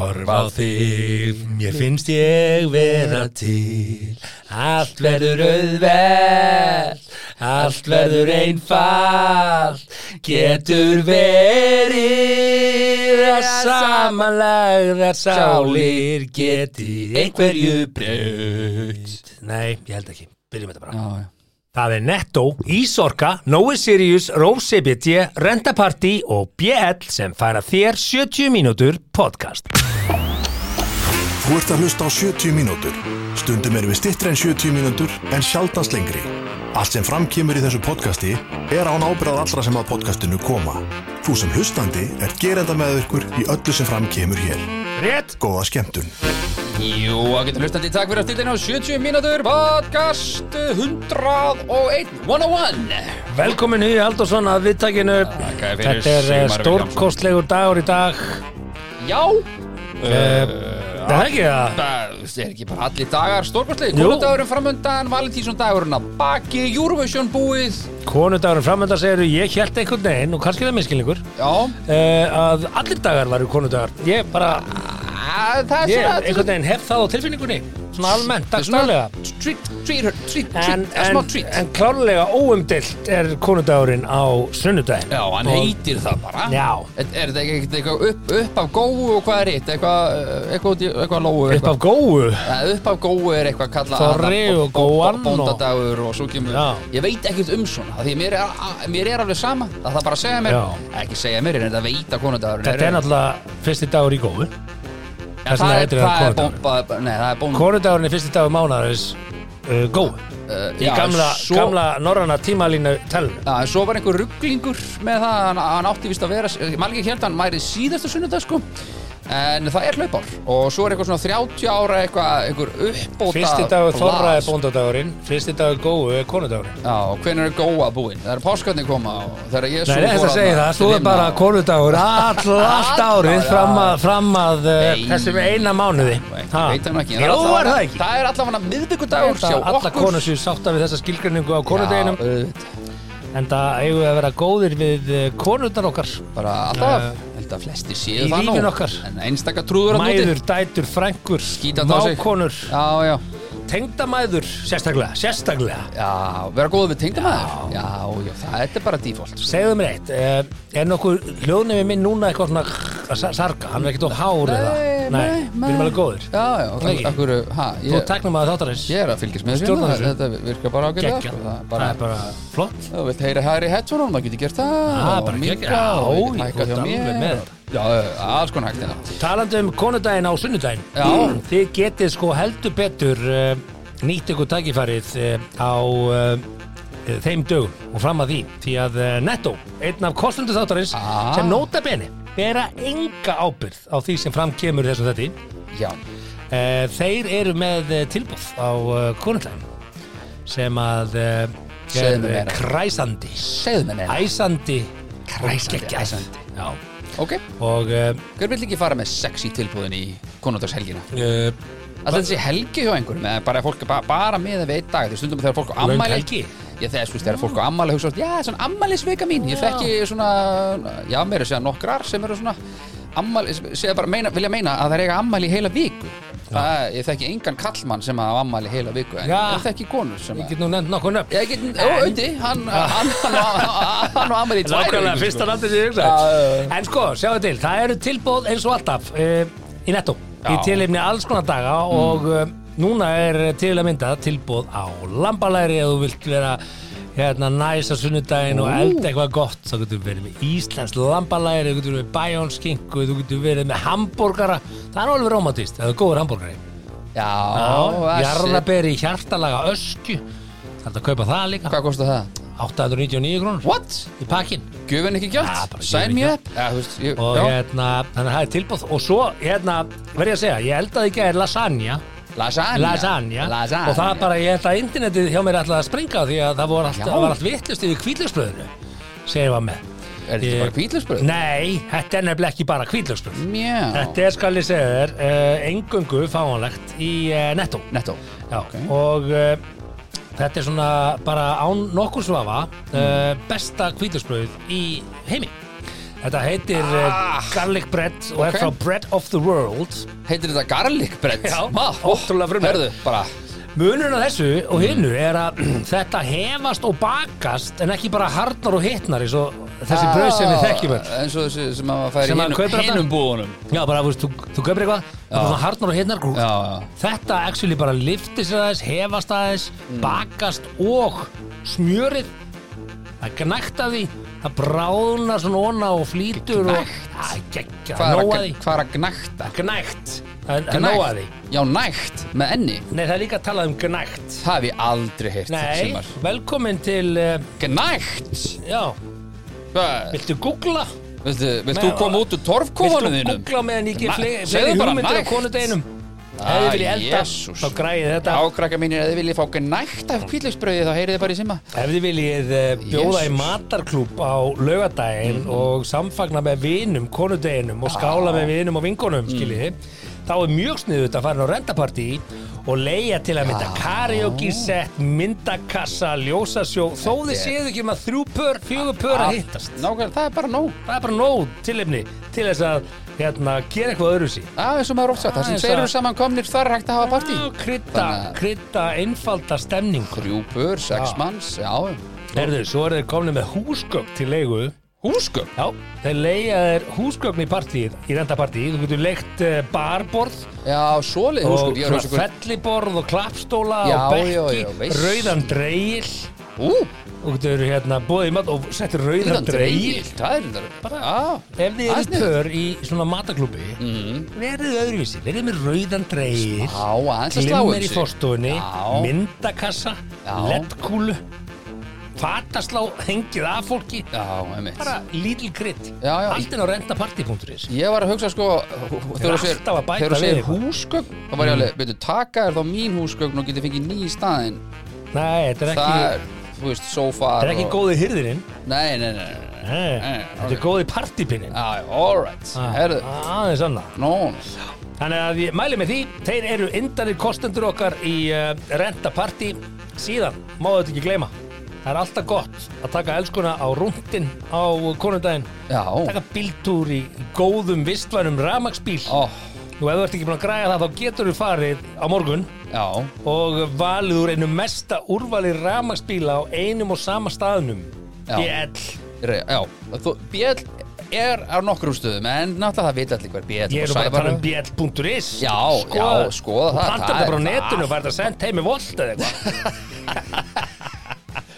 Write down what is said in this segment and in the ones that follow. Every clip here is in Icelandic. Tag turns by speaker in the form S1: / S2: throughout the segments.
S1: á þig Mér finnst ég vera til Allt verður auðveld Allt verður einfalt Getur verið að samanlagðar sálir geti einhverju braut Nei, ég held ekki, byrjum þetta bara
S2: Já, já.
S3: Það er Netto, Ísorka, Nói Sirius, Rósebiti, Rentaparty og BL sem færa þér 70 mínútur podcast.
S4: Þú ert að hlusta á 70 mínútur. Stundum erum við stittri en 70 mínútur en sjaldast lengri. Allt sem framkýmur í þessu podcasti er án ábyrðað allra sem að podcastinu koma. Þú sem hlustandi er gerenda með ykkur í öllu sem framkýmur hér.
S3: Rétt!
S4: Góða skemmtun.
S2: Jú, að geta hlustandi, takk fyrir að stildina á 70 mínútur podcast 101 101
S3: Velkomin í Aldursson að viðtakinu.
S2: Þakkaði fyrir
S3: Þetta er eh,
S2: Sigmar
S3: stórkostlegur dagur í dag.
S2: Já
S3: Það er það ekki það?
S2: Það er ekki bara allir dagar stórkostlega
S3: Jú.
S2: Konundagurinn framöndan, Valentínsson dagurinn að baki Eurovision búið
S3: Konudagurinn framönda segir ég held einhvern veginn og kannski það er miskilningur.
S2: Já,
S3: eh, Að allir dagar varu konudagar. Ég bara,
S2: Að það er
S3: ég
S2: svona
S3: einhvern veginn hef það á tilfinningunni. Svona almennt, dagstælega.
S2: Treat, treat, her, treat,
S3: En,
S2: treat, a
S3: en,
S2: small treat
S3: en klárlega óumdilt er konudagurinn á sunnudaginn.
S2: Já, hann
S3: Og-
S2: heitir það bara
S3: Já.
S2: Er er þetta ekki eitthvað upp, upp af góu og hvað er hitt? Eitthvað, eh, eitthvað, út í- eitthvað lóu
S3: Upp af góðu.
S2: Það upp af góu er eitthvað kallað
S3: Þorri
S2: þarna,
S3: og
S2: bó- bó-
S3: góan og-
S2: Bóndadagur og svo kemur
S3: Já.
S2: Ég veit ekkert um svona af Því að mér er, að- mér er alveg sama Það þarf bara að segja mér
S3: Já.
S2: Ekki segja mér, en þetta veit að konundagurinn
S3: Þetta er náttúrulega fyrsti dagur í góðu.
S2: Það,
S3: Þess vegna
S2: er-
S3: heitir það
S2: það er
S3: konudagurinn.
S2: bóndadagur Nei, það er bóndadagur
S3: Konudagurinn er fyrsti dagur mánaðarins uh, góðu. Í gamla, gamla norrana tímalínu telnu.
S2: Já, en svo var einhver rugglingur með það, hann, hann átti vist að vera, Malgi held að hérna, hann væri síðasta sunnudag sko, en það er hlaupár og svo er eitthvað svona 30 ára eitthvað, einhver uppbóta
S3: Fyrsti dagur
S2: blað,
S3: þorra er
S2: sko.
S3: bóndadagurinn, fyrsti dagur góðu er konudagurinn.
S2: Já, og hvenær er góa búinn? Það er páskarnir koma og þegar Jésu
S3: Nei, þetta segir það, svo er bara konudagur all, allt árið
S2: Já, já.
S3: fram að, fram að uh,
S2: Nei.
S3: þessum eina mánuði. Ha?
S2: Veit hann ekki en
S3: Jú,
S2: allavega-
S3: er það ekki?
S2: Það er allavega miðvíkudagur
S3: Þetta
S2: sjá
S3: Alla
S2: um okkur
S3: konur séu sáttar við þessa skilgrinningu á konudeginum,
S2: Já, auðvitað.
S3: en það eigum við að vera góðir við eh, konurnar okkar.
S2: Bara alltaf, held að flesti séu
S3: Í
S2: það nú
S3: lífinu okkar.
S2: En einstaka trúður að núti
S3: Mæður, dætur, frængur,
S2: Skítandi á sig.
S3: mákonur,
S2: Já, já
S3: tengdamæður, sérstaklega, sérstaklega.
S2: Já, vera góð við tengdamæður Já, já, það þetta er bara default
S3: Segðu mér eitt, eh, er nokkur hljóðnefið minn núna eitthvað svona að sa- sarga, hann er ekkert of hár eða? Við erum alveg góðir.
S2: Já, já,
S3: Nei.
S2: það akkur, ha,
S3: Þú
S2: ég,
S3: teknum að þáttarins,
S2: ég er að fylgjast með
S3: Stjórnar
S2: það-
S3: þessu.
S2: Þetta virkar bara ágætlega
S3: geggjað,
S2: sko, það er
S3: það
S2: bara-
S3: er bara flott.
S2: Ef Þú vilt heyra Harry Hedgeron, maður getur gert það
S3: Það er
S2: og
S3: Ah, bara
S2: minnka
S3: geggjað.
S2: og
S3: Já,
S2: ég get
S3: ég
S2: hækkað
S3: þú
S2: hjá
S3: ert alveg
S2: mér.
S3: með.
S2: Já, já, alls konar hægt hérna
S3: Talandi um konudaginn á sunnudaginn,
S2: Já.
S3: þið getið sko heldur betur uh, nýtt ykkur tækifærið uh, á uh, þeim dögum og fram að því því að uh, Netto, einn af kostundu þáttarins
S2: Ah.
S3: sem nota beni bera enga ábyrð á því sem fram kemur í þessum þetti
S2: Já,
S3: Eh, Þeir eru með eh, tilbúð á konundaginn sem að eh, er
S2: Segðu mér
S3: eh,
S2: meira.
S3: kræsandi,
S2: segðu mér neina
S3: æsandi
S2: Kræsandi,
S3: og geggjað.
S2: æsandi.
S3: Já,
S2: Ok,
S3: og eh,
S2: hver vill ekki fara með sexy tilbúðin í konundagshelgina?
S3: eh,
S2: Alltaf þessi helgi hjá einhverjum eða bara fólk bara, bara með það við einn dag Þegar stundum þegar fólk á
S3: Löng
S2: ammæli
S3: helgi?
S2: Já, þegar, þú veist, þegar fólk á ammæli hugsa oft, Já, svona ammælisveika mín Ég þekki svona, já, meira segja nokkrar sem eru svona ammæli, segja bara meina, vilja meina að það er eiga ammæli í heila viku Það, ég þekki engan kallmann sem að á ammæli í heila viku en
S3: Já.
S2: ég þekki konur sem
S3: ég
S2: að
S3: get nú nefnt nokkuð nöfn.
S2: Ég get, ó, auði, hann, hann, hann, hann, hann á ammæli í tvær
S3: Nákvæmlega,
S2: vikur,
S3: fyrsta
S2: sko.
S3: landið sem ég
S2: Já, já,
S3: hugsaði En sko, sjáu til, það eru tilbóð eins og alltaf uh, í netto Í
S2: Já. Mm.
S3: tilefni alls konar daga og uh, núna er til að mynda tilbóð á lambalæri eða þú vilt vera hérna næsa sunnudaginn og elda eitthvað gott þá getur verið með Íslands lambalæri þú getur verið með bæjónskinku þú getur verið með hambúrgara það er alveg romantist, það er góður hambúrgari
S2: Já, þessi
S3: jarðaberi, hjartalaga, ösku það er að kaupa það líka
S2: Hvað kostar það?
S3: 899 krónur
S2: What?
S3: í pakkin
S2: Gjöfin ekki
S3: Já,
S2: gjöld?
S3: bara
S2: Sign
S3: gjöfin
S2: me
S3: ekki
S2: up? Já, þú veist, ég-
S3: og
S2: já.
S3: hérna, þannig að það er tilbúð og svo, hérna, verð ég að segja, ég eldaði ekki að er lasagna,
S2: Lasagna
S3: lasagna,
S2: Lasagna
S3: og það bara, ég held að internetið hjá mér ætlaði að springa því að það voru allt,
S2: Já.
S3: það var allt vitlust yfir kvítlöksbröðinu sem ég var með.
S2: Er þetta
S3: Ég-
S2: bara kvítlöfsbröð?
S3: Nei, þetta er nefnilega ekki bara kvítlöksbröð.
S2: Mjá
S3: Þetta er, skal ég segja þér, uh, engöngu fáanlegt í uh, Netto.
S2: Netto
S3: Já, og uh, þetta er svona eh, Mm. bara án nokkur svafa uh, besta kvítlöksbröð í heimi. Þetta heitir ah, garlic bread og
S2: ok.
S3: er frá Bread of the World.
S2: Heitir þetta garlic bread?
S3: Já,
S2: Vá,
S3: ótrúlega frumlegt. Mm.
S2: Herðu, bara
S3: Munurinn á þessu og hinnu er að þetta hefast og bakast en ekki bara harnar og hitnar eins og þessi
S2: Ah,
S3: brauð sem við þekkjum öll.
S2: Eins og þessi sem að færi
S3: Sem maður
S2: hinum,
S3: kaupir þarna.
S2: hinum búðunum
S3: Já, bara þú, veist, þú, þú kaupir eitthvað, það er svona harnar og hitnar grú.
S2: Já, já
S3: Þetta actually bara liftir sér aðeins, hefast aðeins,
S2: Mm.
S3: bakast og smjörið. Það gnægt að því, það bráðnar svona óna og flýtur og... Gnægt?
S2: Hvað er
S3: Nóa
S2: að-
S3: því.
S2: hvað er að gnækta?
S3: Gnægt. Það er
S2: Gnægt?
S3: nóa því.
S2: Já, nægt, með enni
S3: Nei, það er líka að tala um gnægt.
S2: Það hef ég aldrei heyrt
S3: Nei,
S2: Sigmar.
S3: velkomin til, uh,
S2: Gnægt
S3: já,
S2: Hvað-
S3: viltu googla?
S2: Viltu, vilt þú
S3: Nei,
S2: koma út úr torfkofanum
S3: Viltu
S2: þínum?
S3: googla meðan ég
S2: Næ,
S3: gef fle-
S2: segðu
S3: fleiri
S2: bara
S3: hugmyndir á
S2: nægt.
S3: konudeginum?
S2: Ah,
S3: Ef þið viljið elda,
S2: Jesús.
S3: þá græðið þetta.
S2: Ákrakka mínir, ef þið viljið fá gnægt af kvíðlegsbröði þá heyrið þið bara í simma
S3: Ef þið viljið eh, bjóða í
S2: Jesus.
S3: matarklúb á laugadaginn
S2: Mhm.
S3: og samfagna með vinum, konudeginum og skála
S2: Ah.
S3: með vinum og vingunum,
S2: Mm.
S3: skiljið þið, þá er mjög sniðut að fara inn á rentapartí og leia til að mynda karaoke-sett, myndakassa, ljósasjó, þó þið séu ekki um að þrjú pör, fjögur pör
S2: Ah.
S3: að hittast.
S2: Nákvæmlega, það er bara nóg
S3: Það er bara nóg tilefni til þess að hérna, gera eitthvað öðru sín.
S2: Það er sem maður oft sagt, það
S3: Ah,
S2: sem
S3: eins
S2: þeir
S3: og-
S2: eru saman komnir þar er hægt að hafa partí
S3: Ah, Krydda,
S2: Þannig að-
S3: krydda, einfalda stemningu.
S2: Rjúpur, sex
S3: Já.
S2: manns, já
S3: Herðu, svo eru þeir komin með húsgögn til leigu.
S2: Húsgögn
S3: Já, þeir leiga þér húsgögn í partíð, í rendapartíð, þú getur leikt eh, barborð
S2: Já, svoleið
S3: og
S2: húsgögn ég er
S3: svona
S2: að hugsa ykkur-
S3: felliborð og klappstóla
S2: Já,
S3: og bekki,
S2: já, já, veist.
S3: rauðan dreigil
S2: Ú,
S3: og getur hérna bóðið í mat og settir rauðan
S2: Íðan
S3: dreigil.
S2: dreigil Það er þetta Já,
S3: Ef þið
S2: Það er
S3: eru
S2: sniðugt. Mhm.
S3: pör í svona mataklubi, verðið öðruvísi, verðið með rauðan dreigil,
S2: Já, aðeins að slá um
S3: glimmer í
S2: sig.
S3: fórstofunni,
S2: Já.
S3: myndakassa,
S2: Já.
S3: leddkúlu, fataslá, hengið af fólki,
S2: Já, einmitt
S3: bara lítil krydd,
S2: Já, já.
S3: allt inn á rendapartí.is.
S2: Ég var að hugsa sko Þegar þú segir-
S3: alltaf að bæta
S2: þegar þú
S3: við
S2: segir
S3: eitthvað. Mm.
S2: húsgögn þá var ég alveg, veitu, taka er þá mín húsgögn og getið fengið ný í staðinn
S3: Nei, þetta er ekki,
S2: Það er, þú veist, sófar
S3: þetta er ekki
S2: og-
S3: góði hyrðininn.
S2: Nei, nei, nei, nei, nei.
S3: Nei,
S2: Nei,
S3: þetta er
S2: ok. Ah,
S3: góði partípinninn.
S2: Já, já, all right
S3: Ah.
S2: Herðu,
S3: Aðeins annað.
S2: nú
S3: Þannig að ég mæli með því, þeir eru indanir kostendur okkar í uh, rentapartí. Síðan, máðu þetta ekki gleyma, það er alltaf gott að taka elskuna á rúndin á konundaginn.
S2: Já,
S3: Taka bíltúr í góðum vistvænum ramagsbíl.
S2: ó,
S3: Og ef þú ert ekki búin að græja það, þá getur þú farið á morgun
S2: já
S3: og valið úr einu mesta úrvali ramagsbíla á einum og sama staðnum.
S2: Já.
S3: BL.
S2: Re- Já, þú, BL er á nokkrum stöðum en náttúrulega það vita allir hver BL
S3: Ég er
S2: og
S3: nú bara að tala um
S2: Sævar-
S3: bl.is
S2: Já, já, skoða það,
S3: Planta
S2: það
S3: þetta
S2: er
S3: bara á
S2: það.
S3: netinu og fært að senda heim í volt eða eitthvað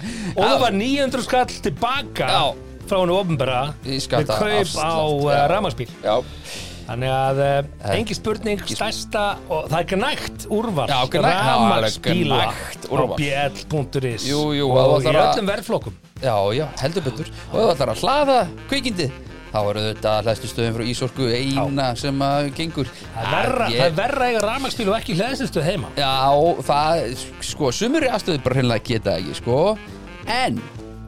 S3: Og það var 900 skall tilbaka
S2: Já.
S3: frá hennu ofnbara
S2: Í
S3: við
S2: skatta-
S3: kaup á
S2: afslátt,
S3: uh,
S2: já.
S3: rafmagnsbíl
S2: Já,
S3: Þannig að uh, engi spurning stærsta og það er gnægt úrval
S2: Já, gnægt- já,
S3: rafmagnsbíla
S2: alveg gnægt úrval.
S3: á bl.is
S2: Jú, jú,
S3: og
S2: og
S3: í
S2: það var-
S3: öllum verðflokkum
S2: já, já, heldur betur og ef það er að hlaða kvikindi þá eru þetta hlæstu stöðum frá Ísorku eina sem að gengur
S3: Það er verra-
S2: Að
S3: það er verra að eiga rafmagnsbíl og ekki hlæðsistu heima
S2: Já, það, sko, sumur í afstöðu bara hreinlega geta ekki, sko En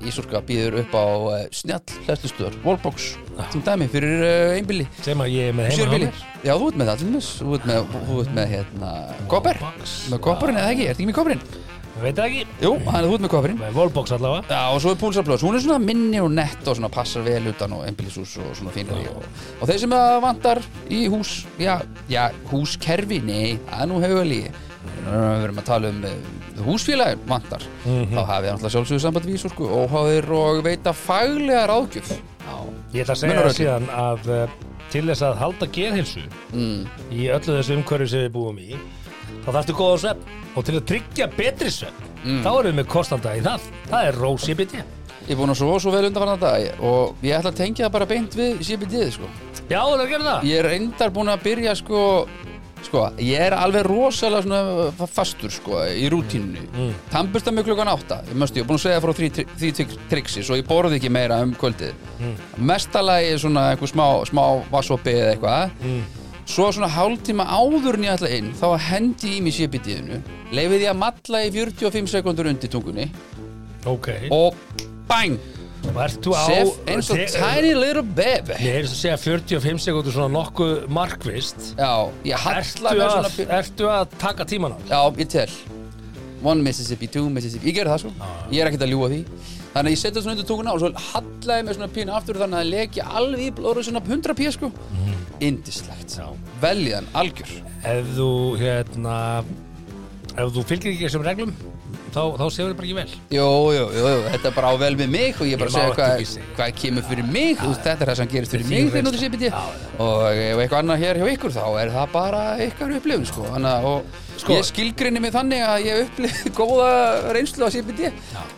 S2: Ísorka býður upp á uh, snjall hlæstu stöður, wallbox sem dæmi fyrir uh, einbili
S3: sem að ég er með heima hjá
S2: Sjörbíli
S3: mér.
S2: Já, þú ert með það, allumis Þú ert með, þú ert með hérna, kopper
S3: Box.
S2: Með kopparinn eða ekki, ertu ekki með kopparinn?
S3: Ég veit það ekki
S2: Jú, hann er þú ert með kopparinn
S3: Með volbox allavega
S2: Já, og svo er púlsarblöðs, hún er svona minni og nett og svona passar vel utan og einbílisús og svona fínari og, og þeir sem að vantar í hús, já, já, húskerfi, nei, það er nú haugali Við verum að tala um eh, húsfélagin vantar,
S3: Mhm.
S2: þá hafið hann alltaf sjálfsögur samband við Ísorku og hafið og veita faglega ráðgjöf Já,
S3: Ég ætla að segja
S2: Munar
S3: það
S2: öllu.
S3: síðan að uh, til þess að halda geðhilsu
S2: Mm.
S3: í öllu þessu umhverju sem við búum í þá þarftu góðan svepp og til að tryggja betri svepp
S2: Mm.
S3: þá erum við með kostanda í það það er rós í biti
S2: ég er búin að svo svo vel undanfarnar dag og ég ætla að tengja það bara beint við CBD, sko
S3: Já, það er að gera það
S2: Ég er reyndar búin að byrja sko Sko, ég er alveg rosalega svona fa- fastur sko í rútínu mm. Tannbursta mig klukkan átta Ég mjösti, ég er búin að segja frá því, tri- því tri- triksi Svo ég borði ekki meira um kvöldið
S3: Mm.
S2: Mestalagi svona einhver smá, smá vassopi eða eitthvað
S3: Mm.
S2: Svo svona hálftíma áður en ég ætla inn Þá hendi ég í mig sébitiðinu Leifið ég að matla í 45 sekundur undir tungunni
S3: Ok
S2: Og bang
S3: Og ert þú á
S2: Sef eins og
S3: Þe-
S2: tiny little baby
S3: Ég er þess að segja 45 sekundur svona nokkuð markvist
S2: Já, ég halla
S3: Ertu
S2: mér
S3: að,
S2: svona
S3: ertu að taka tíman á?
S2: Já, ég tel One Mississippi, Two Mississippi Ég gerði það sko, ég er ekkert að ljúa því Þannig að ég setja svona undir tókuna og svo hallaði mér svona pínu aftur Þannig að það leki alveg í blóru svona 100 pí sko Indislegt,
S3: Já.
S2: veljan, algjör
S3: ef þú hérna ef þú fylgir ekki þessum reglum þá, þá séu þið bara ekki vel
S2: Jú, jú, jú, jú, þetta er bara á vel með mig og ég er
S3: Ég má
S2: bara að segja
S3: ekki
S2: hvað,
S3: ekki segja.
S2: hvað kemur fyrir mig og þetta er það sem gerist fyrir
S3: þín
S2: mig hérna þegar
S3: reynsla.
S2: nóttu sépiti
S3: Já,
S2: og ef eitthvað annað hér hjá ykkur þá er það bara ykkar upplifun sko. Þannig, að- og
S3: Sko-
S2: ég skilgrinni mig þannig að ég upplifi góða reynslu á sépiti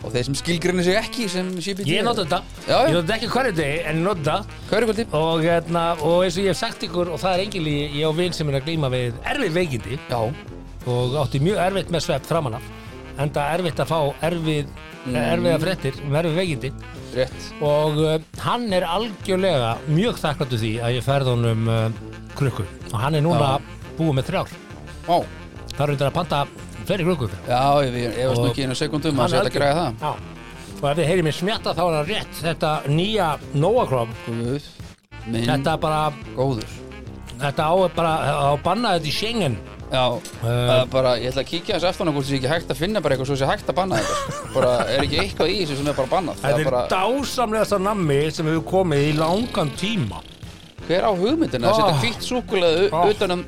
S2: og þeir sem skilgrinni sig ekki sem sépiti
S3: ég nota þetta,
S2: Já, já.
S3: ég nota þetta ekki hverju degi en ég nota þetta
S2: Hvað er kvöldi?
S3: og, hérna, og eins og ég hef sagt ykkur og það er engil í, ég á vin sem er að glýma við erfið veikindi
S2: Já,
S3: og átti mjög erfitt með svepp framan af enda erfitt að fá erfið
S2: Mm.
S3: erfiða fréttir um erfið veikindi
S2: rétt
S3: og uh, hann er algjörlega mjög þakkláttu því að ég ferð honum uh, krukku og hann er núna búið með þrjár
S2: Ó,
S3: það eru þetta að panta fleiri krukku fyrir
S2: já, ég, ég, ég var
S3: Og-
S2: snukkið inn á sekundum
S3: Hann er
S2: að setja að græða það
S3: Já. Og ef þið heyrið mér smjatta þá er það rétt Þetta nýja
S2: Mm.
S3: Nóakrom
S2: Guð, minn,
S3: Þetta bara,
S2: góður
S3: þetta á bara á banna þetta í Schengen
S2: Já,
S3: Eh.
S2: það er bara, ég ætla að kíkja þessu aftan á hvort það sé ekki hægt að finna bara eitthvað svo sé hægt að banna þetta bara er ekki eitthvað í þessu sem er bara bannað það
S3: Þetta
S2: er
S3: er
S2: bara,
S3: dásamlegasta nammi sem hefur komið í langan tíma
S2: hver á hugmyndina að setja
S3: Ah.
S2: hvítt súkulega
S3: Ah.
S2: utan um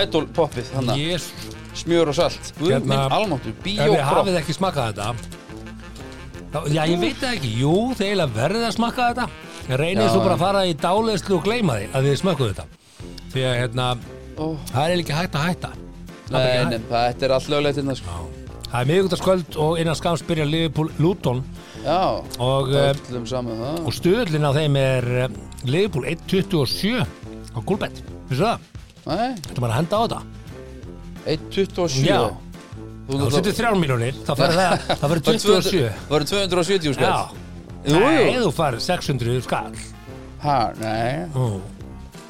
S2: idol poppið, þannig
S3: Jésus
S2: smjör og salt Guð
S3: Hérna,
S2: minn almáttur,
S3: Ef þið
S2: bíópropp
S3: hafið ekki smakað þetta þá, Já, ég veit það ekki Jú, þeir eiginlega verðið að smakka þetta En reynið
S2: Já,
S3: svo bara
S2: já.
S3: að fara í dáleyslu og gleyma því að þið smakkuðu þetta Því að hérna,
S2: Ó,
S3: það er ekki hægt að hætta Það er ekki
S2: Nei,
S3: hægt.
S2: nei, þetta er allt löglegt innan sko
S3: Það er miðvíkundaskvöld og innan skams byrja Liverpool Luton
S2: Já,
S3: og,
S2: það
S3: eh,
S2: er öllum saman það
S3: og stöðlinn á þeim er eh, Liverpool 1.27 á gulbett, vissu það?
S2: Nei,
S3: Þetta er bara að henda á þetta
S2: 1.27
S3: Já.
S2: Þú
S3: Þú setur þrjár miljónir, þá fer það það fer 27
S2: Það voru 270
S3: Já,
S2: skall Jú,
S3: nei,
S2: jú.
S3: þú fær 600 skall
S2: Hæ, nei
S3: Ó,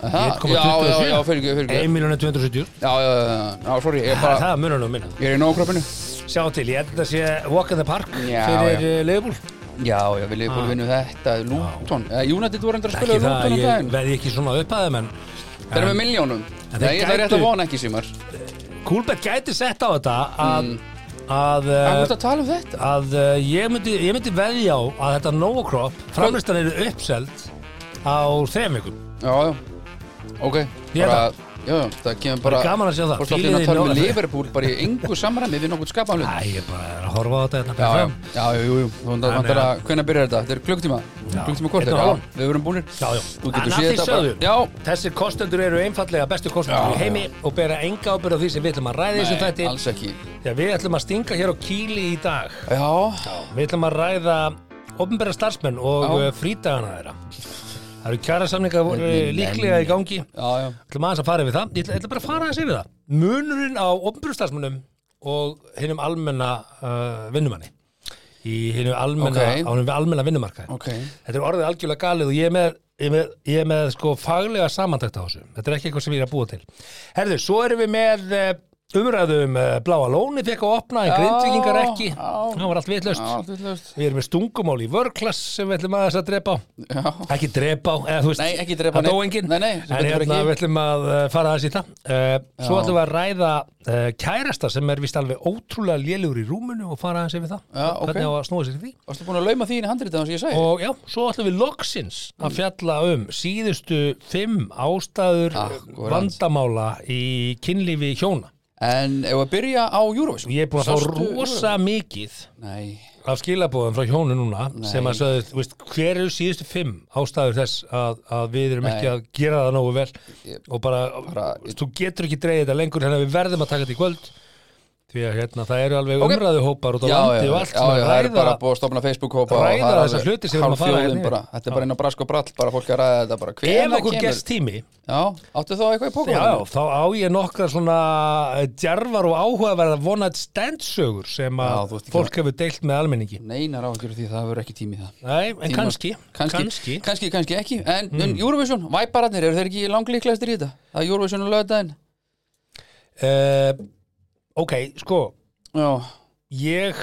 S2: Aha, Já, já, já, fyrir ekki, fyrir
S3: 1 miljónir 270
S2: Já, já, já, já, já, sorry, ég er
S3: Það
S2: bara,
S3: er mununum minna
S2: ég er í nógkröppinu
S3: Sjá til, ég held að sé Walk in the Park
S2: Já,
S3: fyrir eh, Liverpool
S2: Já, já, við leiðum búin að vinna þetta, Luton, eða Ah. Eh, United voru endur að spila
S3: Ekki
S2: við
S3: það,
S2: Luton um
S3: ég
S2: daginn
S3: veði ekki svona upp að þeim en
S2: Þeir eru með miljónum,
S3: En
S2: nei,
S3: þeir
S2: það er rétt að
S3: gætu-
S2: vona ekki símar
S3: Kúlbett gæti sett á þetta að
S2: Mm.
S3: að,
S2: Það er
S3: að,
S2: að tala um þetta
S3: að eh, ég, myndi, ég myndi veðja á að þetta Novacrop framlistan eru uppselt á þrejum vikum
S2: Já, já, ok,
S3: Ég
S2: bara,
S3: held
S2: já, já, það kemur
S3: bara
S2: bara
S3: gaman að sjá það.
S2: Hvort þá
S3: Fílið
S2: að
S3: í
S2: tala með
S3: Norður.
S2: Liverpool bara í engu samræmi við nokkuð skapaðan hlut
S3: Æ, ég er bara er að horfa á þetta hérna
S2: Já,
S3: fyrir
S2: já,
S3: fram.
S2: já, jú, jú, jú, þú
S3: Þannig
S2: vantar að, hvenær byrjar þetta? Þetta er klukktíma,
S3: Já.
S2: klukktíma hvort,
S3: Einn og
S2: já,
S3: hálfan.
S2: við verum búinir
S3: Já, já.
S2: Þú
S3: En
S2: getur
S3: að
S2: séð
S3: því
S2: þetta bara,
S3: sögðu.
S2: já,
S3: Þessir kostendur eru einfallega bestu kostendur
S2: Já,
S3: í heimi og bera enga ábyrð á því sem við ætlum að ræða í þessum
S2: nei,
S3: þætti.
S2: alls ekki
S3: Þegar við ætlum að stinga hér á kýli í dag.
S2: Já,
S3: Við ætlum að ræða ofnbæra starfsmenn og
S2: Já.
S3: uh, frídagana þeirra. Það eru kjara samninga líklega í gangi.
S2: já, já
S3: ætlum aðeins að fara yfir það ég ætla, ætla bara að fara aðeins yfir það munurinn á opnbjörnstarfsmunum og hinnum almenna uh, vinnumanni í hinnum almenna,
S2: Ókei.
S3: á hinnum almenna vinnumarkaði
S2: Ókei.
S3: þetta er orðið algjörlega galið og ég er með, ég er með, ég er með sko faglega samantækt á þessu þetta er ekki eitthvað sem ég er að búa til herðu, svo erum við með eh, umræðu um eh, bláa lóni fekk að opna en grindvikingar ekki,
S2: já.
S3: það var allt vitlaust
S2: Já, þú veist,
S3: við erum með stungumál í vörklass sem við ætlum aðeins að drepa á
S2: já
S3: ekki drepa á eða, þú veist,
S2: Nei, ekki drepa á
S3: það dó
S2: neinn.
S3: enginn
S2: Nei, nei, sem
S3: en
S2: betur fer
S3: hérna
S2: ekki.
S3: við ætlum að uh, fara aðeins í það uh, svo ætlum við að ræða uh, kærasta sem er vist alveg ótrúlega lélugur í rúmunu og fara aðeins yfir það
S2: Já, ok.
S3: hvernig á að snúa sér í því
S2: Varstu búin að lauma því inn í handrið þannig sem ég sagði?
S3: og já, svo ætlum við loksins
S2: Mm.
S3: að fjalla um síðustu fimm ástæður
S2: Akkúrat.
S3: vandamála í kynlífi hjóna
S2: En ef að byrja á Eurovision
S3: ég er búin að fá
S2: Sástu-
S3: rosa mikið
S2: Nei,
S3: af skilabóðum frá hjónu núna sem að sögðu, þú veist, hver eru síðustu fimm ástæður þess að, að við erum ekki
S2: Nei.
S3: að gera það nógu vel
S2: Ég-
S3: og bara,
S2: bara-
S3: þú veist, þú getur ekki dreigið þetta lengur hérna við verðum að taka þetta í kvöld því að hérna, það eru alveg
S2: Ok.
S3: okay. umræðuhópar út á
S2: já, já,
S3: landi og
S2: já,
S3: allt
S2: já,
S3: sem að
S2: það er
S3: ræða
S2: bara búið að stofna Facebook-hópa
S3: ræða
S2: og það er
S3: þessa
S2: alveg
S3: hluti sem við erum að fara
S2: hálf
S3: hérna
S2: þjóðin
S3: yfir.
S2: bara, þetta er bara einn á brask og brall bara fólk að ræða þetta bara
S3: ef
S2: hvenær
S3: okkur
S2: kemur-
S3: gest tími
S2: Já, áttu þá eitthvað í
S3: já,
S2: pókóðan?
S3: þá á ég nokkra svona eh, djarfar og áhugaverða vonat standsögur sem
S2: Já,
S3: að
S2: þú ert ekki
S3: fólk hefur deilt með almenningi
S2: Neinar ágjörðu því það verður ekki tími í það
S3: Nei, en
S2: Tíma-
S3: kannski, Mm.
S2: kannski, kannski, kannski ekki En, en Eurovision, væpararnir, eru þeir ekki langlíklegastir í þetta? Það er Eurovision og lögðaðinn
S3: Eh, ok, sko,
S2: Já,
S3: ég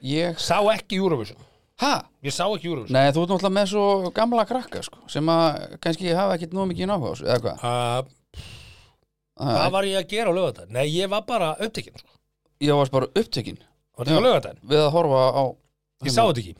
S2: ég
S3: sá ekki Eurovision
S2: Ha?
S3: ég sá ekki Eurovision
S2: Nei, þú ert náttúrulega með svo gamla krakka sko, sem að kannski hafa ekkit nóg mikið náhuga á þessu, eða hvað?
S3: uh,
S2: Ah,
S3: hvað var ég að gera á lögata? Nei, ég var bara upptekinn sko.
S2: ég varst bara upptekinn
S3: Og þetta var lögadaginn.
S2: við að horfa á
S3: Ég sá þetta ekki.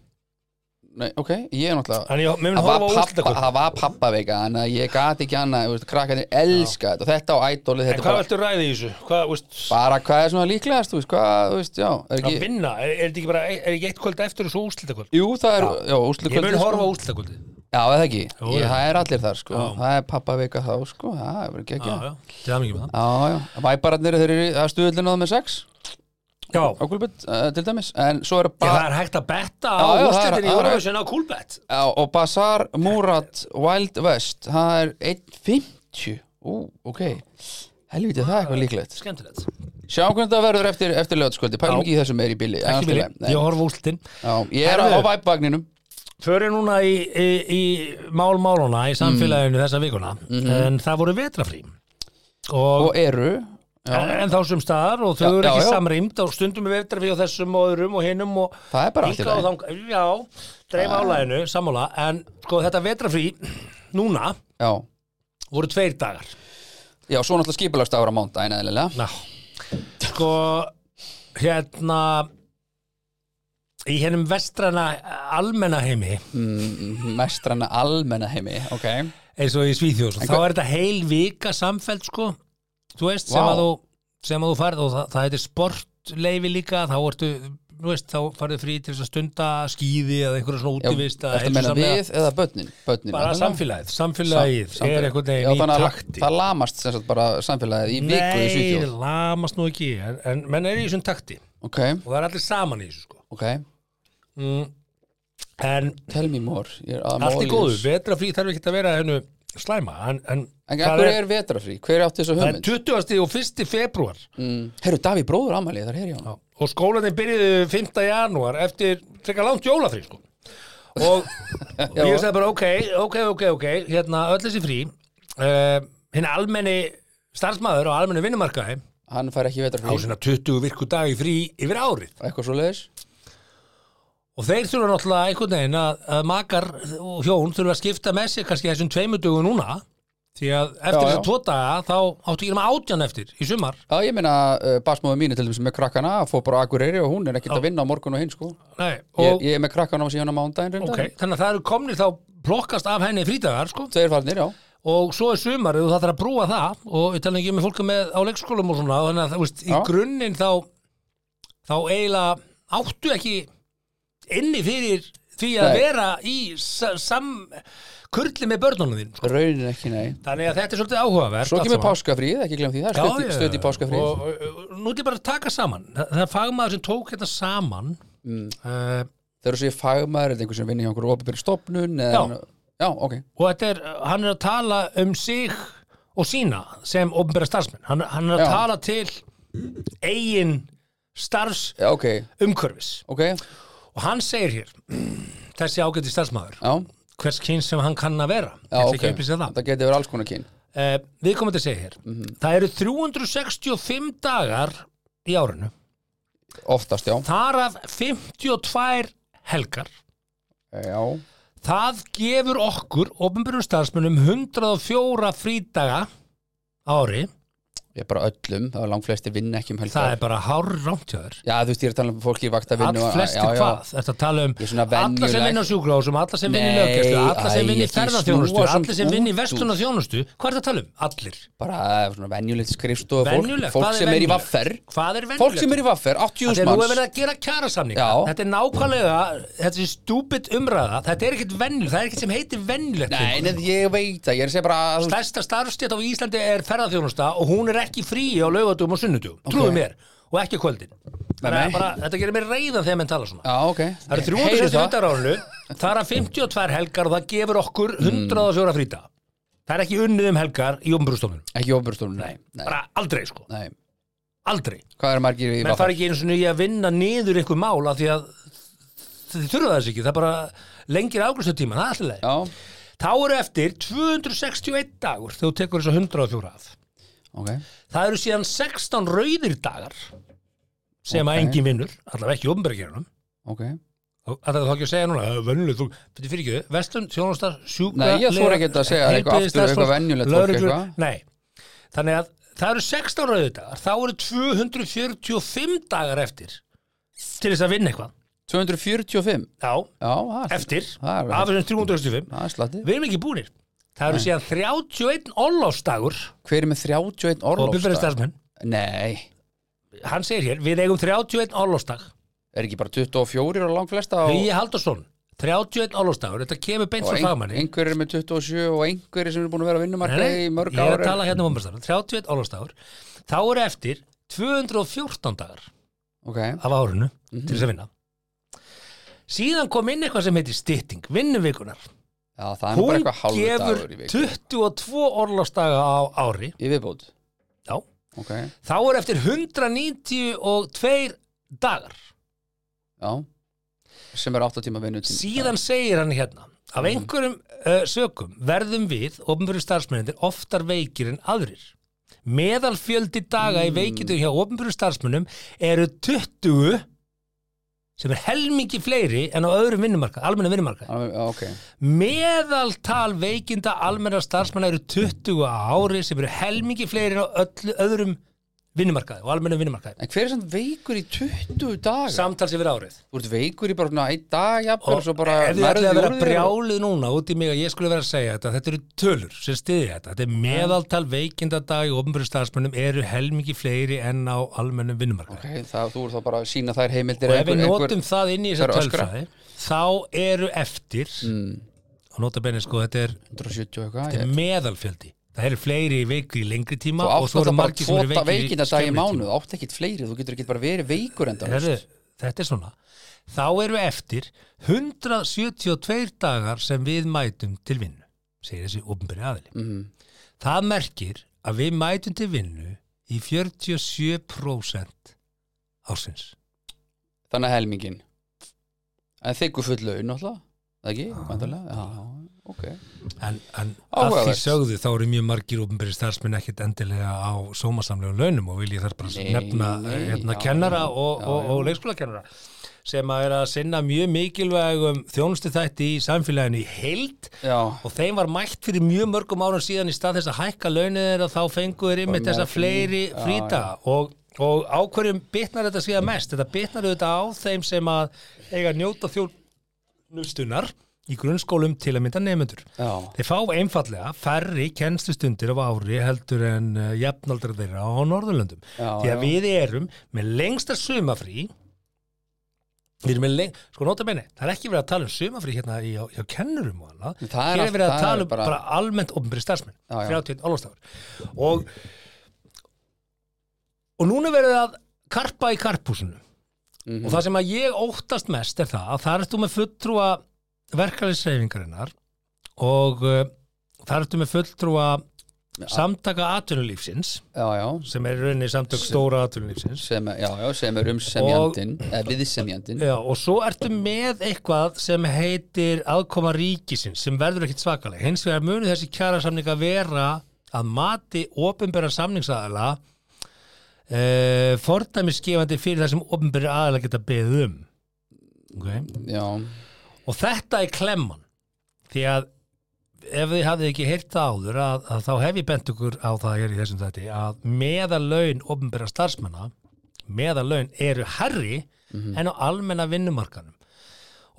S2: Nei, ok, ég er náttúrulega
S3: Þannig ég mér mun
S2: Það
S3: horfa
S2: var,
S3: á
S2: pappa,
S3: úrslitakvöld.
S2: það var pappaveika þannig að ég gat ekki annað þú veist, krakkarnir elska þetta og þetta á ædóli
S3: En
S2: þetta
S3: hvað
S2: bara,
S3: viltu ræði í þessu? Hvað, veist,
S2: bara hvað er svona líklegast þú veist, hvað, þú veist, já, er
S3: að
S2: ekki
S3: vinna? Er, er þetta ekki bara, er er ekki eitt kvöld eftir þessu úrslitakvöld?
S2: Jú, það er, já,
S3: Ég
S2: úrslutkvöld
S3: mun horfa á úrslitakvöldið.
S2: Já, eða ekki,
S3: Jú,
S2: ég,
S3: já.
S2: það er allir þar sko það er pappaveika þá sko, það er ekki ekki
S3: Já, Ah, já. Til
S2: já,
S3: það mikið með það.
S2: já, væpararnir þeir eru, það er stuðullin á það með sex
S3: Já.
S2: á kulbett, uh, til dæmis en svo eru
S3: Ég,
S2: bara
S3: það er hægt að betta
S2: Já,
S3: á
S2: já, það er-
S3: úrslitin í
S2: það er-
S3: Eurovision á Coolbet.
S2: Já, og Bazaar Murat Wild West það er 1.50 Ú, ok Helviti, það er eitthvað líklegt
S3: Skemmtilegt.
S2: Sjá hvernig það verður eftir, eftir löðskvöldi Pælum
S3: Já.
S2: ekki í þessu meiri bíli
S3: Ekki vilja. Ég horfa á úrslitin.
S2: Já, ég er á
S3: Herðu.
S2: væpvagninum
S3: Förum núna í, í, í málmáluna í samfélaginu þessa vikuna. En það voru vetrafrí. Og
S2: Mhm. og eru
S3: en, en þá sem staðar og þau
S2: Já,
S3: eru
S2: já,
S3: ekki
S2: já.
S3: samrýmd og stundum við eftir við á þessum og öðrum og hinum og
S2: Það er bara allt í
S3: líka og
S2: lagi.
S3: þang já, dreif álæðinu, sammála en sko þetta vetrafrí núna
S2: Já,
S3: voru tveir dagar
S2: já svo náttúrulega skipulagst ára mánda en eðlilega
S3: Ná. sko hérna í hennum vestrana almennaheimi Mhm.
S2: mm, Mestranna almenna heimi Ok,
S3: eins og í Svíþjóðs og þá
S2: hva-
S3: er þetta heil vika samfeld sko, þú veist sem
S2: Vá.
S3: að þú sem að þú farð og það, það heitir sportleifi líka, þá ertu þú veist, þá farðu frí til þess að stunda skíði eða einhverja svona
S2: já,
S3: útivist eða
S2: Ertu að meina
S3: heilsusamlega-
S2: við eða börnin? börnin
S3: bara
S2: náttúrulega.
S3: samfélagið, samfélagið
S2: Sam-
S3: er
S2: samfélag.
S3: einhvern
S2: Já,
S3: veginn í
S2: þannig að
S3: takti
S2: Það lamast sem sagt bara samfélagið í viku í
S3: Nei,
S2: Svíþjóð
S3: lamast nú ekki en, en menn er í þessum takti
S2: Ok,
S3: og það er allir saman í þessu sko
S2: ok,
S3: mm. en
S2: tell me more Ég er að
S3: allt
S2: máli-
S3: er góðu, vetrafrí þarf ekki að vera hennu slæma en, en,
S2: En
S3: það
S2: hver er, er vetrafrí? Hver átti þessu
S3: það er
S2: hugmynd?
S3: 20. og 1. februar
S2: Mm. Herru, Daví bróður amalið, þar heyri ég hann
S3: og skólanir byrjuðu 5. janúar eftir frekar langt jólafrí sko. og
S2: Já.
S3: ég sagði bara ok, ok, ok, ok hérna öll þessi frí uh, hinn almenni starfsmæður og almenni vinnumarkaði á
S2: Hann fær ekki vetrafrí,
S3: svona 20 virku dag í frí yfir árið
S2: eitthvað svo leiðis
S3: og þeir þurfa náttúrulega einhvern veginn að, að makar og hjón þurfa að skipta með sér kannski þessum tveimur dögum núna því að eftir
S2: Já,
S3: þessa
S2: já.
S3: tvo daga þá áttu ekki um átján eftir í sumar
S2: Já, ég meina, uh, basmóðu mínu til dæmis með krakkana að fór bara á akureyri og hún er ekkert að vinna á morgun og hinn sko
S3: Nei,
S2: ég,
S3: og,
S2: ég er með krakkana á síðan á mándaginn
S3: ok,
S2: reyndar.
S3: þannig að það eru komnir þá plokkast af henni frídagar sko
S2: Þeir farnir, já
S3: og svo er sumarið og það þarf að brúa það og ég tala ekki með fólk með á leikskólum og svona þannig að þú veist, í
S2: Já.
S3: grunninn þá þá eiginlega áttu ekki inni fyrir því að
S2: Nei.
S3: vera í sa- sam kurli með börnunum þín sko.
S2: Raunin ekki, nei
S3: þannig að þetta er svolítið áhugaverð
S2: Svo kemur páskafríð, ekki glemt því það er stutt- Stutt í páskafríð
S3: og, og, og nú er ég bara að taka saman Þa- það er fagmaður sem tók þetta saman
S2: Mm.
S3: uh,
S2: Þeir eru sér fagmaður, er þetta einhver sem vinni hjá okkur opinbyrði stopnun en, já, ok
S3: og þetta er, hann er að tala um sig og sína sem ofnbæra starfsmenn, hann, hann er að
S2: Já.
S3: tala til eigin starfs
S2: Já, ok,
S3: umhverfis
S2: ok,
S3: og hann segir hér þessi ágæti starfsmæður,
S2: já,
S3: hvers kyn sem hann kann að vera
S2: já
S3: Ég ætla
S2: ok
S3: ekki að upplýsa það
S2: Það geti verið alls konar kyn
S3: uh, við komum til að segja hér
S2: Mhm.
S3: það eru 365 dagar í árinu,
S2: Oftast, já,
S3: þar af 52 helgar
S2: já
S3: Það gefur okkur, ofinbjörnum starfsmönnum, 104 frídaga á ári.
S2: Ég er bara öllum, það er langt flestir vinna ekki um helgar
S3: Það er bara hár rámtjöður.
S2: Já, þú veist, ég er að tala um fólki í vaktavinnu
S3: Allt
S2: og-
S3: flestir
S2: já, já.
S3: hvað? Þetta tala um
S2: Ég er svona
S3: alla sem
S2: venjulegt.
S3: vinna á sjúkrahúsum, alla sem vinna í
S2: Nei,
S3: löggjæslu, alla
S2: æ,
S3: sem vinna í
S2: ekki
S3: ferðarþjónustu,
S2: snúa svona
S3: alla sem vinna í
S2: út úr.
S3: vestlun og þjónustu. Hvað er það að tala um? Allir.
S2: Bara eh, svona venjulegt skrifstofu
S3: Venjulegt.
S2: Fólk, fólk
S3: Hvað
S2: sem er í
S3: venjulegt?
S2: vaffer
S3: Hvað er venjulegt?
S2: Fólk sem er í vaffer, 80
S3: Þetta er nú að
S2: manns
S3: vera að gera kjarasamninga
S2: Já.
S3: Þetta er nákvæmlega, þetta er stúpid umræða Þetta er ekkert venjulegt, það er ekkert sem heitir venjulegt
S2: Nei, nei, ég veit það, ég er að segja bara að-
S3: Stærsta starfstjætt á Íslandi er ferðarþjónusta og hún er ekki frí á laugatum og sunnudum okay. trúðu mér, og ekki á kvöldin Þannig
S2: nei.
S3: að bara, þetta gerir mér reyðan þegar menn tala svona
S2: Já, ok
S3: Það eru
S2: Heyri
S3: 360 hundar árunu, það er að 52 helgar og það gefur okkur
S2: Mm.
S3: 104 fríta Það er ekki unnið um helgar í umbrústofunum
S2: Ekki ofbjörstofunum, nei, nei,
S3: bara aldrei sko,
S2: nei
S3: aldrei
S2: Hvað er margir í
S3: menn fara
S2: vaffer?
S3: ekki eins og nýja að vinna niður ykkur mál af því að þið þurfa þess ekki, það er bara lengir ágrustutíma, það er alltaf leið
S2: Já,
S3: þá eru eftir 261 dagur þegar þú tekur þess að 104 af
S2: ok
S3: Það eru síðan 16 rauðir dagar sem
S2: Ok.
S3: að engin vinnur, allavega ekki ofnbergerinum
S2: Ok
S3: og allavega þá ekki að segja núna vönnuleg þú, þetta fyrir ekki, vestlun, þjónastar, sjúkra
S2: Nei, ég þori ekki að segja eitthvað aftur, eitthvað venjulegt fólk, eitthvað.
S3: Nei, þannig að það eru 16 rauðdagar, þá eru 245 dagar eftir til þess að vinna eitthvað
S2: 245
S3: Já,
S2: Já, það er-
S3: eftir,
S2: það er-
S3: af þessum 365
S2: það er slatti
S3: Við erum ekki búnir Það eru síðan 31 orlofsdagur
S2: Hver er með 31
S3: og byrfæri
S2: orlofsdag?
S3: starfsmenn
S2: Nei,
S3: Hann segir hér, við eigum 31 orlofsdag
S2: er ekki bara 24 og langflesta og,
S3: Hugi Haldarsson, 31 orlofsdagur Þetta kemur beint
S2: og
S3: frá fagmanni
S2: einhverjir með 27 og einhverjir sem eru búin að vera að vinnumarka
S3: Nei,
S2: í
S3: nei,
S2: mörg
S3: Ég er
S2: ára
S3: að tala hérna um ombastafn 31 orlofsdagur Þá eru eftir 214 dagar
S2: Ok,
S3: af árinu
S2: Mhm.
S3: til þess að vinna Síðan kom inn eitthvað sem heitir stytting, vinnuvikunar
S2: já, það er nú bara
S3: Hún
S2: eitthvað
S3: gefur
S2: hálfdagur í viku
S3: 22 orlofsdaga á ári
S2: Í viðbót,
S3: Já,
S2: ok, já,
S3: þá er eftir 192 dagar
S2: sem er 8 tíma vinnu
S3: síðan segir hann hérna af einhverjum uh, sökum verðum við, ofnbjörðu starfsmennir oftar veikir en aðrir meðalfjöldi daga í veikindu hjá ofnbjörðu starfsmennum eru 20 sem er helmingi fleiri en á öðrum vinnumarka, almenna
S2: Ah.
S3: vinnumarka
S2: Ok,
S3: meðaltal veikinda almenna starfsmenn eru 20 á ári sem eru helmingi fleiri en á öllu, öðrum vinnumarkaði og almenna vinnumarkaði
S2: en hver er samt veikur í 20 daga?
S3: samtals yfir árið
S2: Þú ert veikur í bara svona einn dag, jafnvel,
S3: og
S2: og svo bara
S3: ef þið ætlaði að vera
S2: nærðu úr þér og-
S3: brjálið núna út í mig að ég skulle vera að segja þetta þetta eru tölur sem stiði þetta þetta er meðaltal veikindadag í ofnbjörn starfsmönnum eru helmingi fleiri en á almennum vinnumarka
S2: Ok, það, þú ert þá bara að sína þær heimildir
S3: og ef við
S2: einhver- einhver-
S3: notum það inn í þessa
S2: Það eru öskra. Mm.
S3: tölfræði þá eru eftir og nota benni sko þetta er,
S2: 170 og eitthvað
S3: þetta er
S2: ég-
S3: meðalfjöldi það eru fleiri veikur í lengri tíma
S2: Þú
S3: og
S2: átt
S3: svo eru
S2: alltaf bara
S3: margir sem eru
S2: tvo
S3: veikir í
S2: veikinda dag í
S3: skemmri tíma
S2: mánuð, þú átt ekkit fleiri, þú getur ekki bara verið veikur enda
S3: Herðu, þetta er svona þá eru eftir 172 dagar sem við mætum til vinnu segir þessi ofnbyrði aðli
S2: Mhm.
S3: það merkir að við mætum til vinnu í 47% ársins
S2: Þannig að helmingin En þykku full laun alltaf Það ekki, vantarlega Já, ok
S3: en, en að því
S2: Áhugavert.
S3: sögðu þá eru mjög margir ofnbyrði starfsmenn ekkit endilega á sómasamlegu launum og vil ég þar bara
S2: Nei,
S3: nefna
S2: nei,
S3: hérna,
S2: já,
S3: kennara
S2: já,
S3: og,
S2: já,
S3: og,
S2: já.
S3: og leikskólakennara sem að er að sinna mjög mikilvægum þjónustu þætti í samfélaginu í heild
S2: Já,
S3: og þeim var mætt fyrir mjög mörgum árum síðan í stað þess að hækka launið þeirra þá fengu þeir ymmið
S2: meira
S3: þessa
S2: frí.
S3: fleiri
S2: Já,
S3: fríta og, og á hverjum bitnar þetta síðan mest þetta bitnar auðvitað á þeim sem að eiga að njóta þjónustunar í grunnskólum til að mynda nefnendur
S2: já
S3: þeir fá einfallega færri kennslustundir á ári heldur en uh, jafnaldra þeirra á Norðurlöndum
S2: Já,
S3: því að
S2: já.
S3: við erum með lengsta sumafrí við erum með leng sko nota bene, það er ekki verið að tala um sumafrí hérna í, hjá, hjá kennurum og annað
S2: Það er
S3: hér
S2: allt-
S3: er verið að
S2: það er
S3: tala um bara,
S2: bara-
S3: almennt ofnbyrði starfsmenn,
S2: Já, já.
S3: 31 álastafur og og núna verið að karpa í karpúsinu
S2: Mhm.
S3: og það sem að ég óttast mest er það að það ertu með fulltrúa verkalinsreifingarinnar og uh, það ertu með fulltrúa samtaka atvinnulífsins
S2: Já, já
S3: sem er í rauninni samtök stóra atvinnulífsins
S2: sem, er- já, já, sem er Eh, umsemjandin eða viðsemjandin
S3: Já, og svo ertu með eitthvað sem heitir aðkoma ríkisins sem verður ekkit svakaleg. Hins vegar munu þessi kjara samninga vera að mati opinbera samningsaðala e, fordæmisgefandi fyrir það sem opinbera aðala geta beðið um. Okay.
S2: Já,
S3: Og þetta er klemman því að ef þið hafið ekki heyrt það áður að, að þá hef ég bent ykkur á það hér í þessum þætti að meðalaun ofnbæra starfsmanna meðalaun eru herri en á almenna vinnumarkanum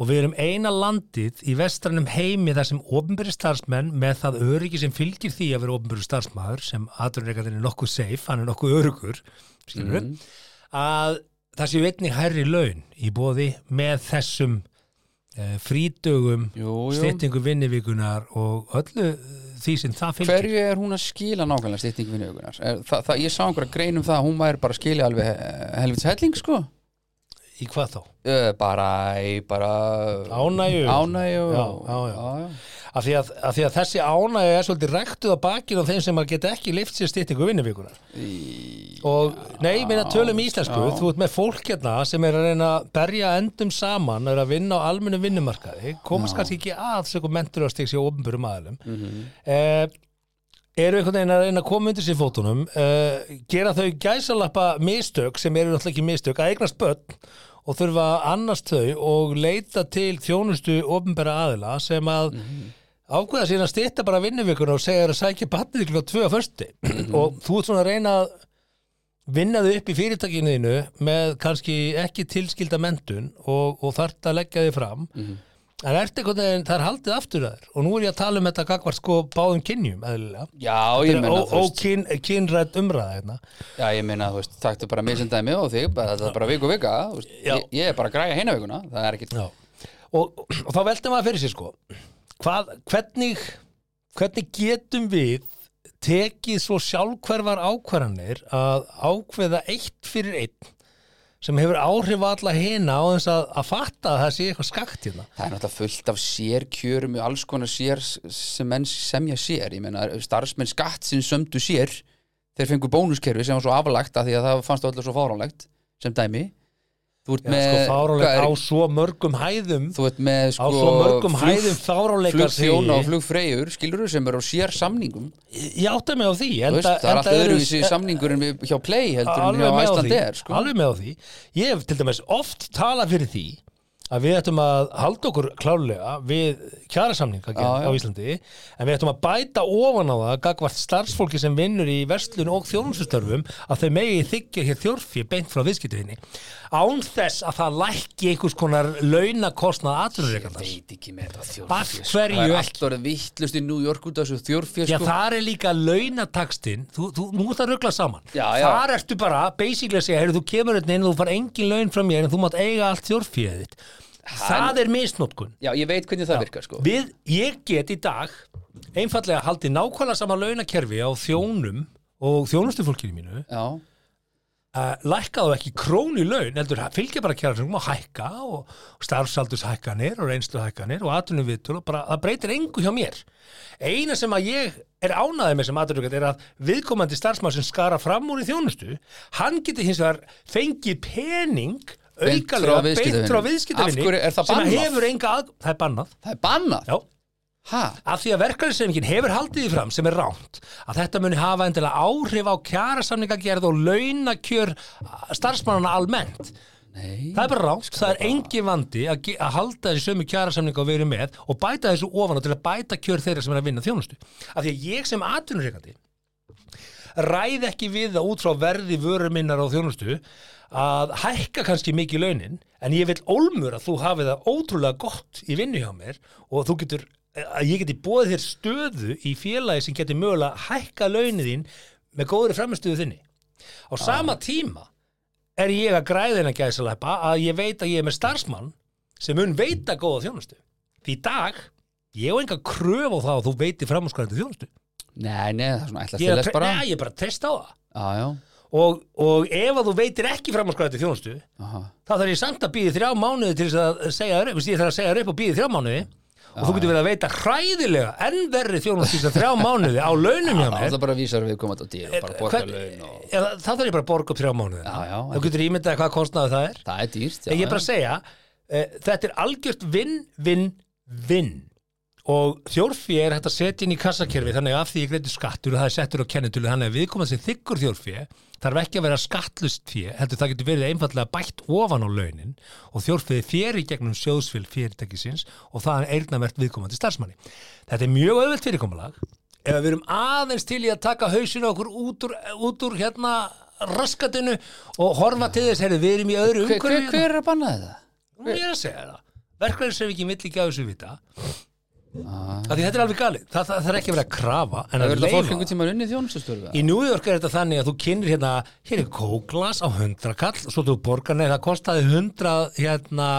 S3: og við erum eina landið í vestrannum heimi þar sem ofnbæri starfsmenn með það öryggi sem fylgir því að vera ofnbæri starfsmæður sem aðrunreikandir er nokkuð safe, hann er nokkuð örugur skilur að það séu einnig herri laun í bóði með þessum eh, frítögum
S2: jú, jú
S3: styttingu vinnivikunar og öllu uh, því sem það fylgir
S2: Hverju er hún að skila nákvæmlega styttingu vinnuökunar? Það, það, ég sá einhverja grein um það að hún væri bara að skila alveg he- helvits helling sko
S3: í hvað þá?
S2: Ö, bara í bara
S3: Ánægju.
S2: Ánægju
S3: Já, já, já. Af því, að, af því að þessi ánægja er svolítið rektuð á bakinu á þeim sem að geta ekki lift sér styttingu vinnivikunar og nei, minna tölum í íslensku þú ert með fólk hérna sem er að reyna að berja endum saman er að vinna á almennu vinnumarkaði, komast kannski ekki að sögum menturastíks í ofnbörum aðlum mm eru einhvern veginn að reyna að koma undir sér fótunum uh, gera þau gæsalappa mistök sem eru náttúrulega ekki mistök að eignast börn og þurfa að annast þau og leita til þjónustu ofnbæra aðila sem að ákveða síðan að stýtta bara vinnuvikuna og segja þér að sækja batnið klukka tvö að fösti og þú ert svona að reyna að vinna þig upp í fyrirtækinu þínu með kannski ekki tilskilda mentun og, og þarft að leggja þig fram
S2: Mhm.
S3: en ertu einhvern veginn, það er haldið aftur að þér og nú er ég að tala um þetta gagvart sko báðum kynjum eðlilega
S2: Já, ég meina, þú veist,
S3: ókynrætt umræða hérna.
S2: já, ég meina, þú veist, taktu bara mér sem dæmi og þig, bara, það er bara viku vika, þú veist,
S3: Já.
S2: ég, ég er bara að græja heina vikuna, það er ekkit,
S3: Já. og, og þá veltum maður fyrir sér sko Hvað, hvernig, hvernig getum við tekið svo sjálfhverfar ákvarðanir að ákveða eitt fyrir einn sem hefur áhrif á alla hina á þess að, að fatta að það sé eitthvað skakt hérna
S2: það er náttúrulega fullt af sérkjörum og alls konar sér sem menn semja sér, ég meina, starfsmenn skatt sinn sömdu sér, þeir fengu bónuskerfi sem var svo aflagt að því að það fannst öllu svo fáránlegt, sem dæmi, þú ert
S3: Já,
S2: með,
S3: sko,
S2: hvað
S3: fáróleik
S2: er-
S3: á svo mörgum hæðum
S2: þú ert með,
S3: á
S2: sko,
S3: svo mörgum
S2: flug-
S3: hæðum fáróleikar
S2: flugþjóna og flugfreyjur, skilur sem eru á sér samningum
S3: ég átta mig á því
S2: Þú
S3: enda,
S2: veist, það er
S3: enda
S2: alltaf
S3: eru-
S2: öðruvísi samningur en við hjá Play heldur en
S3: alveg
S2: hjá
S3: með á því,
S2: Æslander sko.
S3: alveg með á því ég hef til dæmis oft talað fyrir því að við ættum að halda okkur klálega við kjærasamninga
S2: Já, já.
S3: á Íslandi en við ættum að bæta ofan á það gagvart starfsfólki sem vinnur í verslun og þjónustustörfum að þau megi þykja hér þjórfi beint frá viðskiptuðinni án þess að það lækki einhvers konar launakostnað aðrurreikandars
S2: veit ekki með þetta
S3: Af
S2: þjórfjösk
S3: hverju
S2: það er
S3: ekki?
S2: allt orðið vittlust í New York út af þessu sko.
S3: Já,
S2: þjórfjösk
S3: þar er líka launatakstinn, þú, þú, nú er það ruggla saman.
S2: Já, já.
S3: Þar ertu bara, basically að segja, heyrðu, þú kemur hérna inn og þú far engin laun frá mér en þú mátt eiga allt þjórfjöðið þitt. Það er misnótkun.
S2: já, ég veit hvernig það virkar sko.
S3: Við, ég get í dag einfallega haldið nákvæmlega sama launakerfi á þjónum og þjónustufólkinu mínu,
S2: já,
S3: uh, lækkaðu ekki krónu í laun, heldur ha- fylgja bara kjæra og hækka og starfsaldurshækkanir og reynsluhækkanir og atvinnum viðtöl og bara, það breytir engu hjá mér. Eina sem að ég er ánaðið með sem atvinnum er að viðkomandi starfsmann sem skara fram úr í þjónustu, hann getur hins vegar fengið pening
S2: Beint frá
S3: aukalega
S2: viðskiptavinum.
S3: beint frá
S2: Af hverju er
S3: viðskiptavinni
S2: það
S3: sem að
S2: bannað?
S3: hefur enga að... Það er bannað,
S2: það er bannað
S3: já.
S2: ha,
S3: Af því að verkefnisefningin hefur haldið því fram sem er ránt að þetta muni hafa endilega áhrif á kjærasamningagerð og launakjör starfsmannana almennt.
S2: nei,
S3: Það er bara ránt, það er engin vandi að, ge- að halda þessu sömu kjærasamninga og við erum með og bæta þessu ofan og til að bæta kjör þeirra sem er að vinna þjónustu. Af því að ég sem atvinnureikandi ræð ekki við það út frá verði vöru minnar á þjónustu að hækka kannski mikið launin en ég vil ólmur að þú hafi það ótrúlega gott í vinnu hjá mér og þú getur, að ég geti bóðið þér stöðu í félagi sem geti mögulega hækka launin þín með góðri framistöðu þinni á sama tíma er ég að græða hennar gæðsalæpa að ég veit að ég er með starfsmann sem mun veita góða þjónustu því í dag, ég á enga kröf á það að þú veiti framhúsgræðandi þjónustu
S2: nei, nei, það er svona ætla
S3: ég er,
S2: að
S3: að,
S2: þess
S3: bara...
S2: bara
S3: Nei, ég er bara að testa á það
S2: já, já,
S3: og, og ef að þú veitir ekki framhúsgræðandi þjónustu
S2: aha,
S3: þá þarf ég samt að býði þrjá mánuði til þess að segja þér upp, Þú veist, ég þarf að segja þér upp og býði þrjá mánuði og þú getur verið að veita hræðilega enn verri þjónustu í þess þrjá mánuði á launum hjá
S2: það
S3: mér
S2: er bara að vísa við komað á dýr
S3: Eh,
S2: og bara borga laun og
S3: Já, það þarf ég bara að borga upp þrjá mánuði
S2: Já, já,
S3: þú getur ímyndað hvað kostnaði það er
S2: það er dýrt, já,
S3: Ég er bara að
S2: já,
S3: segja, uh, þetta er algjört vinn, vinn, vinn og þjórfið er hægt að setja inn í kassakerfi þannig að af því ég greiði skattur og það er settur á kennitölu þannig að viðkomandi sem þykkur þjórfið þarf ekki að vera skattlust fyrir heldur það getur verið einfallega bætt ofan á launin og þjórfið fyrir í gegnum sjóðsfél fyrirtækisins og það er eirnavert viðkomandi starfsmanni. Þetta er mjög auðvelt fyrirkomulag ef við erum aðeins til í að taka hausinu okkur út úr, út úr hérna raskatinu og horfa til þess, heyrðu, við erum í öðru
S2: hver, hver,
S3: umhverfi
S2: hver er að banna þetta?
S3: Nú er ég að segja það. Verklæðin sem ekki vill ekki að þessu vita. Af því þetta er alveg galið. Það, það, það er ekki verið að krafa, en að
S2: hefur Ah. þetta fólk
S3: leifa.
S2: einhvern tíma unnið þjónustustörfi?
S3: Í New York er þetta þannig að þú kynir hérna, hér er kóklas á 100 kall, svo þú borgar neða, það kostaði 100, hérna,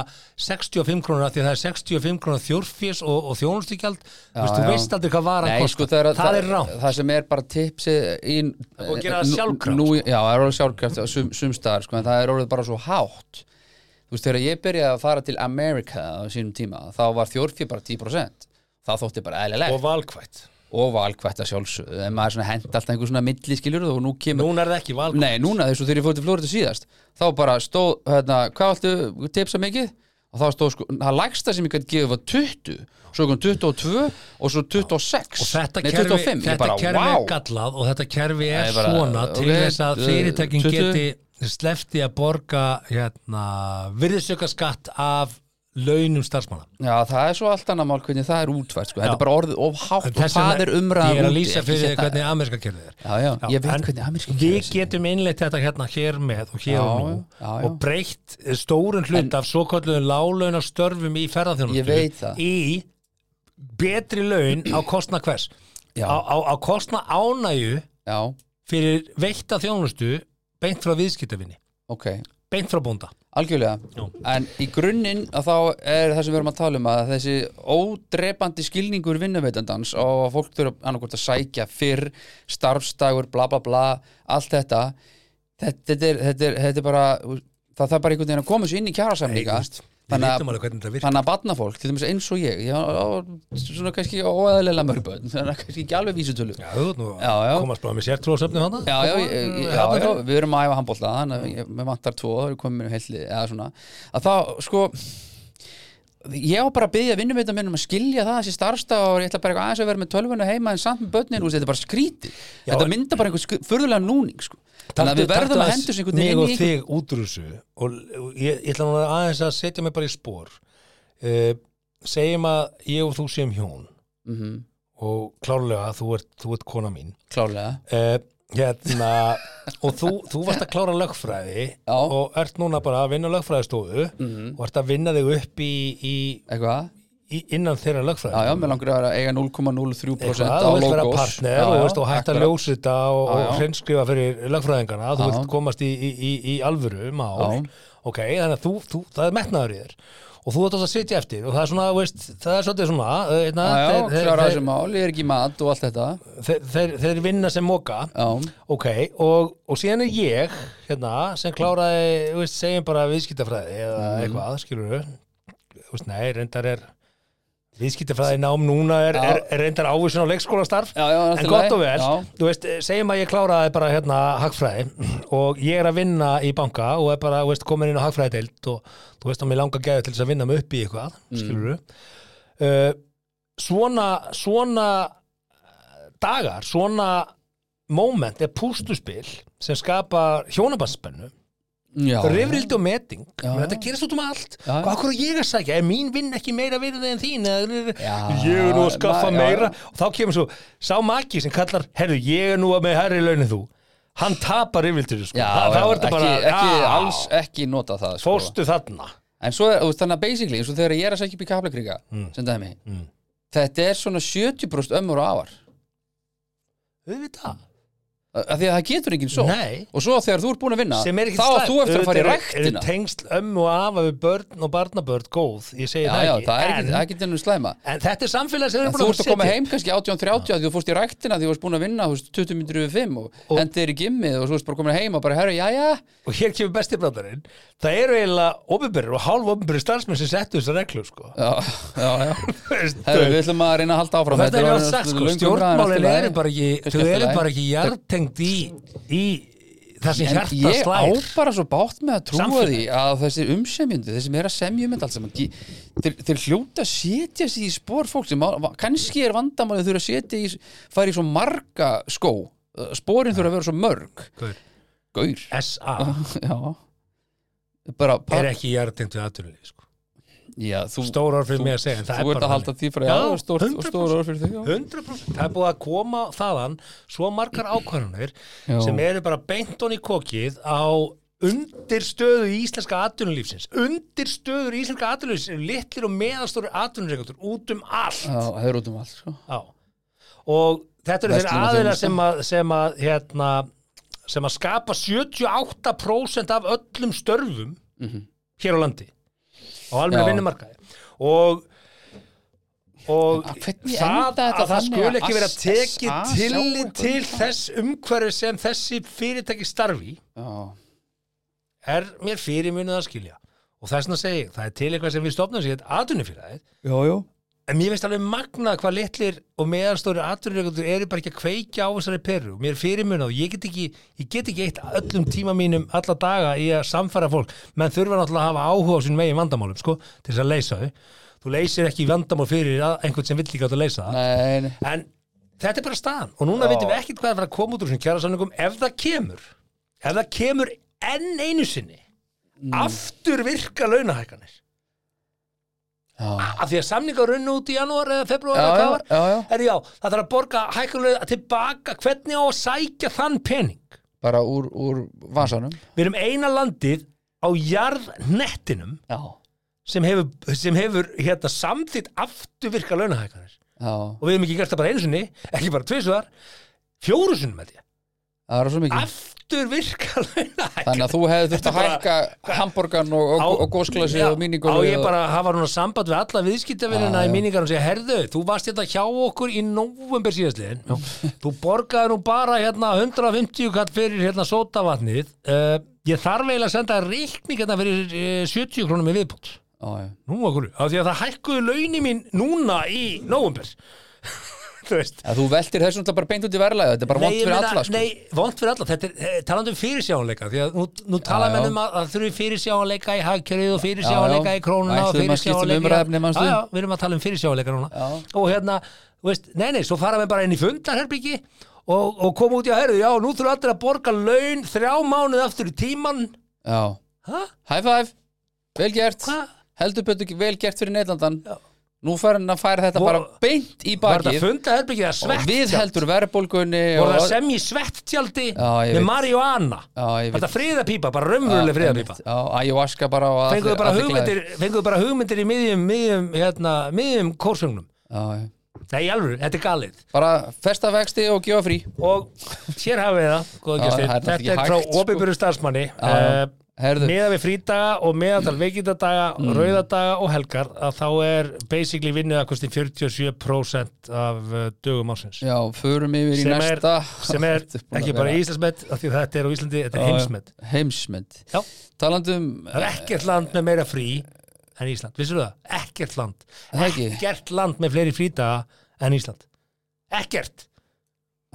S3: 65 krónur, af því að það er 65 krónur þjórfís og, og þjónustíkjald, þú veist, þú
S2: já.
S3: veist aldrei hvað var að
S2: Nei,
S3: kosta.
S2: sko, það, er,
S3: það er rámt.
S2: það sem er bara tipsi í, eh,
S3: Og gera það sko.
S2: nú-
S3: sjálfkrafa,
S2: nú- Já, það er orðið sjálfkraft á sum, sumstaðar sko, en það er orðið bara svo hátt Þú veist, þegar ég byrjaði að fara til Amerika á sínum tíma, þá var þjórfið bara 10% Það þótti bara eðlilegt
S3: Og
S2: og,
S3: valkvætt.
S2: valkvætt að sjálfsögðu en maður er svona hent alltaf einhver svona milli skilur og nú kemur
S3: Núna er það ekki valkvætt.
S2: Nei, núna þessu þegar ég fór til Flóriða síðast þá bara stóð, hérna, hvað allt tipsa mikið? Og þá stóð sko, það lægsta sem ég gæti gefið var 20 svo kom 22 og svo 26
S3: Og þetta
S2: Nei,
S3: kerfi,
S2: 25,
S3: þetta
S2: ég bara,
S3: kerfi
S2: wow
S3: er gallað og þetta kerfi er
S2: Nei, bara,
S3: svona til
S2: ok,
S3: þess að
S2: uh,
S3: fyrirtækin
S2: 20.
S3: geti slefti að borga hérna, virðisöka skatt af launum starfsmanna
S2: Já, það er svo allt annað mál hvernig það er útvært sko. Þetta
S3: Já.
S2: er bara orðið of hátt og
S3: Þess vegna-
S2: það er umræðan
S3: Ég er að
S2: úti,
S3: lýsa
S2: ekki
S3: fyrir þér
S2: setna-
S3: hvernig amerska kerfið er
S2: Já, já, ég veit
S3: en
S2: hvernig ameríska
S3: Við getum innleitt þetta hérna hér með og hér
S2: Já,
S3: og nú
S2: já, já.
S3: og breytt eh, stórun hlut af svo kalluðum lálauna störfum í
S2: Ég veit
S3: ferðarþjónustu
S2: það.
S3: í betri laun á kostna hvers
S2: Já.
S3: á, á, á kostna ánægju
S2: Já,
S3: fyrir veitta þjónustu beint frá viðskiptavinni,
S2: ok,
S3: beint frá bónda
S2: algjörlega En í grunninn að þá er það sem við erum að tala um að þessi ódrepandi skilningur vinnuveitandans og að fólk þurfa annarkvort að sækja fyrr starfstagur, bla bla bla allt þetta þetta, þetta, er, þetta, er, þetta er bara það þarf bara einhvern veginn að koma svo inn í kjarasamninga
S3: Við
S2: Þannig að-
S3: veitum alveg hvernig þetta virkar
S2: þannig að barnafólk, til dæmis eins og ég ég á, á, svona kannski óæðilega mörgbönn þannig að kannski ekki alveg vísutölu já,
S3: Já, þú ert nú
S2: Já, já.
S3: að komast bara með sértrúasöfni hana
S2: já, já,
S3: Mm.
S2: ég- já, já, við erum að æfa handbólta þannig að ég- mér vantar tvo, það eru komin með heilli eða svona, að þá, sko ég á bara að byggja vinnumveitam minnum að skilja það þessi starfsta og ég ætla bara eitthvað aðeins að vera með tölvuna heima en samt með börnin, úr, þetta er bara skríti
S3: Já,
S2: þetta
S3: en-
S2: mynda bara einhver sku- furðulega núning sko. þannig að við verðum að hendur sig einhvern
S3: veginn
S2: veginn inn í
S3: og þig út úr þessu og og ég, ég ætla nú aðeins að setja mig bara í spór uh, segjum að ég og þú séum hjón
S2: mm -hmm,
S3: og klárlega þú ert, þú ert kona mín
S2: klálega,
S3: uh, hérna og þú, þú varst að klára lögfræði
S2: Já. Mhm.
S3: og ert núna bara að vinna á lögfræðistofu og ert að vinna þig upp í, í,
S2: eitthvað
S3: í innan þeirra lögfræði
S2: Já, já, mér langur að eiga 0,03%
S3: Eitthvað,
S2: á
S3: þú
S2: logos
S3: vilt vera partner og veist, og hægt að
S2: akkurat.
S3: ljósa þetta og,
S2: Já, já.
S3: og hreinskrifa fyrir lögfræðingana þú
S2: Já.
S3: vilt komast í, í, í, í alvöru mál, ok, þannig að þú, þú það er metnaður í þér og þú ert að sitja eftir og það er svona, veist, það er svolítið svona eh, hérna,
S2: Já, já,
S3: þeir,
S2: klára þessu
S3: þeir,
S2: mál, ég er ekki í mat og allt þetta
S3: þeir, þeir, þeir vinna sem moka
S2: Já,
S3: ok, og, og síðan er ég hérna, sem kláraði, þú veist, segjum bara viðskiptafræði eða eitthvað, skilur veist, nei, reyndar er viðskiptafræði nám núna er,
S2: Já.
S3: er, er reyndar ávísun á leikskólastarf
S2: Já, já, allt í
S3: en gott
S2: lagi.
S3: og vel,
S2: Já.
S3: þú veist, segjum að ég kláraði bara hérna hagfræði og ég er að vinna í banka og er bara, þú veist, komin inn á hagfræðideild og þú veist að mér langar gæði til þess að vinna mig upp í eitthvað,
S2: Mm.
S3: skilur uh, svona svona eh, dagar, svona moment er pústuspil sem skapar hjónabandspennu
S2: já
S3: rifrildi og meting
S2: Já.
S3: þetta gerist út um allt
S2: Já.
S3: hvað okkur ég að sækja, er mín vinn ekki meira virði en þín eða,
S2: Já.
S3: ég er nú að skaffa
S2: Ma- já.
S3: meira og þá kemur svo, sá maki sem kallar herðu, ég er nú að með herri launin þú hann tapar rifrildur sko.
S2: Já,
S3: Þa- þá
S2: já,
S3: er þetta bara,
S2: ekki, ekki,
S3: já,
S2: alls ekki nota það sko.
S3: fórstu þarna
S2: En svo, er, þú veist, þannig að basically, eins og þegar ég er að sækja upp í kaplakriga
S3: Mm.
S2: sem dæmi, þetta er svona 70% ömmur og afar
S3: auðvitað,
S2: Af því að það getur enginn svo
S3: Nei.
S2: Og svo þegar þú ert búin að vinna
S3: sem er ekki
S2: Þá átt þú eftir að fara í ræktina
S3: er tengsl ömmu og afa við börn og barnabörn góð, ég segi
S2: Já,
S3: það
S2: já,
S3: ekki,
S2: það er ekki,
S3: en,
S2: það er ekki ennum slæma
S3: en þetta er samfélag sem við
S2: En
S3: erum búin
S2: þú
S3: að
S2: ert að
S3: setja
S2: koma heim kannski 18.30 að þú fórst í ræktina því þú varst búin að vinna þú veist, 20 minnur yfir 5 og, og hendir í gimmið og svo varst bara komin heim og bara herra, já, já,
S3: og hér kemur besti brandarinn það eru eiginlega ofinbyrður og hálf ofinbyrður starfsmenn sem settu þessar reglur sko.
S2: já, já, já.
S3: Veist,
S2: Herra, við ætlum að reyna að halda áfram
S3: þetta er
S2: var
S3: alveg sagt sko,
S2: löng umræða, en allt í
S3: stjórnmálin
S2: lagi.
S3: eru bara ekki þau eru bara ekki
S2: Kannski allt í lagi.
S3: jartengd í, í það sem
S2: En
S3: hjarta
S2: ég á
S3: slær
S2: bara svo bátt með að trúa
S3: Samfélag.
S2: því að þessi umsemjöndu, þessi meira semjum allt saman, ge- þeir, þeir hljóta að setja sig í spór fólk sem á- va- kannski er vandamálið þurfa að setja í fara í svo marga skó Uh, spórin þurfa að vera svo mörg
S3: Gaur.
S2: Gaur
S3: SA
S2: Já bara,
S3: er
S2: par,
S3: ekki jartengd við aðtunni sko.
S2: já, þú,
S3: stór orð fyrir mig að segja en það
S2: þú
S3: er
S2: ert að
S3: bara
S2: halda því frá
S3: Já,
S2: já, stór,
S3: 100%.
S2: stór orð fyrir þig já.
S3: 100% það er búið að koma þaðan svo margar ákvarðanir
S2: Já.
S3: sem eru bara beint onni í kokið á undirstöðu í íslenska atvinnulífsins undirstöður í íslenska atvinnulífsins eru litlir og meðalstóri atvinnureikandur út um allt
S2: já, það er út um allt sko.
S3: Já. og þetta eru þeir
S2: Verslunar-
S3: aðila
S2: þjónusta.
S3: sem að, sem að hérna sem að skapa 78% af öllum störfum hér á landi á almenna
S2: Mhm. Já.
S3: vinnumarkaði og og
S2: En hvernig
S3: það
S2: endaði
S3: að
S2: þetta
S3: það
S2: þannig
S3: skuli
S2: að
S3: ekki vera
S2: AS-
S3: tekið
S2: AS-
S3: til,
S2: sjá
S3: til
S2: eitthvað?
S3: þess umhverju sem þessi fyrirtæki starfi
S2: já,
S3: er mér fyrirmunið að skilja og þess vegna segi ég, það er til eitthvað sem við stofnum sér atvinnufyræðið
S2: já, já.
S3: En mér finnst alveg magnað hvað litlir og meðanstóri atvinnureikundur eru bara ekki að kveikja á þessari perru. Mér er fyrirmunað og ég get ekki, ég get ekki eitt öllum tíma mínum alla daga í að samfæra fólk. Menn þurfa náttúrulega að hafa áhuga á sín megin vandamálum, sko, til þess að leysa þau. Þú leysir ekki vandamál fyrir að- einhvern sem vill ekki átt að leysa það.
S2: Nei, nei.
S3: En þetta er bara staðan. Og núna veitum við ekkert hvað er að fara að koma út úr þessum kjærasamningum ef það kemur. Ef það
S2: Mm.
S3: kemur enn einu sinni. Aftur virka launahækanir. af því að samningar runnu út í janúar eða februar
S2: Já,
S3: eða
S2: já,
S3: hvað var
S2: já, já.
S3: Herri, já, það þarf að borga hækulega tilbaka hvernig á að sækja þann pening
S2: bara úr, úr vasanum
S3: við erum eina landið á jarðnettinum
S2: já,
S3: sem hefur, sem hefur hérna, samþýtt afturvirka launahækanir
S2: já,
S3: og við hefum ekki gert það bara einu sinni ekki bara tvisvar, fjóru sinni með því
S2: það er svo mikið
S3: afturvirka launahækanir
S2: Mm. þannig að þú hefði þurft
S3: Þetta
S2: að
S3: bara-
S2: hækka hamborgan og, og, og gósklasi
S3: Já,
S2: og míningur
S3: á ég bara að hafa núna samband við alla viðskiptavinnina
S2: Já,
S3: í
S2: já.
S3: míningar og segja, herðu, þú varst hérna hjá okkur í november síðastliðin þú borgaði nú bara hérna 150 kall fyrir hérna sótavatnið uh, ég þarf eiginlega að senda reikning hérna fyrir uh, 70 krónum í viðbútt
S2: já, já.
S3: nú okkur, af því að það hækkuði launi mín núna í november þú veist
S2: Að þú veltir þessu náttúrulega bara beint út í verðlæði þetta er bara vond
S3: ég
S2: fyrir
S3: meina,
S2: alla sko.
S3: Nei, vond fyrir alla, þetta er eh, talandi um fyrirsjáanleika því að nú, nú tala
S2: Já, já.
S3: menn um að, að þurfi fyrirsjáanleika í hagkerið og
S2: Já,
S3: fyrirsjáanleika
S2: já.
S3: í krónuna og
S2: Ætluðum að skipta um
S3: fyrirsjáanleika
S2: umræðuefni,
S3: já,
S2: manstu?
S3: já, við erum að tala um fyrirsjáanleika núna
S2: Já.
S3: og hérna, þú veist, nei, nei, svo fara við bara inn í fundarherbyggi og, og koma út í að herðu, já, nú þurfa allir að borga laun þrjá mánuð aftur í tíman
S2: já,
S3: hæ,
S2: high five, vel gert
S3: hva?
S2: heldur betur vel gert fyrir Neylandan
S3: Já.
S2: nú fær hann að færa þetta
S3: Vor-
S2: bara beint í
S3: Var þetta
S2: bakið
S3: fundarherbyggi eða
S2: og
S3: svett?
S2: við heldur verðbólgunni
S3: Voru það
S2: og,
S3: sem í svettjaldi
S2: Já,
S3: með
S2: ég veit.
S3: marihuana?
S2: Já, ég veit.
S3: Þetta friðapípa, bara raunveruleg friðapípa
S2: Já, ayahuasca bara og allir-
S3: fenguðu bara
S2: allir
S3: hugmyndir fenguðu bara hugmyndir í miðjum miðjum, hérna, miðjum kórsöngnum
S2: glaðir. Já, já.
S3: nei, í alvöru, þetta er galið
S2: bara festa vexti og gefa frí
S3: og hér hafið þið það, góða
S2: Já,
S3: gæsti
S2: það er náttúrulega
S3: þetta
S2: ekki
S3: er frá
S2: hægt, sko.
S3: opinbjöru starfsmanni
S2: já.
S3: uh,
S2: Herðu.
S3: meða við frídaga og meðatal veikindadaga mm. rauðadaga og helgar að þá er basically vinnuð að kosti 47% af eh, dögum ásins
S2: já, förum yfir í
S3: sem er,
S2: næsta
S3: sem er
S2: Þetta búin að
S3: ekki bara
S2: vera-
S3: íslensmet af því að þetta er á Íslandi, þetta
S2: Já,
S3: er
S2: já.
S3: heimsmet
S2: heimsmynd um,
S3: Já.
S2: talandum
S3: það er ekkert land með meira frí en Ísland, vissir það? Ekkert land
S2: Það ekki?
S3: ekkert land með fleiri frídaga en Ísland ekkert,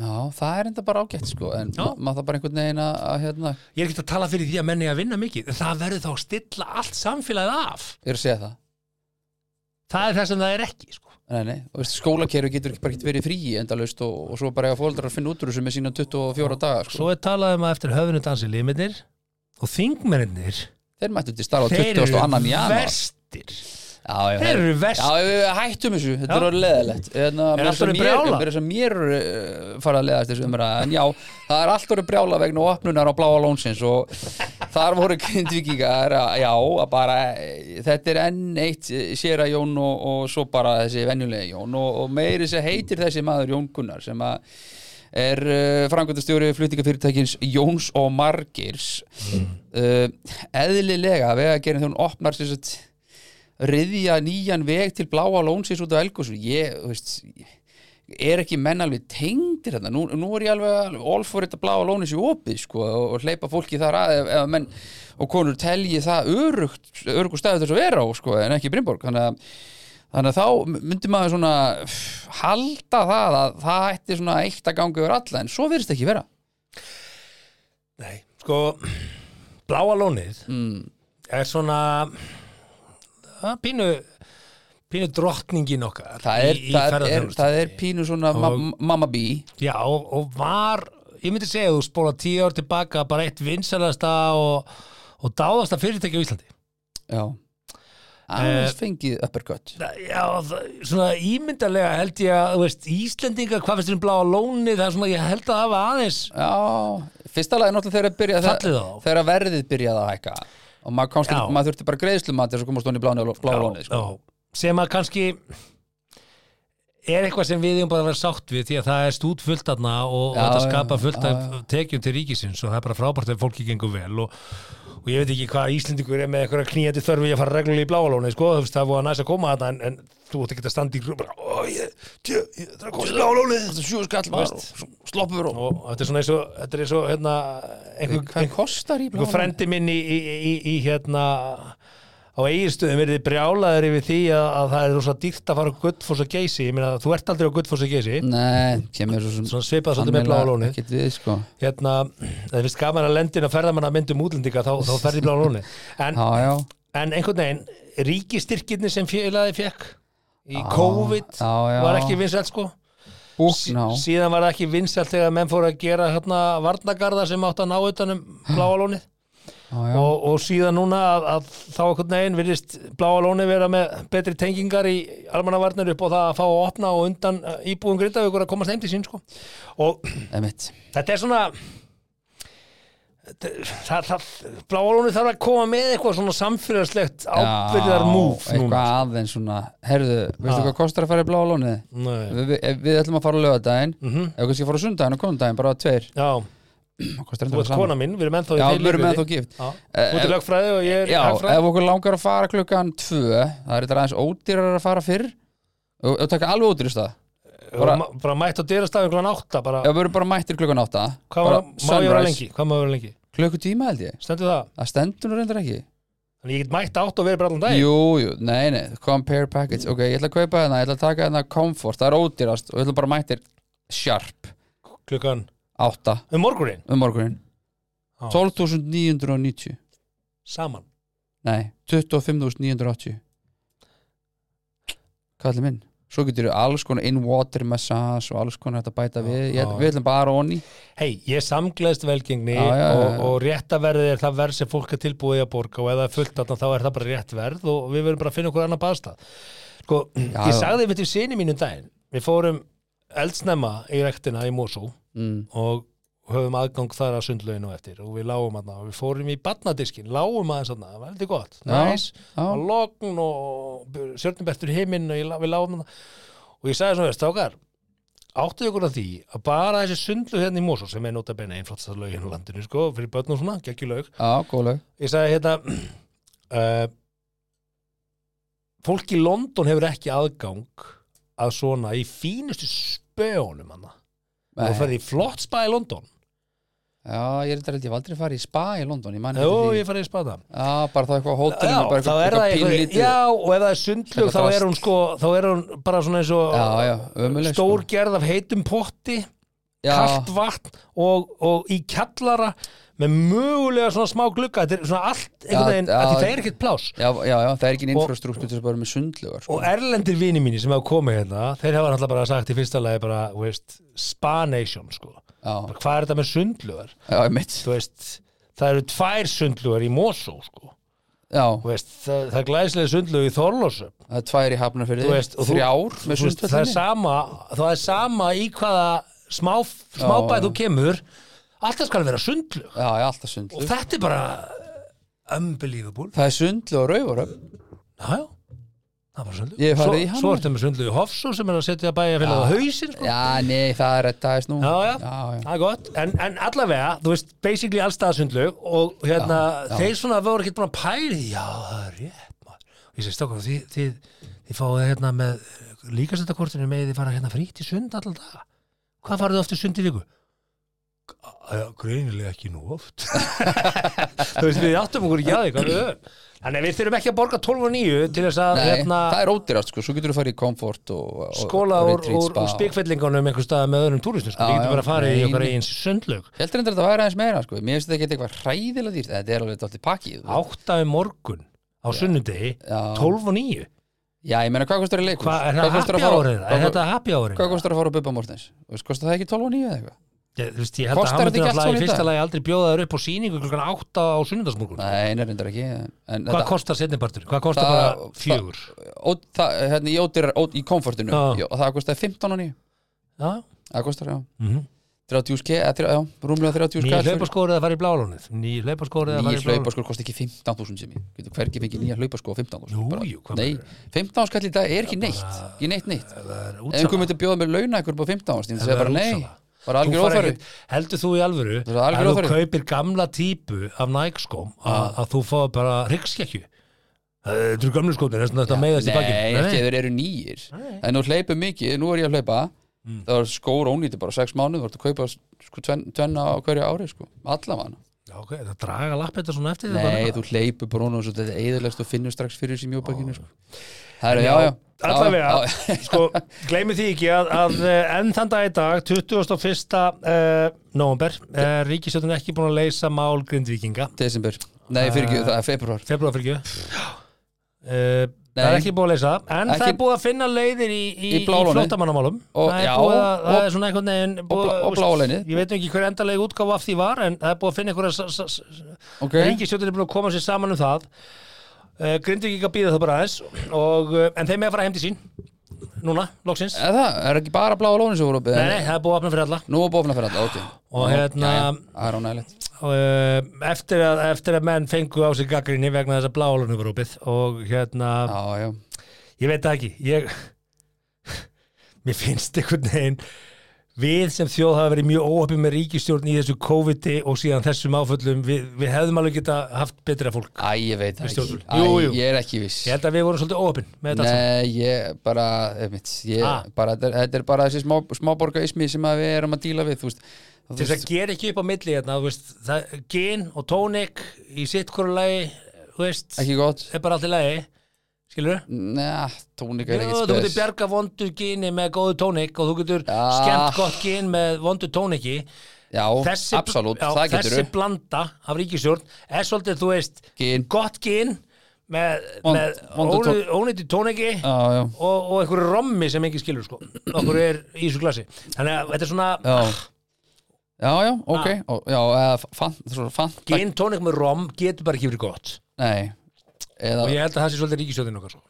S2: já, það er enda bara ágætt sko en
S3: Já.
S2: ma maður það bara einhvern veginn að, að hérna,
S3: ég er ekki að tala fyrir því að menni að vinna mikið, en það verður þá að stilla allt samfélagið af,
S2: ég er að segja það
S3: það er það sem það er ekki sko.
S2: Nei, nei, og veist, skólakerfi getur ekki bara ekki verið frí endalaust og, og svo bara eiga fóldrar að finna út úr þessu með sína 24 daga sko.
S3: svo er talað um að eftir höfunu dansi limitnir og þingmennir
S2: Þeir mættu til starfa
S3: þeir
S2: 22.
S3: eru
S2: annan januar
S3: verstir
S2: Já, já,
S3: þeir eru
S2: Já,
S3: verstir
S2: við hættum þessu,
S3: Já.
S2: þetta er orðið Hérna, leðilegt En
S3: Er allt orðið brjálað?
S2: Mér er sem mér uh, fara að leðast þessu umræða En já, það er allt orðið brjála vegna opnunar á bláa lónsins Og þar voru grindvíkingar að- Já, að bara, eh, þetta er enn eitt eh, Séra Jón og, og svo bara þessi venjulega Jón Og, og meiri sem heitir þessi maður Jón Gunnar Sem að er uh, frangöndastjóri flutningafyrirtækins Jóns og Margirs uh, Eðlilega, vegagerinn þegar hún opnar sem sagt riðja nýjan veg til bláa lónsins út á Elgósu ég, þú veist er ekki menn alveg tengdir þarna nú, nú er ég alveg alveg all for þetta bláa lónis í opið sko og, og hleypa fólki þar að ef, ef menn og konur telji það örugt, örugu staðið þess að vera á sko en ekki Brynborg þannig að Þannig að þá myndi maður svona pff, halda það að það ætti svona eitt að ganga yfir alla en svo virðist ekki vera.
S3: Nei, sko Bláa lónið
S2: Mm.
S3: er svona að pínu pínu drottningin okkar
S2: Það er,
S3: í, í
S2: það er,
S3: ferðaþjónustu.
S2: það er pínu svona ma mamma bí.
S3: Já, og, og var ég myndi segja að þú spóla tíu ár tilbaka bara eitt vinsalasta og, og dáðasta fyrirtæki á Íslandi
S2: Já.
S3: Eh,
S2: Aðeins fengið uppercut.
S3: Það- Já, það, svona ímyndarlega held ég að, þú veist, Íslendinga hvað finnst þér um bláa lónið, það er svona ég held að hafa aðeins
S2: Já, fyrsta lagi náttúrulega þegar, að byrja,
S3: Fallið á.
S2: þegar að verðið byrjaði að hækka og maður, komst,
S3: Já.
S2: til- maður þurfti bara greiðslum að þess að komast hún í bláni og blálóni sko.
S3: já, sem að kannski er eitthvað sem við erum bara að vera sátt við því að það er stút fullt aðna og, og
S2: Já,
S3: þetta
S2: já,
S3: skapa fullt
S2: já,
S3: af tekjum til ríkisins og það er bara frábært ef fólki gengur vel og, og ég veit ekki hvað Íslendingur er með eitthvað knýjandi þörfi að fara reglulega í bláalóni sko, þú veist, það er voru næst að koma aðna en, en þú ætti ekki að standa í grú bara, ó, ég, tjö, ég, það er að koma í bláalóni
S2: Þetta er sjú skall maður og svo sloppur og
S3: og þetta er svona eins og, þetta er eins og hérna, einhver,
S2: hvað kostar í
S3: einhver
S2: blálóni?
S3: frendi minn í, í, í, í hérna á eiginstöðum er þið brjálaður yfir því að, að það er rosa dýrt að fara á Guttfoss og Geysi ég meina þú ert aldrei á Guttfoss og Geysi
S2: Mm. Nei, kemur svo sem
S3: svona svipað svolítið með bláa lónið
S2: Ekkert við sko
S3: hérna, það finnst gaman að lendin að ferðamanna myndum útlendinga þá, þá ferði bláa lónið en,
S2: Já, já,
S3: en einhvern veginn ríkistyrkirni sem félagi fekk í COVID
S2: já, já.
S3: var ekki vinsælt sko
S2: búkná
S3: síðan var það ekki vinsælt þegar menn fóru að gera hérna varnagarða sem átt að ná utanum um bláa lónið
S2: Já, já.
S3: Og, og síðan núna að, að þá einhvern veginn virðist Bláa Lóni vera með betri tengingar í almannavarnir upp og það að fá að opna og undan eh, íbúum Grindavíkur að komast heim til sín sko. og
S2: Emitt.
S3: þetta er svona það, það, það Bláa Lóni þarf að koma með eitthvað svona samfélagslegt ábyrðar múf núna
S2: Eitthvað aðeins svona, herðu, veistu
S3: Já.
S2: hvað kostar að fara í bláa lónið?
S3: Nei.
S2: Við, við, ef við ætlum að fara á lögadaginn mm -hmm. eða kannski að fara á sundaginn og konundaginn, bara tveir
S3: Mhm. Já,
S2: Hvað kostar
S3: þú
S2: endur
S3: ert kona mín, við erum ennþá í
S2: Já,
S3: þeirri
S2: við erum
S3: lífeyri.
S2: ennþá gift.
S3: Já.
S2: Eh,
S3: Þú ert í lögfræði og ég er
S2: Já, eh,
S3: hagfræði.
S2: ef okkur langar að fara klukkan tvö það er þetta aðeins ódýrar að fara fyrr og, og taka alveg ódýrist það
S3: bara,
S2: bara-
S3: bara mætt á dyrastafin klokkan átta bara,
S2: Já, við erum bara mættir klukkan átta
S3: hvað
S2: bara
S3: má, má ég vera lengi hvað má ég vera lengi,
S2: Klukkutíma held ég
S3: stendur það
S2: Það stendur nú reyndar ekki
S3: þannig ég get mætt átta og verið bara allan dag
S2: Jú, jú, nei, nei, compare package Ok, ég ætla að kaupa hérna, ég ætla að taka hérna comfort Það er ódýrast og ég ætla bara mættir sharp
S3: klukkan
S2: átta
S3: um morgunin
S2: um morgunin
S3: Já.
S2: 12.990
S3: saman
S2: Nei, 25.980 Kallið minn Svo getur alls konar in water massage og alls konar þetta bæta við ég,
S3: já.
S2: Við ætlum bara onni
S3: hei, ég samgleðst velgengni
S2: Já, já, já, já.
S3: Og, og réttaverðið er það verð sem fólk er tilbúið að borga og ef það er fullt þarna þá er það bara rétt verð og við verðum bara að finna okkur annar baðstað sko,
S2: Já,
S3: ég
S2: já.
S3: sagði við til sinni mínum daginn við fórum eldsnemma í rektina í Mosó
S2: mm.
S3: og höfum aðgang þar að sundlauginu eftir og við lágum aðna og við fórum í badnadiskin lágum aðeins aðna, það var heldur gott
S2: Já,
S3: næs,
S2: já.
S3: og logn og sörnum eftir himinn og ég, lá- við lágum aðna og ég sagði svona, stákar áttuðu ykkur að því að bara þessi sundlu hérna í Mosó sem er nota beina einflottasta laugin á landinu sko, fyrir börn og svona, geggjulaug
S2: Já, góð lög
S3: ég sagði hérna uh, fólk í London hefur ekki aðgang að svona í fínustu spöunum hann
S2: Nei.
S3: og ferði í flott spa í London
S2: Já, ég er þetta held ég hef aldrei farið í spa í London Ég mann
S3: Jú,
S2: eftir því
S3: ég farið í spata
S2: Já, bara það eitthvað á hótelinu
S3: Já,
S2: bara
S3: þá er það eitthvað,
S2: pínlítið-
S3: já, og ef það er sundlug þá
S2: Eitthvað
S3: er hún sko, þá er hún bara svona eins og
S2: Já, já, ömuleg
S3: stór gerð af heitum potti,
S2: sko. Já,
S3: kalt vatn og, og í kjallara með mögulega svona smá glugga þetta er svona allt einhvern
S2: Já,
S3: veginn,
S2: já.
S3: af því það er ekkert plás
S2: já, já, já, það er ekki infrastruktúr til þess að bara með sundlugar sko.
S3: og erlendir vini mínir sem hafa komið hérna þeir hafa náttúrulega bara sagt í fyrsta lagi bara, þú veist, spa nation sko
S2: Já,
S3: bara, hvað er þetta með sundlugar,
S2: já, mitt
S3: þú veist það eru tvær sundlugar í Mosó sko
S2: Já,
S3: Þú veist, það, það er glæslega sundlug í Þorlósum
S2: það er tvær í hafnafyrði
S3: Þú veist, og þú-
S2: Þrjár með
S3: Þú veist, það er
S2: sundlöginni
S3: sama það er sama í hvaða smá,
S2: Já, já.
S3: smábæð þú kemur alltaf skal vera sundlug
S2: Já, já, alltaf sundlug
S3: og þetta er bara uh, unbelievable
S2: Það er sundlu og rauvaröf
S3: já, já, það er bara sundlug
S2: Ég hef
S3: svo,
S2: farið í hann.
S3: svo ertu með sundlug í Hofsú sem er að setja bæja fyrir það hausinn sko.
S2: Já, nei, það er þetta aðeins nú
S3: já, já,
S2: já, já.
S3: það er gott en, en allavega, þú veist, basically allstað sundlug og hérna, þeir svona voru ekkert búin að pæri já, það er rétt maður. og ég segi stokkar, þið, þið, þið fáið hérna með líkastendakortinu með þið fara hérna frýtt í sund alltaf daga hvað farið þið oft í sund í viku? Já, greinilega ekki nú oft þú veist, við áttum okkur ekki að því hvað við höfum þannig að við þurfum ekki að borga 12 og 9 til þess að
S2: Nei,
S3: hérna,
S2: það er ódýrast sko, svo getur þú farið í komfort og, og
S3: skóla
S2: og
S3: úr,
S2: retreat
S3: úr,
S2: spa
S3: úr spikfellingunum einhver stað með öðrum túristum sko.
S2: Já,
S3: við getum
S2: já,
S3: bara farið í
S2: nei,
S3: okkar
S2: nei.
S3: eigin sundlög
S2: Ég heldur endur að það væri aðeins meira sko, mér finnst þetta ekki eitthvað hræðilega dýrt, þetta er alveg dálítið pakkið þú veist.
S3: átta um morgun á sunnudegi
S2: Já.
S3: 12 og 9
S2: Já, ég meina, hvað kostar í leikur?
S3: Hva, er það happy hour eða? er þetta happy hour
S2: Hvað
S3: eða?
S2: kostar að fara á Bubba Mortens? Þú veist, Kostar það ekki 12 og 9 eða eitthvað?
S3: Ég- þú veist, ég held að
S2: Kostar
S3: hann
S2: þetta
S3: myndi
S2: ekki allt
S3: alltaf í
S2: svona í
S3: fyrsta
S2: dag?
S3: lagi aldrei bjóða þér upp á síningu klukkan átta á sunnudagsmorgun hvað
S2: Nei, nefnir ekki en, en þetta-
S3: kostar setnipartur? hvað kostar
S2: Það-
S3: bara fjögur?
S2: ó, það, hérna, í, ódýrar, ó, í komfortinu
S3: Já.
S2: já. og það kostar 15 og 9
S3: Já,
S2: Það kostar, já,
S3: mhm.
S2: 30 sk, eða, þrjá- já, rúmlega 30 sk
S3: nýja hlaupaskórið að fara í blálónið nýja hlaupaskórið að fara
S2: Nýjir
S3: í blálónið
S2: hlaupaskór kosti ekki 15.000 sem ég getur hvergi fengið nýja hlaupaskó á 15.000
S3: Jú,
S2: Bara-
S3: jú, hvað
S2: Nei,
S3: meinar
S2: 15 skall í dag er ekki neitt ekki neitt neitt
S3: það er
S2: Ef einhver
S3: útsala
S2: myndi bjóða mér launa ykkur upp á 15 ást ég
S3: Það
S2: myndi segja bara
S3: er
S2: nei
S3: útsala.
S2: bara
S3: Þú
S2: algjör
S3: fara
S2: ófæri
S3: ekkert- heldur þú í alvöru
S2: Það er algjör
S3: að þú
S2: óþarfi.
S3: kaupir gamla típu af nægskóm að að þú fáið bara Eh, ryggskekkju Þú er gamlu skótið, þess að þetta meiðast í
S2: Nei,
S3: bakinn
S2: ekki, þeir eru nýjir
S3: Nei. Mm.
S2: En nú hleypur mikið, nú er ég að hleypa Það var skór ónýti bara 6 mánuð Þú ert að kaupa sko, tven- tvenna á hverju ári sko. Allamann
S3: Já, ok, það draga lapp þetta svona eftir þér
S2: Nei,
S3: bara.
S2: þú hleypur bara hún og svo þetta er eðalegst og finnur strax fyrir þessi mjóbakinu sko. Það er, já, já Já,
S3: Allavega,
S2: já,
S3: sko, gleymi því ekki að, að eh, enn þann dag í dag, 21. Uh, november, uh, ríkisjóttin ekki búin að leysa mál grindvíkinga,
S2: Desember, nei fyrir ekki, það er februar
S3: februar fyrir ekki, uh, það er
S2: Nei.
S3: ekki búið að leysa það, en það
S2: Ekki-
S3: er búið að finna leiðir í, í,
S2: Í
S3: í
S2: bláa lónið.
S3: flóttamannamálum
S2: Og-
S3: það, er
S2: já,
S3: búið að,
S2: og-
S3: það er svona einhvern veginn búið,
S2: blá- og bláa lónið.
S3: ég veit nú ekki hver endalega útgáfa af því var en það er búið að finna einhverja
S2: Ok.
S3: okay. ríkistjóttir er búið að koma sér saman um það uh, Grindvík að býða það bara aðeins og, uh, en þeim er að fara heim til sín núna, loksins
S2: Eða það, er ekki bara bláa lónin sem voru opið?
S3: Nei, nei, það er búið að opna fyrir alla
S2: Nú er bófna fyrir alla, ok.
S3: Og hérna-
S2: Jæja, Það er ánægilegt.
S3: uh, eftir, að, eftir að menn fengu á sig gaggrinni vegna þess að bláalunum var opið og hérna,
S2: Já, já.
S3: ég veit það ekki ég, mér finnst einhvern veginn við sem þjóð hafa verið mjög óöppið með ríkistjórn í þessu COVID-i og síðan þessum áföllum við, við hefðum alveg geta haft betra fólk
S2: Æ, ég veit það ekki.
S3: stjórnvöld.
S2: Æ,
S3: Jú, jú.
S2: ég er ekki viss.
S3: ég held að við vorum svolítið óöppin með þetta allt saman.
S2: Nei, ég bara, einmitt, ég,
S3: Ah.
S2: bara þetta, er- þetta er bara þessi smá, smáborgaismi sem að við erum að díla við, þú veist. Þú
S3: til þess að gera ekki upp á milli hérna, þú veist, það, gin og tónik í sitt hverju lagi þú veist,
S2: ekki gott.
S3: er bara allt í lagi skilur
S2: Næ, tónika er
S3: Jú,
S2: ekkert
S3: þú getur
S2: spes.
S3: bjarga vondu gini með góðu tónik og þú getur
S2: Ja.
S3: skemmt gott gin með vondu tóniki
S2: Já, absolutt,
S3: já,
S2: það getur
S3: þessi
S2: við.
S3: blanda af ríkisjórn er svolítið, þú veist,
S2: Gin.
S3: gott gin með,
S2: Vond-
S3: með
S2: vondu
S3: ónýtu, ónýtu tóniki
S2: Já, já,
S3: og, og einhverju rommi sem engin skilur sko, okkur er í þessu glasi þannig að þetta er svona
S2: já. Já, já, ok. Og, já, eða fann, þú fann,
S3: Ah. gin tónik með rom getur bara ekki verið gott
S2: nei. Eða,
S3: og ég held að það sé svolítið ríkisjórnin okkar sko.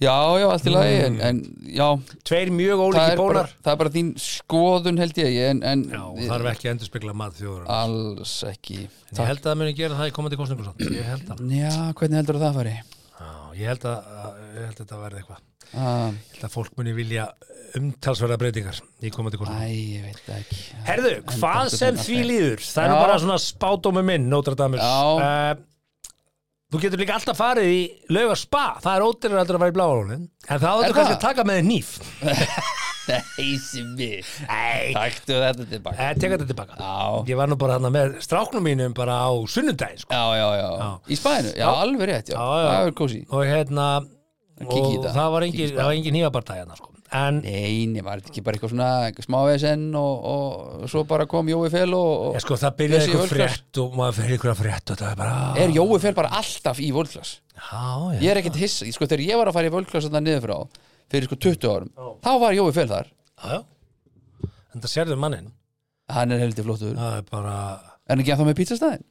S2: já, já, allt í lagi,
S3: Mm.
S2: en, en já,
S3: tveir mjög
S2: það
S3: ólíki
S2: er, bara,
S3: bólar
S2: það er bara þín skoðun held ég, en, en
S3: já, og þarf ekki að endurspegla mat þjóður
S2: alls ekki.
S3: ég held að það muni gera það í komandi kostningum samt. ég held að
S2: Já, hvernig heldur það fari?
S3: Já, ég held að, að- ég held að þetta verði eitthvað.
S2: Ah,
S3: Ég held að fólk muni vilja umtalsverða breytingar í komandi kostum.
S2: æ, ég veit það ekki.
S3: Herðu, hvað
S2: þetta
S3: sem
S2: er
S3: því
S2: þetta.
S3: líður, það er nú
S2: Já.
S3: bara svona spádómi minn, Notre Dame.
S2: Já.
S3: Eh, þú getur líka alltaf farið í laugar spa, það er ódýrar heldur að fara í bláhálónin, en það áttu
S2: Er
S3: kannski
S2: það?
S3: að taka með þér nýf.
S2: Nei, sem við.
S3: Nei,
S2: Taktu þetta tilbaka.
S3: eh, teka þetta tilbaka.
S2: Já.
S3: Ég var nú bara hana með stráknum mínum bara á sunnudaginn, sko.
S2: Já, já, já. Í spæðinu? Já, alveg rétt, já.
S3: Já, já.
S2: Það er kósi.
S3: Og hérna,
S2: kíkja í
S3: og
S2: það.
S3: það var
S2: Kíkja í
S3: engin,
S2: spa.
S3: það var engin hífabartæð hérna, sko. En
S2: Nei, nei, var þetta ekki bara eitthvað svona eitthvað smá vesen og, og svo bara kom Jói Fel og... og
S3: Ég sko það byrjaði
S2: Þessi
S3: eitthvað
S2: World Class.
S3: frétt og maður fyrir eitthvað frétt og það er bara "Ah."
S2: Er Jói Fel bara alltaf í völdklass?
S3: Já, já,
S2: Eh, Ég er ekkert hissa, sko þegar ég var að fara í völdklass þarna niður frá, fyrir sko 20 árum, þá var Jói Fel þar.
S3: já, já En það sérðu mannin
S2: Hann er heldur flottur.
S3: Það er bara
S2: Er hann ekki ennþá með pítsastæðin?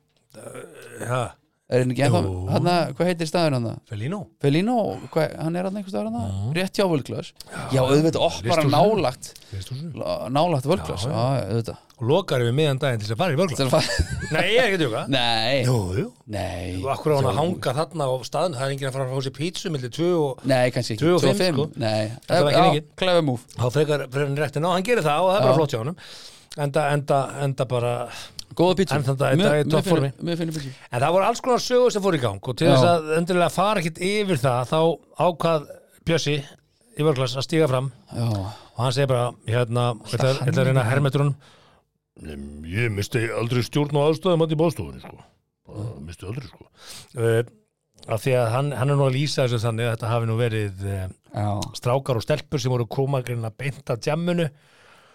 S3: Já,
S2: Er hann ekki ennþá,
S3: Jú.
S2: hann hvað heitir staðin hann það?
S3: Felino
S2: Felino, hvað, hann er hann einhvers staðar hann það? Rétt hjá völdklass? Já, auðvitað, okkar hann nálagt,
S3: Visthúsinu.
S2: nálagt völdklass, já, auðvitað.
S3: Og lokar við miðan daginn til þess að fara í vörgla
S2: Þetta er að fara-
S3: Nei, ég er ekki tjóka
S2: Nei,
S3: Jú, jú
S2: nei.
S3: Og akkur á hann að hanga þarna á staðin Það er enginn að fara að fá sér pítsu millir tvö og
S2: Nei, kannski ekki
S3: Tvö og
S2: Tvö
S3: fimm, sko.
S2: Nei,
S3: Það var ekki
S2: Já,
S3: mikið.
S2: clever move
S3: þá frekar fyrir hann rektin á Hann gerir það og það er bara
S2: Já.
S3: flott hjá honum Enda, enda, enda bara
S2: Góða pítsu
S3: En þetta- þetta er topp formi.
S2: Mér finnir pítsu
S3: En það voru alls konar sögur sem fór í gang og til
S2: Já.
S3: þess að endilega fara ekkit yfir það þá ákvað Bjössi í vörglas að stíga fram
S2: Já
S3: og hann segir bara hérna, þetta er að reyna hermetrun ég misti aldrei stjórn og aðstæðum hann í bóðstofunni sko Bara, misti aldrei sko uh, af því að hann, hann er nú að lýsa þessu þannig að þetta hafi nú verið uh,
S2: Já
S3: strákar og stelpur sem voru komagrinn að beinta djamminu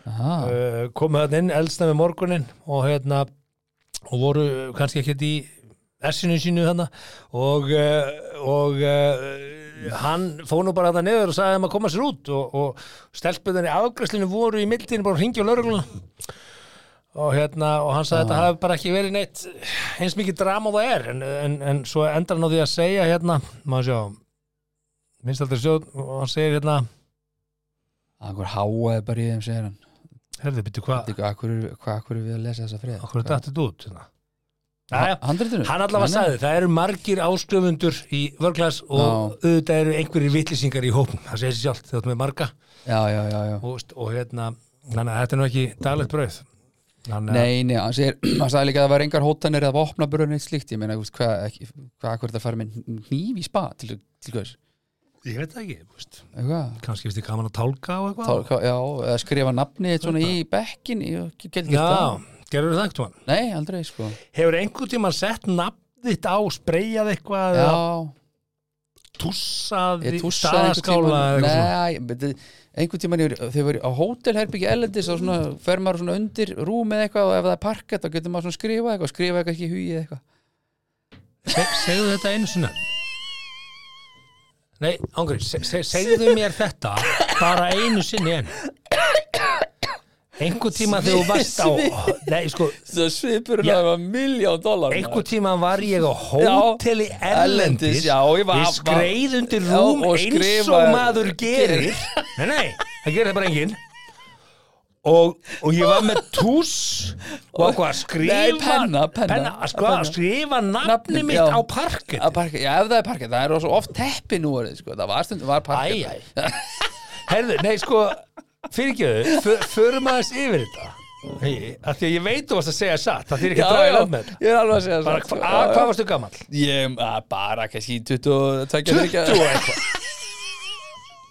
S2: Aha.
S3: uh, komu þarna inn eldsna með morgunin og hérna og voru kannski ekkert í essinu sínu þarna og, uh, og uh, hann fóð nú bara þarna niður og sagði þeim að koma sér út og, og stelpuðinni afgræslinu voru í mildinu bara að hringja á laurugluna og hérna og hann sagði þetta hafi bara ekki verið neitt eins mikið drama og það er en, en, en svo endar hann á því að segja hérna maður sjá minnst aldrei sjóð og hann segir hérna
S2: Akkur háaði bara í þeim, segir hann
S3: herði byrju hvað
S2: Þetta er akkur, hvað akkur er við að lesa þessa frið
S3: Akkur er dattið út hérna. Jæja,
S2: Handritinu
S3: hann allavega sagði, það eru margir ástöfundur í vörglas og auðvitað eru einhverjir vitlýsingar í hópum, það segir sér sjálft, þáttum við marga
S2: Já, já, já, já
S3: og, og hérna, þannig að þetta er nú ekki daglegt brauð. Þannig að-
S2: Nei, nei, hann segir, hann sagði líka að það var engar hótanir eða vopna brunni eitt slíkt, ég meina, þú veist, hvað, ekki, hvað akkur þetta farið með hníf í spa til, til hvers,
S3: Ég veit það ekki, þú veist,
S2: eitthvað,
S3: kannski finnst þið gaman að tálka og
S2: Þá,
S3: eitthvað.
S2: hvað- já, eða skrifa nafni eitt svona í bekkin, ég gæti gert
S3: Já,
S2: það,
S3: gerur það eitthvað.
S2: nei, aldrei, sko,
S3: Hefur einhvern tímann sett nafn þitt á, spreyjað eitthvað, eða
S2: já,
S3: tússað,
S2: ég
S3: í
S2: tússaði einhvern
S3: staðaskála eða
S2: tímann
S3: eitthvað svona?
S2: nei, beti- einhvern tímann ég var- þegar ég var á hótelherbyggi ellendis og svona fer maður svona undir rúmið eitthvað og ef það er parkett þá getur maður svona skrifað eitthvað skrifað eitthvað ekki í hugið eitthvað
S3: Se- Segðu þetta einu sinna. Nei, ángri, se, se, segðu mér þetta bara einu sinni enn einhver tíma þegar þú varst á nei, sko,
S1: Það svipurinn
S3: Já.
S1: að það var miljón dólar
S3: einhver tíma var ég á hóteli erlendis
S1: erlendis, já, ég var-
S3: við skreið undir
S1: Já,
S3: rúm
S1: og
S3: eins og
S1: skrifaði-
S3: maður gerir nei, nei, það gerir það bara enginn og, og ég var með tús og ákvað að skrifa
S1: Nei,
S3: sko,
S1: penna, penna.
S3: að, skrifa, að skrifa nafni
S1: Nafnið,
S3: mitt
S1: já.
S3: á parkið
S2: Að parka, já, ef það er parkið, það er svo oft teppi nú orðið, sko, það var stundum, var parkið
S3: Æ, æ. Herðu, nei, sko, fyrirgjöðu, förum aðeins yfir þetta. Nei, af því að ég veit þú varst að segja satt, það þýr ekki að draga í land með þetta.
S2: ég er alveg að segja
S3: Bara, hva,
S2: satt, sko.
S3: að, hvað varstu gamall?
S2: Ég, að, bara kannski 22 23.
S3: 20 og eitthvað.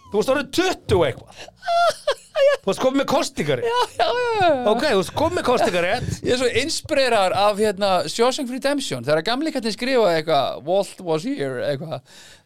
S3: Þú varst orðið 20 og eitthvað. Þú varst komið með kostingarétt.
S2: Já, já, já, já.
S3: Ok, þú varst komið með kostingarétt.
S2: Ég er svo inspirar af hérna Shawshank Redemption þegar gamleikarnir skrifa eitthvað Walt was here eitthvað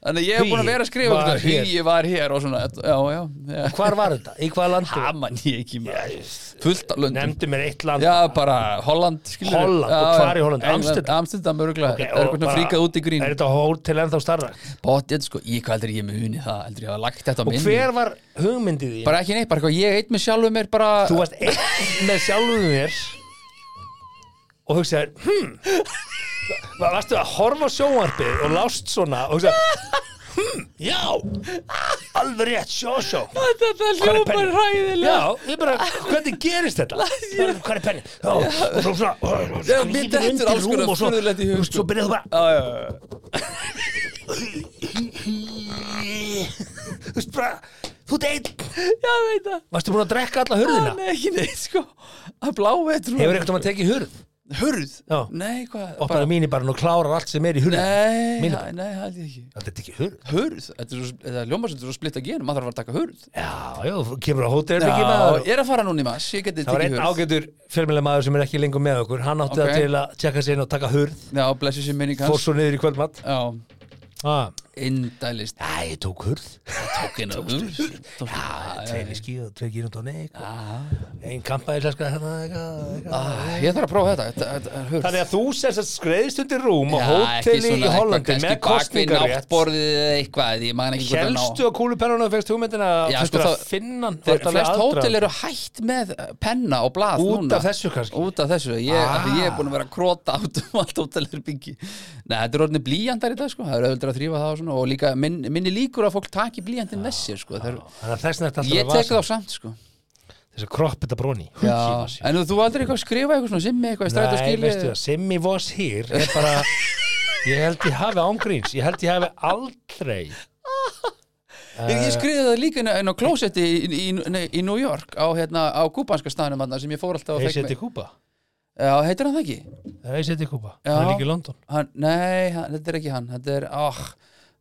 S2: Þannig að ég hef búin að vera að
S3: He
S2: skrifa
S3: var
S2: eitthvað, Hý var hér og svona Já, já, já
S3: Hvar var þetta? Í hvaða landu?
S2: Það man ég ekki maður Fullt af löndum
S3: Nefndu mér eitt land.
S2: Já, bara Holland skilur
S3: Holland, og hvar í Holland? Amsterdam?
S2: Amsterdam
S3: Ok,
S2: örgulega Það er
S3: og
S2: eitthvað
S3: bara-
S2: fríkað út í grín
S3: Er þetta hótel ennþá starra?
S2: Bóttið, sko, ég hvað heldur ég muni það heldur ég hafa lagt þetta á
S3: Og
S2: minni
S3: hver var hugmyndið því?
S2: Bara ekki neitt, bara eitthvað ég eitt með sjálfum mér bara
S3: þú varst einn með sjálfum þér og hugsaðir hmm, va- varstu að horfa á sjónvarpið og lást svona og hugsaðir hmm, já alveg rétt sjósjó
S2: Þetta
S3: Hvar er penninn?
S2: hræðilega
S3: já, ég bara, hvernig gerist þetta hvað er penni já, og þú svona og
S2: Já,
S3: skrýtur
S2: mér dettur
S3: undir
S2: alls konar
S3: rúm og svo,
S2: furðulegt í hug,
S3: þú veist,
S2: sko.
S3: svo byrjaðu bara
S2: Já, já, já
S3: þú veist bara, þú ert einn
S2: Já, ég veit það
S3: varstu búin að drekka alla hurðina
S2: Nei, ekki neitt sko að blá vetur
S3: hefur eitthvað maður tekið hurð
S2: hurð?
S3: Já.
S2: Nei, hvað?
S3: opnaði mínibarinn og klárar allt sem er í hurðina
S2: Nei,
S3: Mínu.
S2: ha- nei, held ég ekki
S3: þetta er ekki hurð
S2: Hurð? Þetta er svo- þetta er ljóma sem þú er að splitta gen maður þarf að fara að taka hurð
S3: Já, já, þú kemur á hótelherbyggi með
S2: Já,
S3: það
S2: ég er að fara núna í mass Ég geti
S3: Það var
S2: tekið
S3: einn
S2: hurð
S3: ágætur fjölmjölega maður sem er ekki lengur með okkur Hann átti
S2: Ok.
S3: það til að tjekka sig inn og taka hurð
S2: Já, blessu sér minni
S3: Fór
S2: kanns
S3: svo niður í kvöldmatt
S2: Já,
S3: ah.
S2: indælist
S3: Æ, ég tók hurð
S2: Tók inn á hurð Tók- Já, já,
S3: Tveir í skíu og tveir gýrund og neik Einn kampaði slæska hérna eitthvað, eitthvað.
S2: já. Ég þarf að prófa þetta Þetta þetta er hurð
S3: Þannig að þú sérst að skreiðist undir rúm á
S2: Já, ekki
S3: hóteli
S2: svona
S3: í
S2: eitthvað,
S3: Hollandi
S2: kannski
S3: með
S2: bak við
S3: kostningarétt
S2: náttborðið eða eitthvað, ég man ekki hvort það ná.
S3: Hélstu á kúluperrunum og fegst hugmyndina Já,
S2: Já, sko,
S3: sko, að
S2: það-
S3: finna hann
S2: Þeir,
S3: Þú ert alveg
S2: flest
S3: aðdragandi.
S2: hótel eru hætt með eh, penna og blað
S3: Út
S2: núna.
S3: af þessu kannski?
S2: Út af þessu, ég,
S3: Ah.
S2: ah. ég er búin að vera að króta át um allt hótelherbyggi Nei, þetta er orðinni blíjandar í dag sko, það er auðvitað að þrýfa það og, svona, og líka minn, minni líkur að fólk taki blíjandin með sér sko, þeir,
S3: Þannig að þess nætti Ah.
S2: Ég
S3: alltaf að
S2: tek
S3: vasa
S2: þá samt sko
S3: Þess að kroppita bróni
S2: Já, en þú aldrei eitthvað að skrifa eitthvað svona simmi eitthvað í stræt og
S3: Nei,
S2: skili
S3: veistu það, Simmi was here er bara, ég held ég hafi ángríns ég held ég hafi aldrei
S2: Ég,
S3: Eh.
S2: ég skriði það líka inn á- inn á klósetti í, í, í, í New York á, hérna, á kúbanska staðnum þarna sem ég fór alltaf að
S3: hef
S2: fekk
S3: sett í
S2: mig
S3: Kúpa
S2: Já, heitir hann það ekki?
S3: hef sett í Kúpa,
S2: Já.
S3: það er líka í London
S2: hann, nei, hann, þetta er ekki hann þetta er, ah, áh,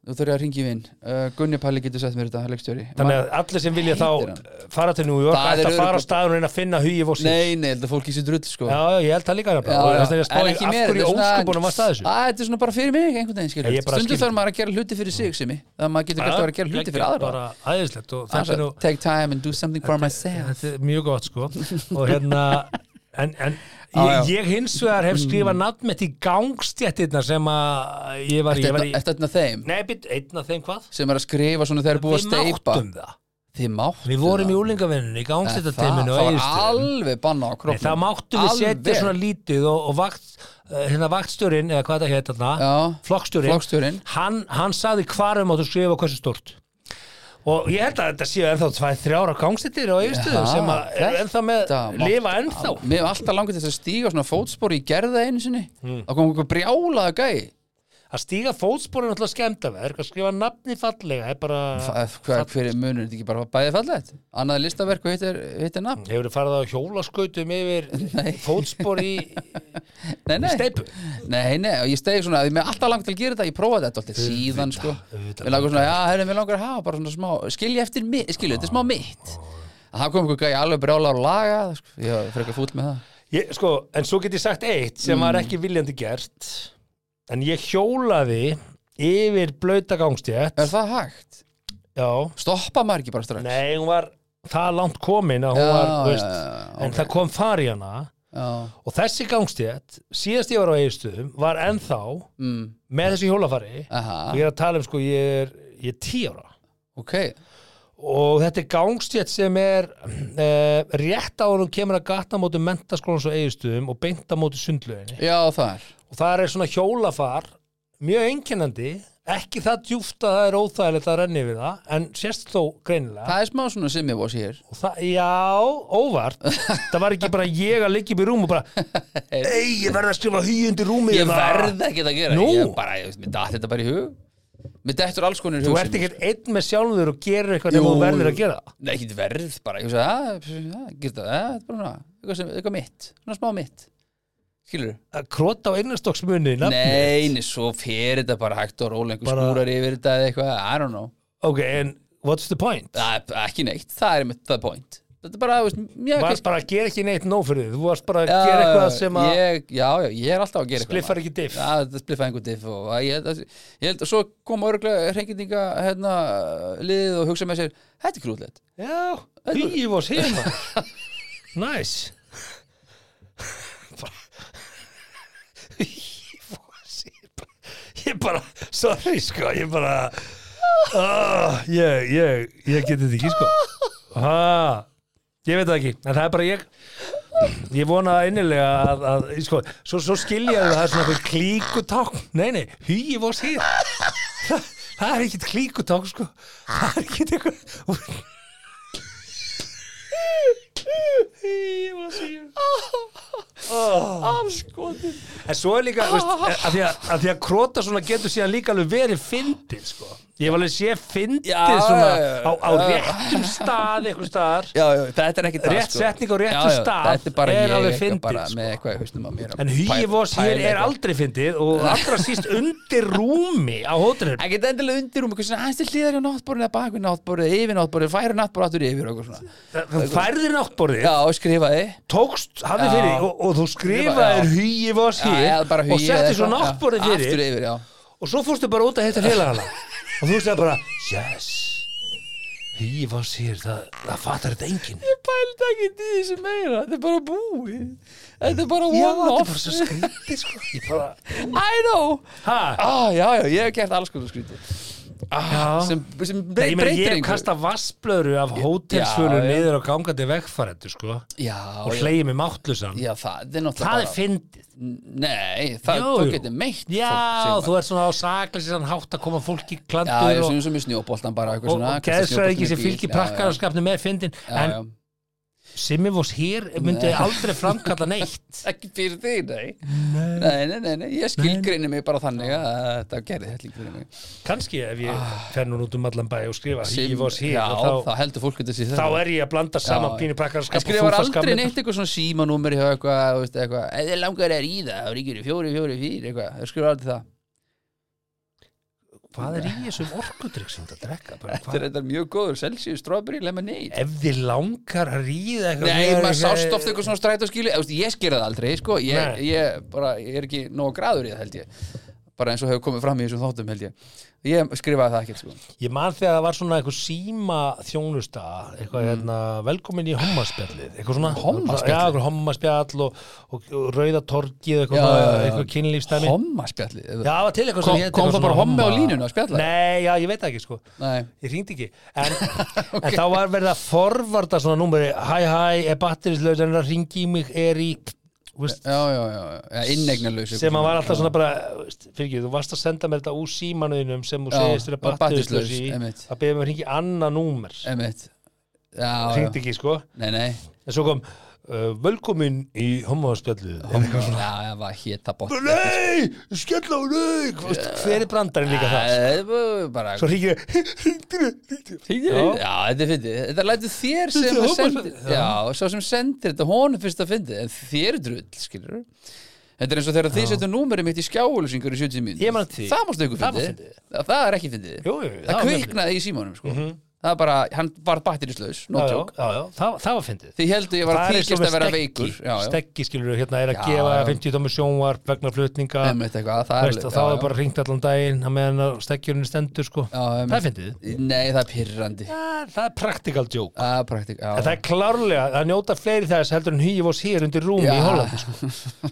S2: þú þurfið að ringi vinn uh, Gunni Palli getur sett mér þetta, leikstjóri
S3: þannig að allir sem vilja þá
S2: heitir hann?
S3: fara til New York,
S2: Það
S3: ætti
S2: er
S3: að fara
S2: örugglega-
S3: á staðun og reyna að finna hugi was here já,
S2: nei, nei, þetta er fólk í sér drull sko
S3: já, ég held það líka
S2: Já,
S3: nefnilega. og þess að ég
S2: en
S3: spáði
S2: ekki
S3: af
S2: mér,
S3: hverju
S2: þetta er svona-
S3: ósköpunum varst að þessu
S2: Æ, þetta er svona bara fyrir mig einhvern veginn
S3: Ég
S2: skilur
S3: bara
S2: stundum
S3: skil-
S2: þarf maður að gera hluti fyrir sig sem það maður getur kannski að vera að gera hluti fyrir aðra
S3: bara aðeinslegt og
S2: Aðeins
S3: þetta er
S2: að
S3: nú
S2: take time and do something for myself
S3: þetta er mjög gott sko og hérna en, en
S2: Já, Mm.
S3: ég, ég hins vegar hef skrifað nafnmett í gangstjættirna sem að ég var, í- ég var í
S2: Þetta er hérna- þeim
S3: Nei, být, einn af þeim hvað?
S2: sem er að skrifa svona þegar er búið að steipa
S3: máttum það
S2: þið máttu
S3: Við vorum í úlingavinnunni, í
S2: það
S3: gangstættateiminu
S2: það var alveg banna á
S3: Nei,
S2: kroppnum
S3: það máttum við setja
S2: Alveg.
S3: svona lítið og, og vakt, uh, hérna vaktstjórinn eða hvað það heit þarna,
S2: Já.
S3: flokkstjórinn
S2: Flokksstjórinn.
S3: hann, hann saði hvar við máttum skrifa og hversu stort og ég held að þetta séu ennþá tvæ, þrjára gangstættir á yfirstöðum
S2: Já,
S3: sem að er ennþá með
S2: þetta mátt-
S3: lifa ennþá
S2: Mér hef alltaf langið þess að stíga á svona fótspor í gerða einu sinni
S3: Hmm.
S2: Það kom einhver brjálaða gæi
S3: að stíga fótsporin alltaf skemmtaverk að skrifa nafni fallega er bara,
S2: Hvað hvað- hver er munur, þetta ekki bara bæði fallegt Annað er listaverk og hitt er, hitt er nafn
S3: hefur þið farið á hjólaskautum yfir fótspor í
S2: Nei, nei,
S3: steipu
S2: nei, nei, og ég steig svona Mér hef alltaf langið til að gera þetta, ég prófaði þetta alltaf síðan sko.
S3: auðvitað
S2: Mér langar svona, já, herri, mér langar að hafa bara svona smá Skilja eftir mig, skilja, þetta er smá mitt Það kom einhver gæi alveg brjálaða og laga sko. Ég var frekar fúll með það
S3: Ég, sko, en svo get ég sagt eitt sem
S2: Mm.
S3: var ekki viljandi gert en ég hjólaði yfir blauta gangstétt
S2: Er það hægt?
S3: Já,
S2: Stoppa maður ekki bara strax
S3: nei, hún var það langt komin að hún
S2: Já,
S3: var,
S2: já,
S3: þú veist,
S2: já, já,
S3: en það kom far í hana
S2: Já,
S3: og þessi gangstétt, síðast ég var á eigistuðum var ennþá
S2: mm,
S3: með þessu hjólafari
S2: aha
S3: og ég er að tala um, sko, ég er ég er 10 ára
S2: ok,
S3: og þetta er gangstjætt sem er uh, rétt á honum kemur að gatna móti mentaskólans og eigistuðum og beinta móti sundlöginni
S2: já það er
S3: og það er svona hjólafar mjög einkennandi ekki það djúft að það er óþægilegt að renni við það en sérst þó greinilega
S2: það er smá svona sem ég voru sér
S3: og það, já, óvart það var ekki bara ég að liggja upp í rúm og bara, ei, ég verð að skrifa hugi undir hérna." rúmi
S2: ég verð ekki að gera
S3: Nú?
S2: ég bara, ég, mér dætt þetta bara í hug mér dættur alls konur í
S3: þú
S2: hug
S3: ert
S2: sem-
S3: ekkert einn með sjálfur og gerir eitthvað nema
S2: Jú,
S3: þú verður
S2: jú.
S3: að gera það
S2: Nei, ekkert verð bara, ég hugsa, "Ah, að, að, geta, að, ah, þetta er bara svona, eitthvað, sem, eitthvað mitt, svona smá mitt skilur þú?
S3: að krota á einnastokksmunni
S2: Nei, nei, svo fer þetta bara hægt og róla einhver
S3: Bara-
S2: skúrar yfir þetta eða eitthvað, I don't know
S3: ok, en what's the point?
S2: það er ekki neitt, það er mitt það point þetta er bara, þú veist, mjög
S3: varst bara að gera ekki neitt nóg fyrir þið þú varst bara að gera eitthvað sem að
S2: ég, já, já, ég er alltaf að gera eitthvað
S3: bliffar
S2: maður.
S3: ekki diff
S2: Já, þetta spliffaði einhver diff og að- ég held að, ég held að svo kom örgulega hreikindinga hérna liðið og hugsa með sér þetta er krúllett,
S3: já, hýjum oss heima næs ég bara sorry sko, ég bara oh, ég, ég, ég geti þetta ekki sko ha, ég veit það ekki en það er bara ég ég vona innilega að, að sko, svo, svo skilja þau að það er svona eitthvað klíkutákn nei, nei, hugi voru sér það, það er ekkit klíkutákn sko. það er ekkit eitthvað hugi voru sér
S2: Ah.
S3: afskotin en svo er líka veist, að, því að, að því að krota svona getur síðan líka alveg verið fyndið sko. ég hef alveg sé fyndið
S2: Já,
S3: svona,
S2: já, já.
S3: á, á réttum stað eitthvað staðar
S2: já, já, þetta er ekki það sko.
S3: Rétt setning á réttum stað
S2: þetta er bara
S3: er
S2: ég
S3: alveg
S2: eitthvað
S3: fyndið,
S2: bara
S3: sko.
S2: með eitthvað í hausnum á mér að
S3: En hugi
S2: pæla-
S3: voss hér
S2: pæla
S3: er
S2: eitthvað.
S3: aldrei fyndið og allra síst undir rúmi á hótelinu.
S2: ekki endilega undir um eitthvað svona aðeins til hliðar á náttborðinu eða bakvið náttborðið, eða yfir náttborðið, færa náttborðið aftur yfir og eitthvað svona
S3: Þú færðir náttborðið,
S2: já, og skrifaði
S3: tókst, hafði
S2: Já.
S3: fyrir og, og þú
S2: Skrifa-
S3: skrifaðir
S2: já.
S3: hugi voss
S2: Já, eða bara
S3: hér og
S2: hugi eða
S3: settir svo
S2: eitthvað, já,
S3: náttborðið
S2: aftur
S3: fyrir
S2: yfir, já
S3: og svo fórstu bara út að hitta félagana og þú veist það bara, yes, hugi voss hér, það, það fattar þetta enginn.
S2: ég pældi ekki í þessu meira þetta er bara búið þetta er bara
S3: Já, þetta
S2: one
S3: er
S2: off
S3: bara svo skrítið, sko. Ég bara,
S2: I know
S3: hæ?
S2: ah, já, já, ég hef gert alls konar skrítið ah, sem, sem
S3: Nei, ég
S2: breytir
S3: meina, ég hef
S2: einhverju.
S3: kastað vassblöðru af hótelsvölu
S2: Já, já.
S3: niður á gangandi vegfærendu, sko,
S2: já,
S3: og
S2: já,
S3: hleyið mig máttlusan.
S2: já, það er náttúrulega
S3: Það er fyndið.
S2: bara nei, það,
S3: Jú,
S2: þú
S3: jú.
S2: getur meitt
S3: Já,
S2: fólk,
S3: þú ert svona á sakleysan hátt að koma fólki í
S2: Já, ég
S3: klandur og,
S2: sem sem er snjóboltan bara eitthvað
S3: og,
S2: svona
S3: og
S2: kasta
S3: geðsræðingi
S2: snjóboltanum
S3: sem
S2: í
S3: fylgir
S2: bíl, já, já,
S3: prakkarskapni með fyndin
S2: já,
S3: en
S2: já.
S3: Simmi Voss hér myndi
S2: Nei.
S3: aldrei framkalla neitt
S2: ekki fyrir því, nei nei, nei, nei, nei, ég skilgreini mig bara þannig að þetta gerði hellingur mig
S3: Kanski ef ég fer nú út um allan bæ og skrifa Simmi Voss hér
S2: Ah. já,
S3: og
S2: þá heldur fólk þetta sér
S3: þá, þá er ég að blanda saman
S2: Já.
S3: pínu
S2: Ég
S3: prakkarskap
S2: skrifar aldrei neitt eitthvað svona símanúmer hjá eitthvað, þú veist, eitthvað, eða langar er í það, þá ríkir í fjóri, fjóri, fjóri, eitthvað, ég skrifar aldrei það.
S3: Hvað er í þessum orkudrykk sem þetta drekka? Bara,
S2: Þetta er
S3: hvað-
S2: þetta mjög góður, Celsius, strawberry, lemonade.
S3: Ef þið langar að ríða eitthvað
S2: Nei,
S3: meira-
S2: maður sást ofta eitthvað svona strætóskíli, eða, þú veist, ég skýra það aldrei, sko, ég,
S3: Nei.
S2: ég, bara, ég er ekki nóg græður í það, held ég. Bara eins og hefur komið fram í þessum þáttum, held ég. Ég skrifaði það ekkert, sko.
S3: Ég man þegar það var svona eitthvað síma þjónusta, eitthvað hérna, velkomin í hommaspjallið, eitthvað svona
S2: Mm. Hommaspjallið?
S3: Já, eitthvað hommaspjall og, og, og rauða torgið, eitthvað,
S2: Já,
S3: já,
S2: já, já.
S3: eitthvað kynlífstæmi
S2: Hommaspjallið.
S3: Já, það var til eitthvað
S2: Kom-
S3: sem hét eitthvað
S2: kom það
S3: svona
S2: bara hommi á
S3: homma-
S2: línuna að spjalla?
S3: Nei, já, ég veit það ekki sko
S2: Nei.
S3: Ég hringdi ekki en, en þá var verið að forvarta svona númeri Hæ, hæ, er batterislaus en að ringi í mig er í þú veist,
S2: Já, já, já, já, já, inneignarlaus.
S3: sem að var alltaf svona bara fyrir, þú varst að senda mér þetta úr símanuðinum sem þú
S2: Já,
S3: segist þér að
S2: var
S3: batterislaus
S2: batterislaus,
S3: í
S2: einmitt.
S3: að beðið mér að ringi annað númer
S2: Einmitt. Já, já.
S3: hringdi ekki sko
S2: Nei, nei.
S3: En svo kom uh, velkomin í homoðarspjallið
S2: Já, já, var hétta bótt.
S3: Nei, skell á rauk Hver er brandarinn líka það?
S2: Bara,
S3: Svo ríkir ég
S2: Já,
S3: Já.
S2: þetta er fyndið. Þetta lætur þér sem
S3: er
S2: að
S3: hópar-
S2: sendir, já, svo sem sendir þetta honum fyrst að fyndið, en þér er drull, skilur Þetta er eins og þegar þið setjum númerið mitt í skjáulusingur í 70 mínútur.
S3: Ég man eftir því.
S2: Það mástu ykkur
S3: Það var
S2: fyndið. Já, Það er ekki fyndið.
S3: Jú, jú, það
S2: það
S3: var mjög Mhm.
S2: kviknaði í símanum, sko. Það er bara, hann var batterislaus,
S3: Já,
S2: nóttjók.
S3: já, já, það, það var fyndið
S2: Þið heldur ég var
S3: Það
S2: að
S3: er eins og
S2: þykist
S3: með
S2: að vera
S3: stekki.
S2: veikur. Já, já.
S3: Stekki skilur við hérna er að
S2: Já,
S3: gefa
S2: já.
S3: 50 tómi sjónvarp vegna flutninga
S2: Einmitt eitthvað, það er
S3: veist,
S2: alveg-
S3: og þá
S2: já,
S3: er
S2: já.
S3: bara ringt allan daginn að meðan að stekkjurinn stendur sko.
S2: Já, einmitt.
S3: Það er fyndið
S2: Nei, það er pirrandi.
S3: Það það er practical joke
S2: Það er praktik, já.
S3: En það er klárlega, það njóta fleiri þess heldur en hýjum oss hér undir rúmi
S2: Já.
S3: í Hollandi sko.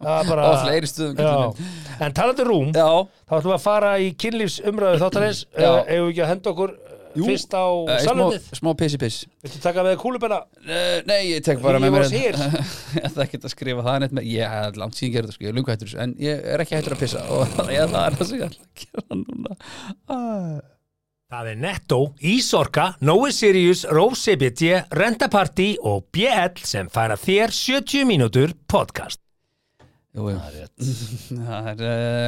S3: Það er bara
S2: Á fleiri stöðum,
S3: Já.
S2: kallar minn.
S3: En talandi um rúm,
S2: Já,
S3: þá ætlum við að fara í kynlífsumræðu þáttarins
S2: Já.
S3: uh, Ef við ekki að henda okkur uh, fyrst á
S2: Eh, smá,
S3: salundið
S2: smá pissi piss
S3: Viltu taka með kúlubenna?
S2: Uh, nei, ég tek bara
S3: Ég
S2: með
S3: var
S2: mér hérna.
S3: sér.
S2: Ég ætla ekki að skrifa það neitt með Ég hef langt síðan gerði þetta sko, ég er lungu hættur þessu, En ég er ekki hættur að pissa Og ég, það er það sem ég ætla að gera núna ah.
S3: Það er Netto, Ísorka, Nói Sirius, Rósebiti, Rentaparty og BL sem færa þér 70 mínútur podcast.
S2: Jú, jú. Það er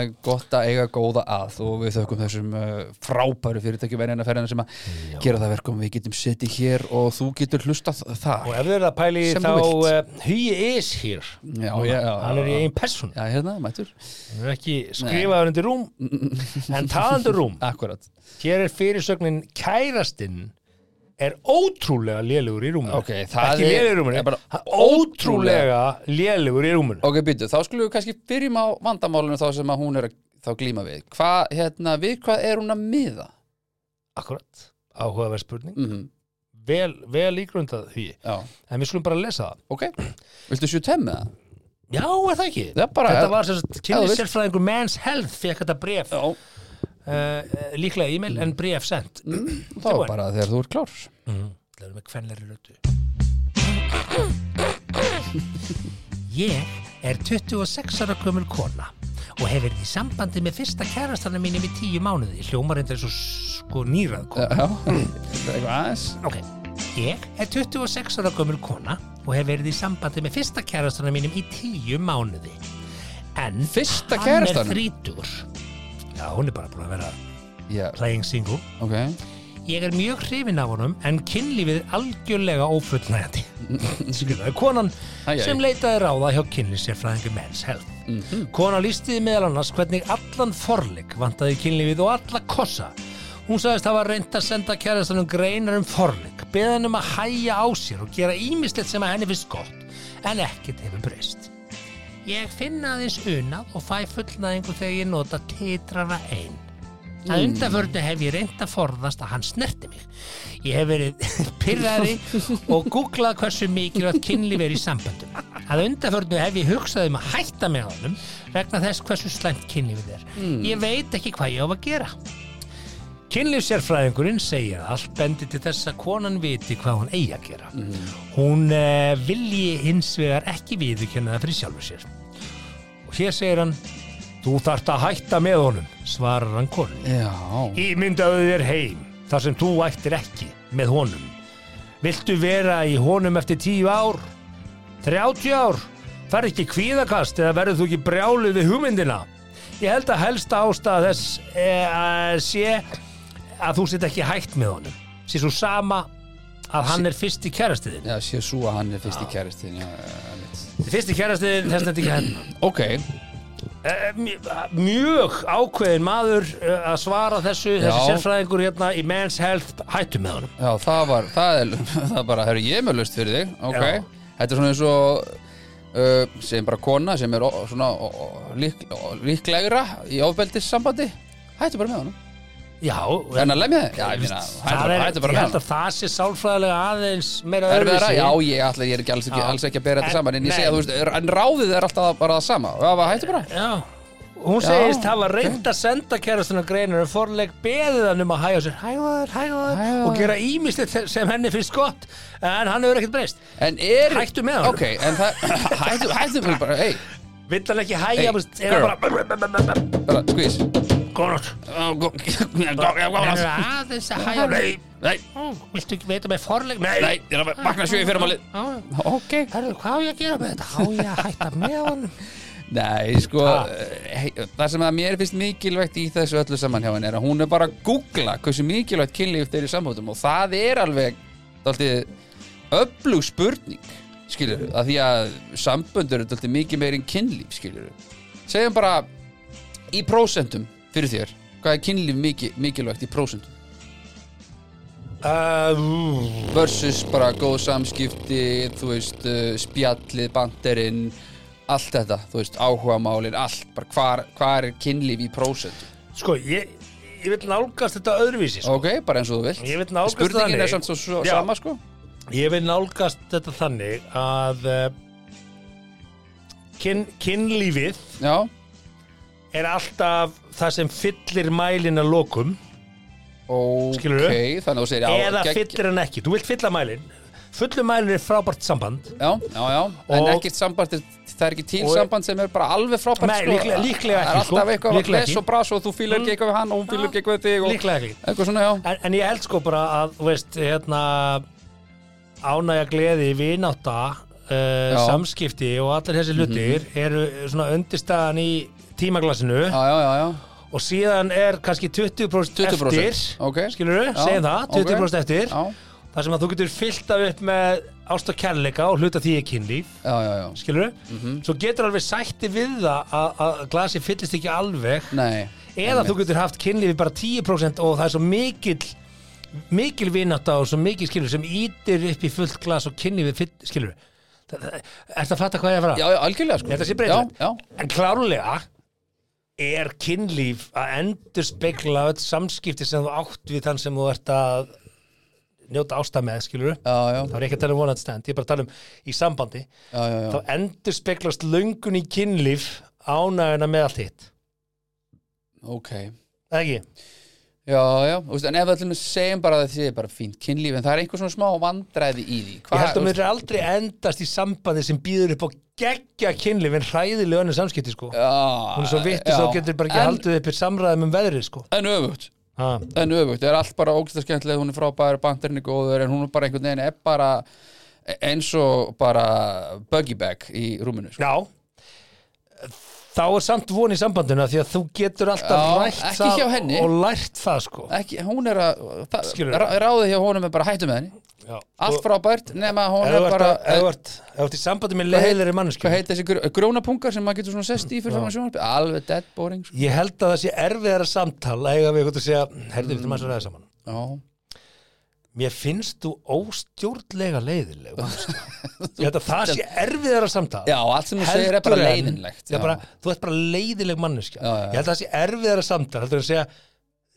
S2: uh, gott að eiga góða að og við þökkum þessum uh, frábæru fyrirtækjum en eina ferðina sem að gera það verkum við getum setið hér og þú getur hlustað þar
S3: Og ef þið eru að pæli í
S2: Sem
S3: þá
S2: þú
S3: uh,
S2: vilt.
S3: He is here.
S2: Já, já, já.
S3: Hann er í einn person.
S2: Já, hérna, mætur
S3: Hann er ekki skrifaður undir rúm, en talandur rúm.
S2: Akkurat
S3: Hér er fyrirsögnin kærastinn er ótrúlega lélugur í rúmunu.
S2: Ok, það
S3: ekki lélugur
S2: er-
S3: í
S2: er
S3: rúmunu,
S2: bara
S3: hann er ótrúlega lélugur í rúmunu.
S2: Ok, býtu, þá skulum við kannski byrjum á vandamálinu þá sem að hún er að þá glíma við Hvað, hérna, við hvað er hún að miða?
S3: Akkurat, áhugaverð spurning.
S2: Mm
S3: Vel, vel ígrundað því,
S2: Já,
S3: en við skulum bara lesa það.
S2: ok Viltu sjúta með það?
S3: Já, er það ekki?
S2: Já, bara
S3: þetta var sem sagt,
S2: Já, þú
S3: kynni
S2: veist.
S3: sérfræðingur Men's Health fekk þetta bref,
S2: Já,
S3: uh, líklega e-mail en bref sendt.
S2: þá bara þegar þú ert klár
S3: Sko. Það eru með kvenleiri rötu. Ég er 26 ára gömul kona og hef verið í sambandi með fyrsta kærastana mínum í tíu mánuði. Hljómar reyndar eins og sko nýrað kona.
S2: Já, eitthvað aðeins
S3: Ok. Ég er 26 ára gömul kona og hef verið í sambandi með fyrsta kærastana mínum í tíu mánuði. En
S2: Fyrsta
S3: Hann
S2: kærastanum?
S3: er þrítur. Já, hún er bara búin að vera
S2: Já,
S3: playing single.
S2: ok
S3: Ég er mjög hrifin af honum en kynlífið er algjörlega ófullnægandi. Skrifaði konan
S2: Æ, æ, æ.
S3: sem leitaði ráða hjá kynlífsérfræðingu Men's Health.
S2: Mhm.
S3: Konan lístiði meðal annars hvernig allan forleik vantaði í kynlífið og alla kossa. Hún sagðist hafa reynt að senda kærastanum greinar um forleik, beða hann um að hæja á sér og gera ímislegt sem að henni finnst gott, en ekkert hefur breyst. Ég finna aðeins unað og fæ fullnæðingu þegar ég nota titrara einn. Að undanförnu hef ég reynd að forðast að hann snerti mig. Ég hef verið pyrrari og googlað hversu mikilvægt kynlíf er í samböndum. Að undanförnu hef ég hugsað um að hætta með honum vegna þess hversu slæmt kynlífið er. Ég veit ekki hvað ég á að gera. Kynlífsérfræðingurinn segir að allt bendi til þess að konan viti hvað hún eigi að gera. Hún uh, vilji hins vegar ekki viðurkenna það fyrir sjálfur sér. Og hér segir hann, þú þarft að hætta með honum, svarar hann konunni.
S2: Já,
S3: Ímyndaðu þér heim, þar sem þú ættir ekki með honum. Viltu vera í honum eftir 10 ár? 30 ár? Færð ekki kvíðakast eða verður þú ekki brjáluð við hugmyndina? Ég held að helsta ástæða þess e, að sé að þú sitt ekki hægt með honum. Sé svo sama að hann er fyrst í kærastiðin.
S2: já, sé svo að hann er fyrst í kæristin já, já, já, mitt.
S3: Fyrst í kærastiðin, þess að þetta ekki hægt.
S2: Ok,
S3: Eh, mj- mjög ákveðin maður eh, að svara þessu, þessi
S2: Já.
S3: sérfræðingur hérna í Men's Health hættu með honum.
S2: já, það var það er, það er bara, það er ég er með lust fyrir þig Ok,
S3: Já.
S2: þetta er svona eins og uh, sem bara kona sem er ó- svona ó- ó- lík, ó- líklegra í ofbeldis sambandi Hættu bara með honum
S3: Já,
S2: En að lemja þig? Já, ég meina, hættu
S3: það
S2: bara,
S3: er,
S2: hættu bara
S3: ég
S2: með
S3: held
S2: honum
S3: að það sé sálfræðilega aðeins meira
S2: Erfiðara?
S3: öðruvísi.
S2: Já, ég, ætla, ég er ekki alls, ekki,
S3: Já.
S2: alls ekki að bera þetta
S3: En-
S2: saman en ég segja,
S3: nei.
S2: þú veist, er- en ráðið er alltaf bara það sama Já, bara hættu bara
S3: Já, hún
S2: Já.
S3: segist hafa reynd að senda kærastuna greinar og forleik beðið hann um að hæga sér hægar, hægar
S2: Hægar.
S3: og gera ímislið sem henni finnst gott en hann hefur ekkert breyst.
S2: En er
S3: Hættu með honum.
S2: Ok, en það Hættu, hættu með bara Ei,
S3: Vill hann ekki
S2: Hey,
S3: hæga, hey, er
S2: girl.
S3: hann bara
S2: bara, skvís
S3: góðnátt. Hann er aðeins að hæga.
S2: Nei, nei,
S3: Ó, viltu ekki veita með forleik?
S2: nei Ég er að bakna sjö í fyrramáli
S3: Já, já.
S2: Ok
S3: Herðu, hvað á ég að gera með þetta? Á ég að hætta með honum?
S2: Nei, sko
S3: Ha?
S2: hei, Það sem að mér finnst mikilvægt í þessu öllu saman hjá henni er að hún er bara að googla hversu mikilvægt kynlíf þeir í samhóttum og það er alveg dálítið öflug spurning skilur, að því að samböndur er dálítið mikið meir en kynlíf skilur segjum bara í prósentum fyrir þér hvað er kynlíf mikið, mikilvægt í prósentum
S3: Uh,
S2: versus bara góð samskipti þú veist, uh, spjallið, banderinn allt þetta, þú veist, áhugamálin allt, bara hvar, hvar er kynlíf í prósent
S3: Sko, ég, ég vil nálgast þetta öðruvísi sko.
S2: ok, bara eins og þú vilt
S3: Ég vil nálgast
S2: spurningin
S3: þannig.
S2: er samt svo, svo
S3: Já.
S2: sama sko
S3: Ég vil nálgast þetta þannig eh, að uh, kyn, kynlífið
S2: já,
S3: er alltaf það sem fyllir mælin að lokum
S2: Ok,
S3: Skilurðu?
S2: þannig að þú segir já,
S3: eða
S2: gegg-
S3: fyllir hann ekki, þú vilt fylla mælin fullur mælin er frábært samband
S2: Já, já, já, en
S3: Og-
S2: ekkert samband er, það er ekki til
S3: Og-
S2: samband sem er bara alveg frábært
S3: Nei, líklega- líklega
S2: Það er
S3: ekki, sko.
S2: alltaf eitthvað
S3: Líklega
S2: bless
S3: ekki. Mm.
S2: og bras og þú fýlar ekki eitthvað við hann og hún fýlar ekki eitthvað við þig og
S3: líklega ekki
S2: eitthvað svona, já
S3: en, en ég held sko bara að, þú veist, hérna ánægja gleði, vináta uh,
S2: Já. Mhm.
S3: samskipti og allir þessi hlutir eru svona undirstaðan í tímaglasinu
S2: Já, já, já, já,
S3: og síðan er kannski 20%,
S2: 20%,
S3: eftir
S2: ok.
S3: skilur við,
S2: Já,
S3: segjum það, 20% eftir
S2: já,
S3: þar sem að þú getur fyllt af upp með ást og kærleika og hluta því í kynlíf
S2: já, já, já
S3: skilur við, svo getur alveg sætti við það að, að glasi fyllist ekki alveg
S2: Nei,
S3: eða þú getur haft kynlífi bara 10% og það er svo mikill mikil vinátt og svo mikil skilur sem ítir upp í fullt glas og kynlífi fyll- skilur Það- það- ertu að fatta hvað ég er að fara?
S2: já, já, algjörlega sko
S3: Ég held að sé
S2: Já,
S3: breytilegt.
S2: já,
S3: En klárlega er kynlíf að endur spekla öll samskipti sem þú átt við þann sem þú ert að njóta ásta með, skilur
S2: já, já,
S3: Það er ekki að tala um vonandi stend, ég er bara að tala um í sambandi.
S2: já, já, já.
S3: Þá endur speklast löngun í kynlíf ánæguna með allt hitt.
S2: ok
S3: Eða ekki?
S2: Já, já, þú veist, en ef allir segjum bara að þið er bara fínt kynlíf en það er einhver svona smá vandræði í því Hva,
S3: Ég held að mér er aldrei endast í sambandi sem býður upp á geggja kynlíf en hræðilega önnur samskipti, sko.
S2: Já,
S3: Hún er svo vittu svo
S2: já.
S3: getur bara ekki
S2: En-
S3: haldið upp í samræðum um veðrið, sko.
S2: En öfugt
S3: Ha.
S2: en öfugt, það er allt bara ógæslega skemmtileg hún er frábær, bandurinn er góður en hún er bara einhvern veginn er bara eins og bara buggy bag í rúminu sko.
S3: Já Þá er samt von í sambandinu af því að þú getur alltaf
S2: Já,
S3: rætt
S2: ekki
S3: það
S2: hjá henni.
S3: og lært það sko
S2: ekki, hún er að það,
S3: Skilurðu?
S2: rá- ráðið hjá honum er bara hættu með henni
S3: Já.
S2: allt frábært, nema hún
S3: Ef
S2: er
S3: þú ert
S2: bara
S3: að- ef þú ert- ef þú ert í sambandi með
S2: Hvað heit-
S3: leiðilegri manneskju
S2: hvað heit þessi gr grónapungar sem maður getur svona sest í fyrir fyrir sjónvarpi alveg dead boring sko.
S3: Ég held að það sé erfiðara samtal að eiga við eitthvað að segja, herðu við til maður að ræða saman
S2: já,
S3: Mér finnst þú óstjórnlega leiðileg manneskja. Ég held að það sé erfiðara samtal
S2: já, allt sem hún segir er bara leiðinlegt
S3: já. Bara, Þú ert bara leiðileg manneskja
S2: Já, já.
S3: Ég held að það sé erfiðara samtal heldur en að segja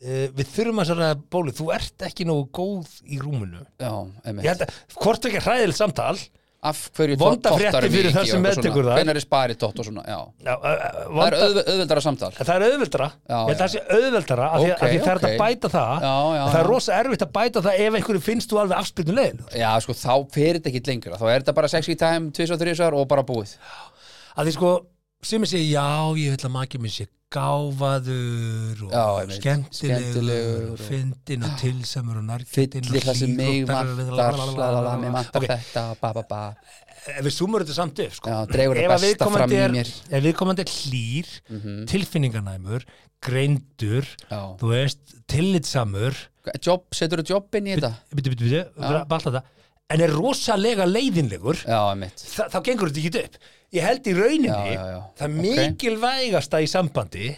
S3: Uh, við þurfum að svona bóli, þú ert ekki nógu góð í rúmunu
S2: já,
S3: Ég
S2: einmitt
S3: held að, hvort ekki hræðilegt samtal
S2: af hverju
S3: Vonda
S2: tottar
S3: fréttir
S2: mikið
S3: fyrir þann
S2: og
S3: sem
S2: eitthvað
S3: meðtekur
S2: svona.
S3: það.
S2: hvenær er sparið tótt og svona, já
S3: já, eh, ö, ö,
S2: það er
S3: vonda,
S2: auð- auðveldara samtal
S3: það er auðveldara Ég
S2: Já,
S3: held að það sé auðveldara af því að
S2: Ok,
S3: okay, það er
S2: ok.
S3: að bæta það
S2: Já, já,
S3: en það er
S2: já.
S3: rosa erfitt að bæta það ef einhverju finnst þú alveg afspyrnu leiðilegur
S2: Já, sko, þá fyrir þetta ekki lengra Þá er þetta bara sexy time, tvis og þrísar og bara búið
S3: að því sko, sem ég segi já, ég vil að maki mér sé gáfaður og
S2: Já, einmitt.
S3: skemmtilegur,
S2: Skemmtilegur og-
S3: og fyndin og tilsamur og narkitinn
S2: Fyllir það sem mig vantar Lalala, mig vantar þetta ba, ba, ba.
S3: ef við súmur þetta samt upp sko.
S2: Já, dregur það
S3: Ef að
S2: besta
S3: viðkomandi
S2: fram í
S3: er-
S2: mér. Mhm.
S3: ef viðkomandi er hlýr tilfinninganæmur, greindur
S2: Já.
S3: þú veist, tillitsamur
S2: Job, setur þú jobbinn í þetta?
S3: bitu, bitu, bitu, bara þetta en er rosalega leiðinlegur
S2: Já, mitt
S3: þa þá gengur þetta ekki upp ég held í rauninni
S2: Já, já, já.
S3: það
S2: Ok.
S3: mikilvægasta í sambandi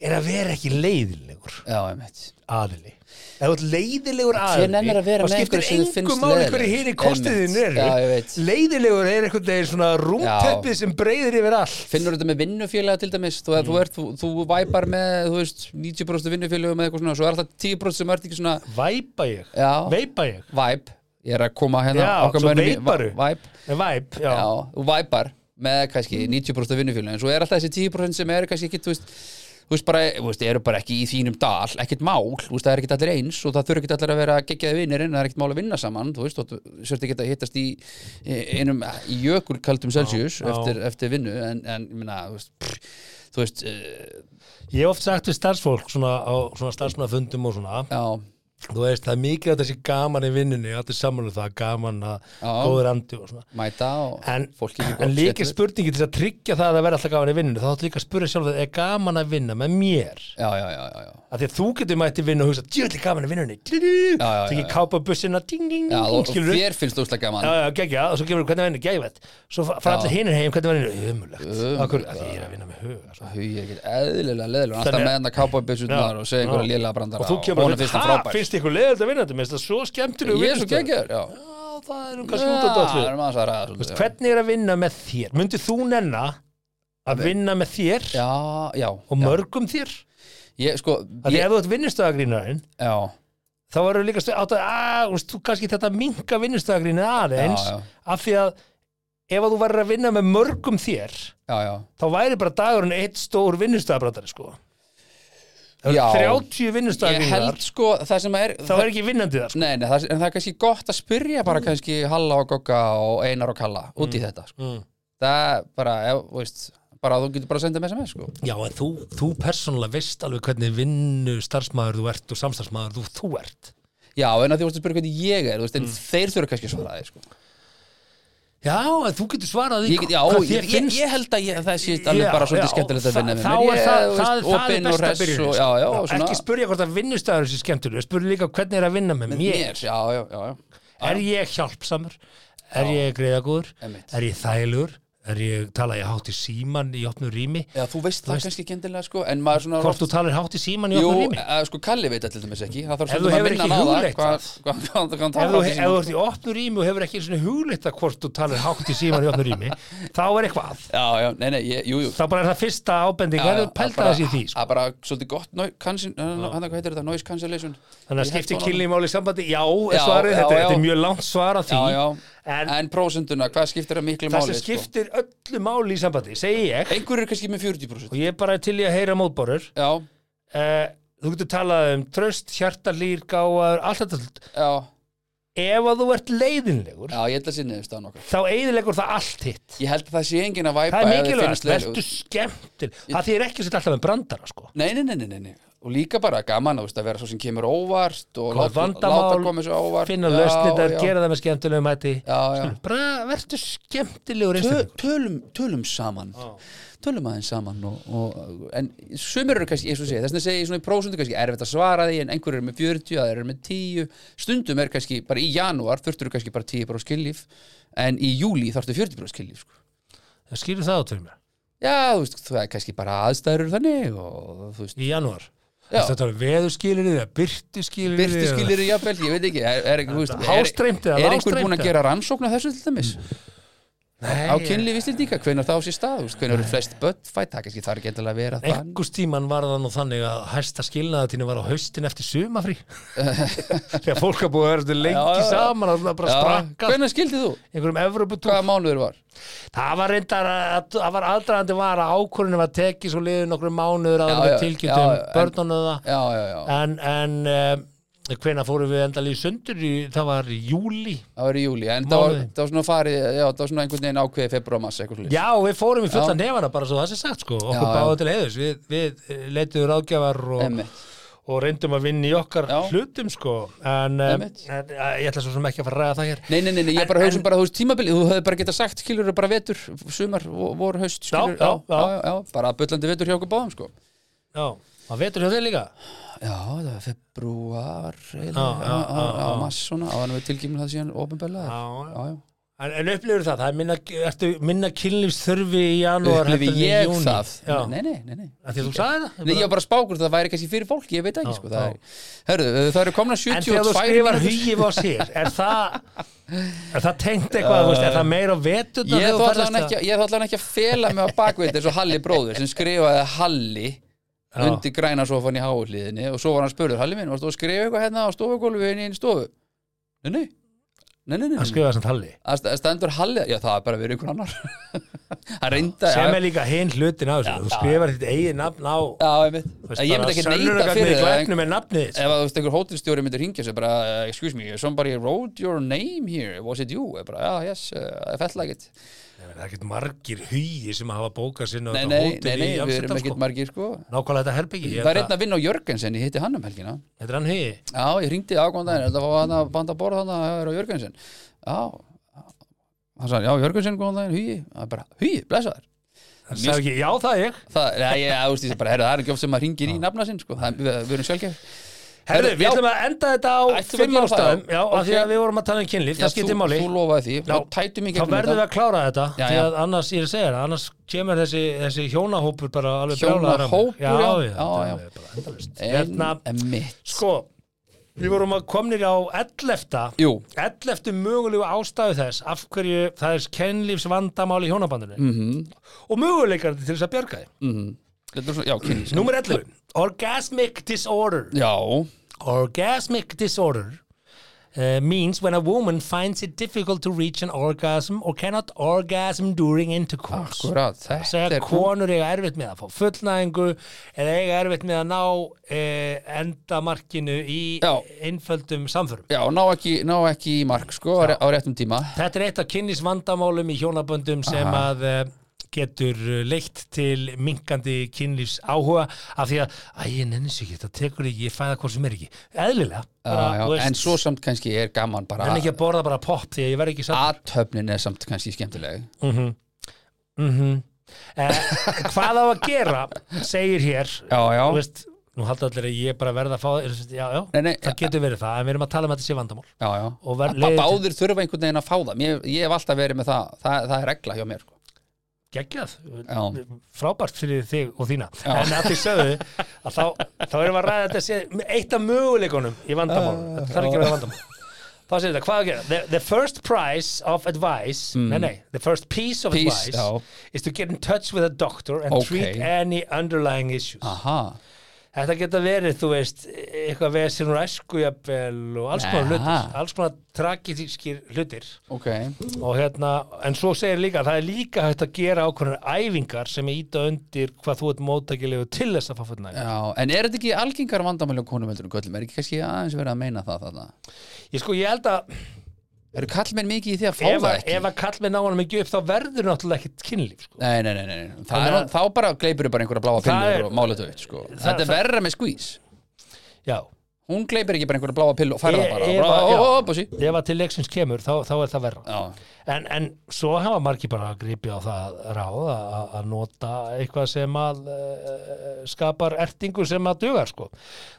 S3: er að vera ekki leiðinlegur
S2: Já, mitt
S3: aðili ef þú ert leiðilegur
S2: Hver
S3: aðili
S2: nennir að vera
S3: þá
S2: með
S3: skiptir
S2: einhverju sem þér
S3: engum
S2: finnst
S3: máli
S2: leiðilegur.
S3: hverju hinn í kostiðin
S2: Einmitt.
S3: eru
S2: Já, ég veit.
S3: leiðilegur er einhvern veginn svona rúmteppið sem breyðir yfir allt
S2: Finnur þetta með vinnufélaga til dæmis Þú, þú, ert, þú, þú væpar með, þú veist, 90% vinnufélaga með eitthvað svona Svo er alltaf 10% sem ert ekki svona
S3: væpa ég,
S2: Já.
S3: veipa ég
S2: væp Ég er að koma hérna
S3: Já,
S2: okkar
S3: svo
S2: mönnum í-
S3: veiparu.
S2: Væp
S3: Nei, væp, já,
S2: já, þú væpar með kannski 90% vinnufélagin, en svo er alltaf þessi 10% sem eru kannski ekki, þú veist, þú veist bara, þú veist, eru bara ekki í þínum dal, ekkert mál, þú veist, það er ekkert allir eins og það þurfi ekkert allir að vera geggjaði vinnir en það er ekkert mál að vinna saman, þú veist, og þú sért ekki að hittast í í einum jökulkaldum Celsius
S3: já.
S2: eftir, eftir vinnu, en, en, ég minna, þú veist, pff, þú veist, eh,
S3: ég hef oft sagt við starfsfólk svona, á svona starfsmannafundum og svona
S2: já,
S3: þú veist, það er mikið að þessi gaman í vinnunni allir samanlega það, gaman að
S2: Já.
S3: góður andi og svona
S2: mæta og
S3: en,
S2: fólki
S3: en líka spurningi til að tryggja það að vera alltaf gaman í vinnunni þá áttu líka að spura sjálf það, er gaman að vinna með mér
S2: Já, já, já, já, já.
S3: af því að þú getur mætti vinna og hugsa djúvillig gaman í vinnunni þú
S2: já, já,
S3: ekki
S2: já.
S3: kápa bussina ding, ding,
S2: Já,
S3: ding,
S2: og
S3: skilur
S2: þér finnst úslega gaman
S3: Já, já, geggja, og svo kemur hvernig að vinna, geggvætt Svo fa- fara allir hinir heim, hvernig að vinna, ömulegt Af hverju, að ég er að vinna með huga sko. svo.
S2: Hauði er ekkert eðlilega leðilega Hann alltaf
S3: Þannig-
S2: með hann að kápa bjössunar
S3: Já,
S2: og segja einhverja
S3: já.
S2: lélega brandara
S3: Og þú kemur
S2: honum
S3: að
S2: finnst
S3: vinna,
S2: hann
S3: ha,
S2: frábær
S3: finnst ykkur leiðilegt að vinna þetta, minnst það svo skemmtilegu
S2: Ég er svo geggjör, já
S3: Já, það er um kannski út að
S2: Já,
S3: dotlu
S2: erum aðeins að ræða svolítið, já.
S3: Hvernig er að vinna með þér? Myndi þú nenna að vinna með þér
S2: Já, já
S3: og mörgum þér?
S2: Ég, sko,
S3: Af því
S2: ég,
S3: ef þú ert vinnustöðagrínarinn
S2: já
S3: þá verður líka stu- átt að, að þú veist, þú kannski þetta minka vinnustöðagrínið aðeins
S2: Já, já.
S3: af því að ef að þú verður að vinna með mörgum þér
S2: já, já,
S3: þá væri bara dagurinn eitt stór vinnustæðabrandari sko Það
S2: Já.
S3: eru 30
S2: ég
S3: vinnustæðabrandar
S2: held sko það sem er
S3: þá er ekki vinnandi það sko.
S2: Nei, nei, það, en það er kannski gott að spyrja bara kannski Halla og Gogga og Einar og Kalla út í þetta, sko.
S3: Mm.
S2: Það er bara, ef, þú veist, bara þú getur bara að senda með SMS, sko.
S3: Já, en þú, þú persónulega veist alveg hvernig vinnu starfsmæður þú ert og samstarfsmæður þú, þú ert
S2: Já, en að því vorstu að spyrja hvernig ég er, þú
S3: Mm.
S2: veist, en þeir þurfa kannski að svara þig, sko.
S3: Já, en þú getur svarað því
S2: Ég, get- já,
S3: hvað
S2: ég,
S3: þér
S2: ég,
S3: finnst
S2: ég held að ég, það sé alveg
S3: Já,
S2: bara svolítið
S3: já,
S2: skemmtilegt að
S3: þa-
S2: vinna með
S3: þá
S2: mér.
S3: er
S2: Ég,
S3: það,
S2: þú
S3: það,
S2: veist,
S3: það er
S2: opinn og
S3: besta
S2: hress
S3: byrjun
S2: og-
S3: sko.
S2: Já, já,
S3: Já,
S2: og svona.
S3: ekki spurja hvort að vinnustæður sé skemmtilega spurja líka hvernig er að vinna með, mér
S2: Mér, já, já, já, já.
S3: er ég hjálpsamur, er ég greiðagúður
S2: Einmitt.
S3: er ég þælur er ég, tala ég hátt í síman í opnu rými
S2: Já, þú veist það kannski ekki endilega, sko, en maður svona...
S3: hvort þú talar hátt í síman í
S2: Jú,
S3: opnu rými
S2: að, sko, Kalli veit allir þess ekki, það
S3: Ef
S2: þarf
S3: þú
S2: svolítið að
S3: hefur
S2: minna
S3: ekki
S2: hann á það,
S3: hugleitt
S2: hvað- hvað- hvað- hvað hann
S3: ef þú
S2: talar á því
S3: ef
S2: sem-
S3: þú ert í opnu rými og hefur ekki einu hugleita hvort þú talar hátt í síman í opnu rými þá er eitthvað
S2: Já, já, nei, nei, ég, jú, jú
S3: þá bara er það fyrsta ábending
S2: Já,
S3: að
S2: já,
S3: þú pælta
S2: bara-
S3: þess í því sko.
S2: að bara svolítið gott no, kansin, no, hann, hvað heitir þetta, noise cancellation
S3: þannig að
S2: Í
S3: skipti
S2: headphone-unum.
S3: kynlíf máli í sambandi já,
S2: sko- Já,
S3: er svarið,
S2: já,
S3: þetta,
S2: já.
S3: þetta er mjög langt svar að því
S2: já, já, en, sko.
S3: en,
S2: prósenduna, hvað skiptir það miklu
S3: það
S2: máli
S3: sem skiptir öllu máli í sambandi segi ég,
S2: sko? einhver er kannski með 40%
S3: og ég er bara til í að heyra mótbárur
S2: já,
S3: uh, þú getur talað um tröst, hjartalýr, gáðar allt þetta,
S2: já,
S3: ef að þú ert leiðinlegur
S2: já, ég ætla að sinni það nokkar
S3: þá eiðilegur það allt hitt
S2: ég held að það sé engin að væpa
S3: það er
S2: ef þið
S3: mikilvægt,
S2: finnst leiðilegt.
S3: verður skemmtil það þýr ekki að setja alltaf með brandara sko.
S2: nei, nei, nei, nei, nei, nei og líka bara gaman þú veist, að vera svo sem kemur óvart og
S3: Hvað
S2: láta,
S3: vandamál,
S2: láta koma svo óvart
S3: finna
S2: Já,
S3: lausnir,
S2: já.
S3: gera það með skemmtilegum mæti
S2: já, já
S3: verður skemmtilegur
S2: Tö-
S3: einstaklingur.
S2: tölum, tölum saman tölum aðeins saman og, og, en sumir eru kannski, eins og segja, þess að segja ég svona í prósundu kannski erfitt að svara því en einhverjur eru með 40, aðeir eru með 10 stundum er kannski, bara í janúar þurftur kannski bara 10 bara skillíf en í júli þarftu 40 bara skillíf sko.
S3: skýrðu það át fyrir mér
S2: já, þú veist, það er kannski bara aðstæður eru þannig og þú veist,
S3: í janúar
S2: Já.
S3: þetta er veðurskilir eða byrtuskilir
S2: byrti skilur í jafnvel, ég veit ekki er, er, er, veist, er,
S3: hástreimt eða
S2: er einhver búin
S3: lágstreimt
S2: að
S3: eða-
S2: gera rannsókn á þessu til dæmis
S3: Mm. Nei,
S2: á kynlíf íslendinga, hvenar það á sér stað þú veist, hvenar eru flest börn fætt, það kannski þarf ekki endilega að vera þannig.
S3: einhvers tíman var það nú þannig að hæsta skilnaðatíni var á haustin eftir sumafrí þegar fólk að búið að vera þetta lengi
S2: Já, já.
S3: saman að það bara strakka
S2: Hvernig skildið þú?
S3: einhverjum Evroputúr
S2: Hvaða mánuður var?
S3: það var reyndar að það var aðdraðandi var að ákvörðinu var tekið svo liður nokkrum mánuður að
S2: Já,
S3: það
S2: já,
S3: var tilkjöndum
S2: já, já, en-
S3: börnunum það
S2: Já, já, já,
S3: en, en um, hvena fórum við endalí sundur í, það var í júli
S2: það var í júli En það var,
S3: Mánuði.
S2: það var svona farið, já, það var svona einhvern veginn ákveði februar massa eitthvað slið
S3: já við fórum í fulla
S2: Já.
S3: nefana bara svo það sé sagt sko okkur
S2: Já, já.
S3: báðu til heiðus við, við leituðu ráðgjafar og,
S2: Einmitt.
S3: og reyndum að vinna í okkar
S2: Já.
S3: hlutum sko en, um, en
S2: Einmitt.
S3: eh, ég ætla svo sem ekki að fara að ræða það hér
S2: Nei, nei, nei, nei, ég
S3: En-
S2: bara hausum
S3: en-
S2: bara, þú veist, tímabilið Þú hefði bara getað sagt, skilur bara vetur, sumar, vo- voru, haust
S3: já,
S2: skilur,
S3: já.
S2: já, já, bara bullandi vetur hjá okkur báðum, sko
S3: já, það vetur hjá þeir líka
S2: Já, það var februar
S3: Já,
S2: eiginlega,
S3: já,
S2: á- á-
S3: já,
S2: á
S3: já.
S2: massa svona, á hann við tilgjumlega það síðan opinbella
S3: já,
S2: Já, já
S3: En, en upplifur það, það er minna, ertu minna kynlífsþörfi í janúar
S2: Upplifi
S3: heldur en í
S2: ég
S3: júní?
S2: það?
S3: Já,
S2: Nei, nei, nei, nei
S3: að því að þú sagði það?
S2: Nei, ég var bara spákur að það væri kannski fyrir fólki, ég veit ekki
S3: Já,
S2: sko, það er, herðu, eh, það eru komna
S3: En þegar þú
S2: 72
S3: skrifar
S2: mínútur.
S3: hugið á sér, er það, er það tengt eitthvað, þú veist, er það meira á veturna?
S2: Ég
S3: þegar þú
S2: ætla
S3: ferðast
S2: allan ekki, að- ég ætla allan ekki að fela mig á bakveit eins og Halli bróður sem skrifaði Halli
S3: Já.
S2: undir græna sofann í háhulliðinni og svo var hann spurður, Halli minn, varstu að skrifa eitthvað hérna á stofugólfinu í einu stofu? Nei, nei, nei, nei, nei,
S3: Hann
S2: nei.
S3: skrifaði samt halli.
S2: Að st- að stendur Halli, já það er bara verið einhver annar Hann reynda
S3: Sem er líka hinn hlutin á þessu, þú skrifar þitt eigið nafn á,
S2: Já, ég veit,
S3: þú veist,
S2: ég myndi ekki neita
S3: sönnunargagnið
S2: fyrir
S3: í
S2: það en-
S3: glæpnum er nafnið. þitt.
S2: ef að þú veist einhver hótelstjóri myndir hingja sér bara, uh, excuse me, somebody wrote your name here, was it you? Ég Bara, ah, yes, uh, I felt like it
S3: Það er ekkert margir hugið sem hafa bókað sinna
S2: Nei,
S3: á
S2: nei,
S3: hótel
S2: nei, nei,
S3: í
S2: við erum
S3: Amsterdam,
S2: ekkert
S3: sko.
S2: margir sko
S3: Nákvæmlega þetta herbyggi,
S2: Það er einn að vinna á Jörgensen, ég hitti hann um helgina
S3: þetta er hann hugið.
S2: Já, ég ringdi ákvæmdæðin, þetta var hann að banda að borða þannig að það er á Jörgensen Já, hann sagði, já, Jörgensen góðan daginn, hugi Það er bara, hugi, blessa þær
S3: Það sagði ekki, já það er ég.
S2: Það, já, ég, þú veist, ég bara, herra, það er ekki oft sem maður ringir í nafna sinn, sko, það, við, við erum sjálfgef
S3: Herðu,
S2: Herðu,
S3: við
S2: já.
S3: ætlum að enda þetta á
S2: Ætlum við
S3: fimm
S2: að gera það,
S3: ástæðum Já,
S2: já?
S3: af því
S2: Ok.
S3: að við vorum að tala um kynlíf, það skiptir máli
S2: Þú lofaði því,
S3: Já.
S2: já, tætum í
S3: Þá
S2: gegnum
S3: verðum við að klára þetta
S2: Já,
S3: Því
S2: já.
S3: að annars, ég er að segja það, annars kemur þessi, þessi hjónahópur bara alveg brjálaður á mig.
S2: Hjónahópur,
S3: Já,
S2: já,
S3: já,
S2: já, já.
S3: þetta er bara endalaust
S2: En,
S3: Hérna,
S2: en mitt
S3: sko, við vorum að komnir á 11.
S2: Jú,
S3: 11. mögulegu ástæðu þess af hverju það er kynlífsvandamál í hjónabandinu
S2: mhm, mhm
S3: og möguleikarnir til þess að bjarga þeim
S2: Þetta er svona, já, kynlýs
S3: Númer 11, orgasmic disorder
S2: Já,
S3: Orgasmic disorder uh, means when a woman finds it difficult to reach an orgasm or cannot orgasm during intercourse.
S2: Akkurat, þetta
S3: segja
S2: er kom-
S3: konur eiga erfitt með að fá fullnæðingu eða eiga erfitt með að ná e, endamarkinu í
S2: Já.
S3: einföldum samförum.
S2: Já, ná ekki, ná ekki í mark sko, á ré- á réttum tíma
S3: Þetta er eitt af kynlífsvandamálum í hjónaböndum sem að e, getur eh, leitt til minkandi kynlífs áhuga af því að, æ, ég nenni sér ekki, það tekur ekki, ég fæða hvort sem er ekki. Eðlilega.
S2: já, já, En svo samt kannski er gaman bara
S3: En ekki að borða bara popp því að ég verð ekki
S2: Ah.
S3: satt.
S2: Athöfnin er samt kannski skemmtileg
S3: Eh, hvað á að gera, segir hér,
S2: Já, já
S3: þú veist, nú halda allir að ég bara verða að fá þú veist, já, já,
S2: Nei, nei,
S3: það getur verið það, en við erum að tala um að þetta sé vandamál
S2: já, já.
S3: Og ver-
S2: Að
S3: leiðir til-
S2: Báðir þurfa einhvern veginn að fá það Ég, ég hef alltaf verið með það Það, það er regla hjá mér sko.
S3: geggjað,
S2: Já,
S3: frábært fyrir þig og þína en að því sögðu að þá, þá erum við að ræða þetta sé, eitt af möguleikunum í vandamál þetta þarf ekki að vera vandamál þá segir þetta, hvað á að gera? The, the first price of advice nei, nei, the first piece of
S2: Mm. Piece,
S3: advice
S2: já.
S3: is to get in touch with a doctor and
S2: Ok. Ah.
S3: treat any underlying issues
S2: aha
S3: Þetta geta verið, þú veist, eitthvað vesinn úr æsku jafnvel og alls konar
S2: Jaha.
S3: hlutir, alls konar tragískir hlutir
S2: Ok,
S3: og hérna, en svo segir líka að það er líka hægt að gera ákveðnar æfingar sem íta undir hvað þú ert móttækilegu til þess að fá fullnæg.
S2: já, en er þetta ekki algengar vandamæli á konum heldur en göllum? Er ekki kannski aðeins verið að meina það þarna?
S3: Ég sko, ég held að
S2: Eru kallmenn mikið í því að fá
S3: ef,
S2: það
S3: að-
S2: ekki?
S3: ef að kall með náðanum ekki upp þá verður náttúrulega ekkit kynlíf, sko.
S2: Nei, nei, nei, nei, nei. Það
S3: Þannig
S2: er,
S3: að-
S2: þá bara gleipur bara einhverja bláa
S3: Það er-
S2: pillu og mála þetta upp, sko. Þetta er
S3: það-
S2: verra með skvís.
S3: Já.
S2: Hún gleipur ekki bara einhverja bláa pillu og færða
S3: Ég-
S2: bara.
S3: ég
S2: og bara,
S3: bara-
S2: ó,
S3: E- já.
S2: ó, ó, búsi.
S3: Ef að til leiksins kemur, þá, þá er það verra.
S2: Já,
S3: En, en svo hafa margir bara að gripja á það ráð að- að að nota eitthvað sem að uh, skapar ertingu sem að dugar sko.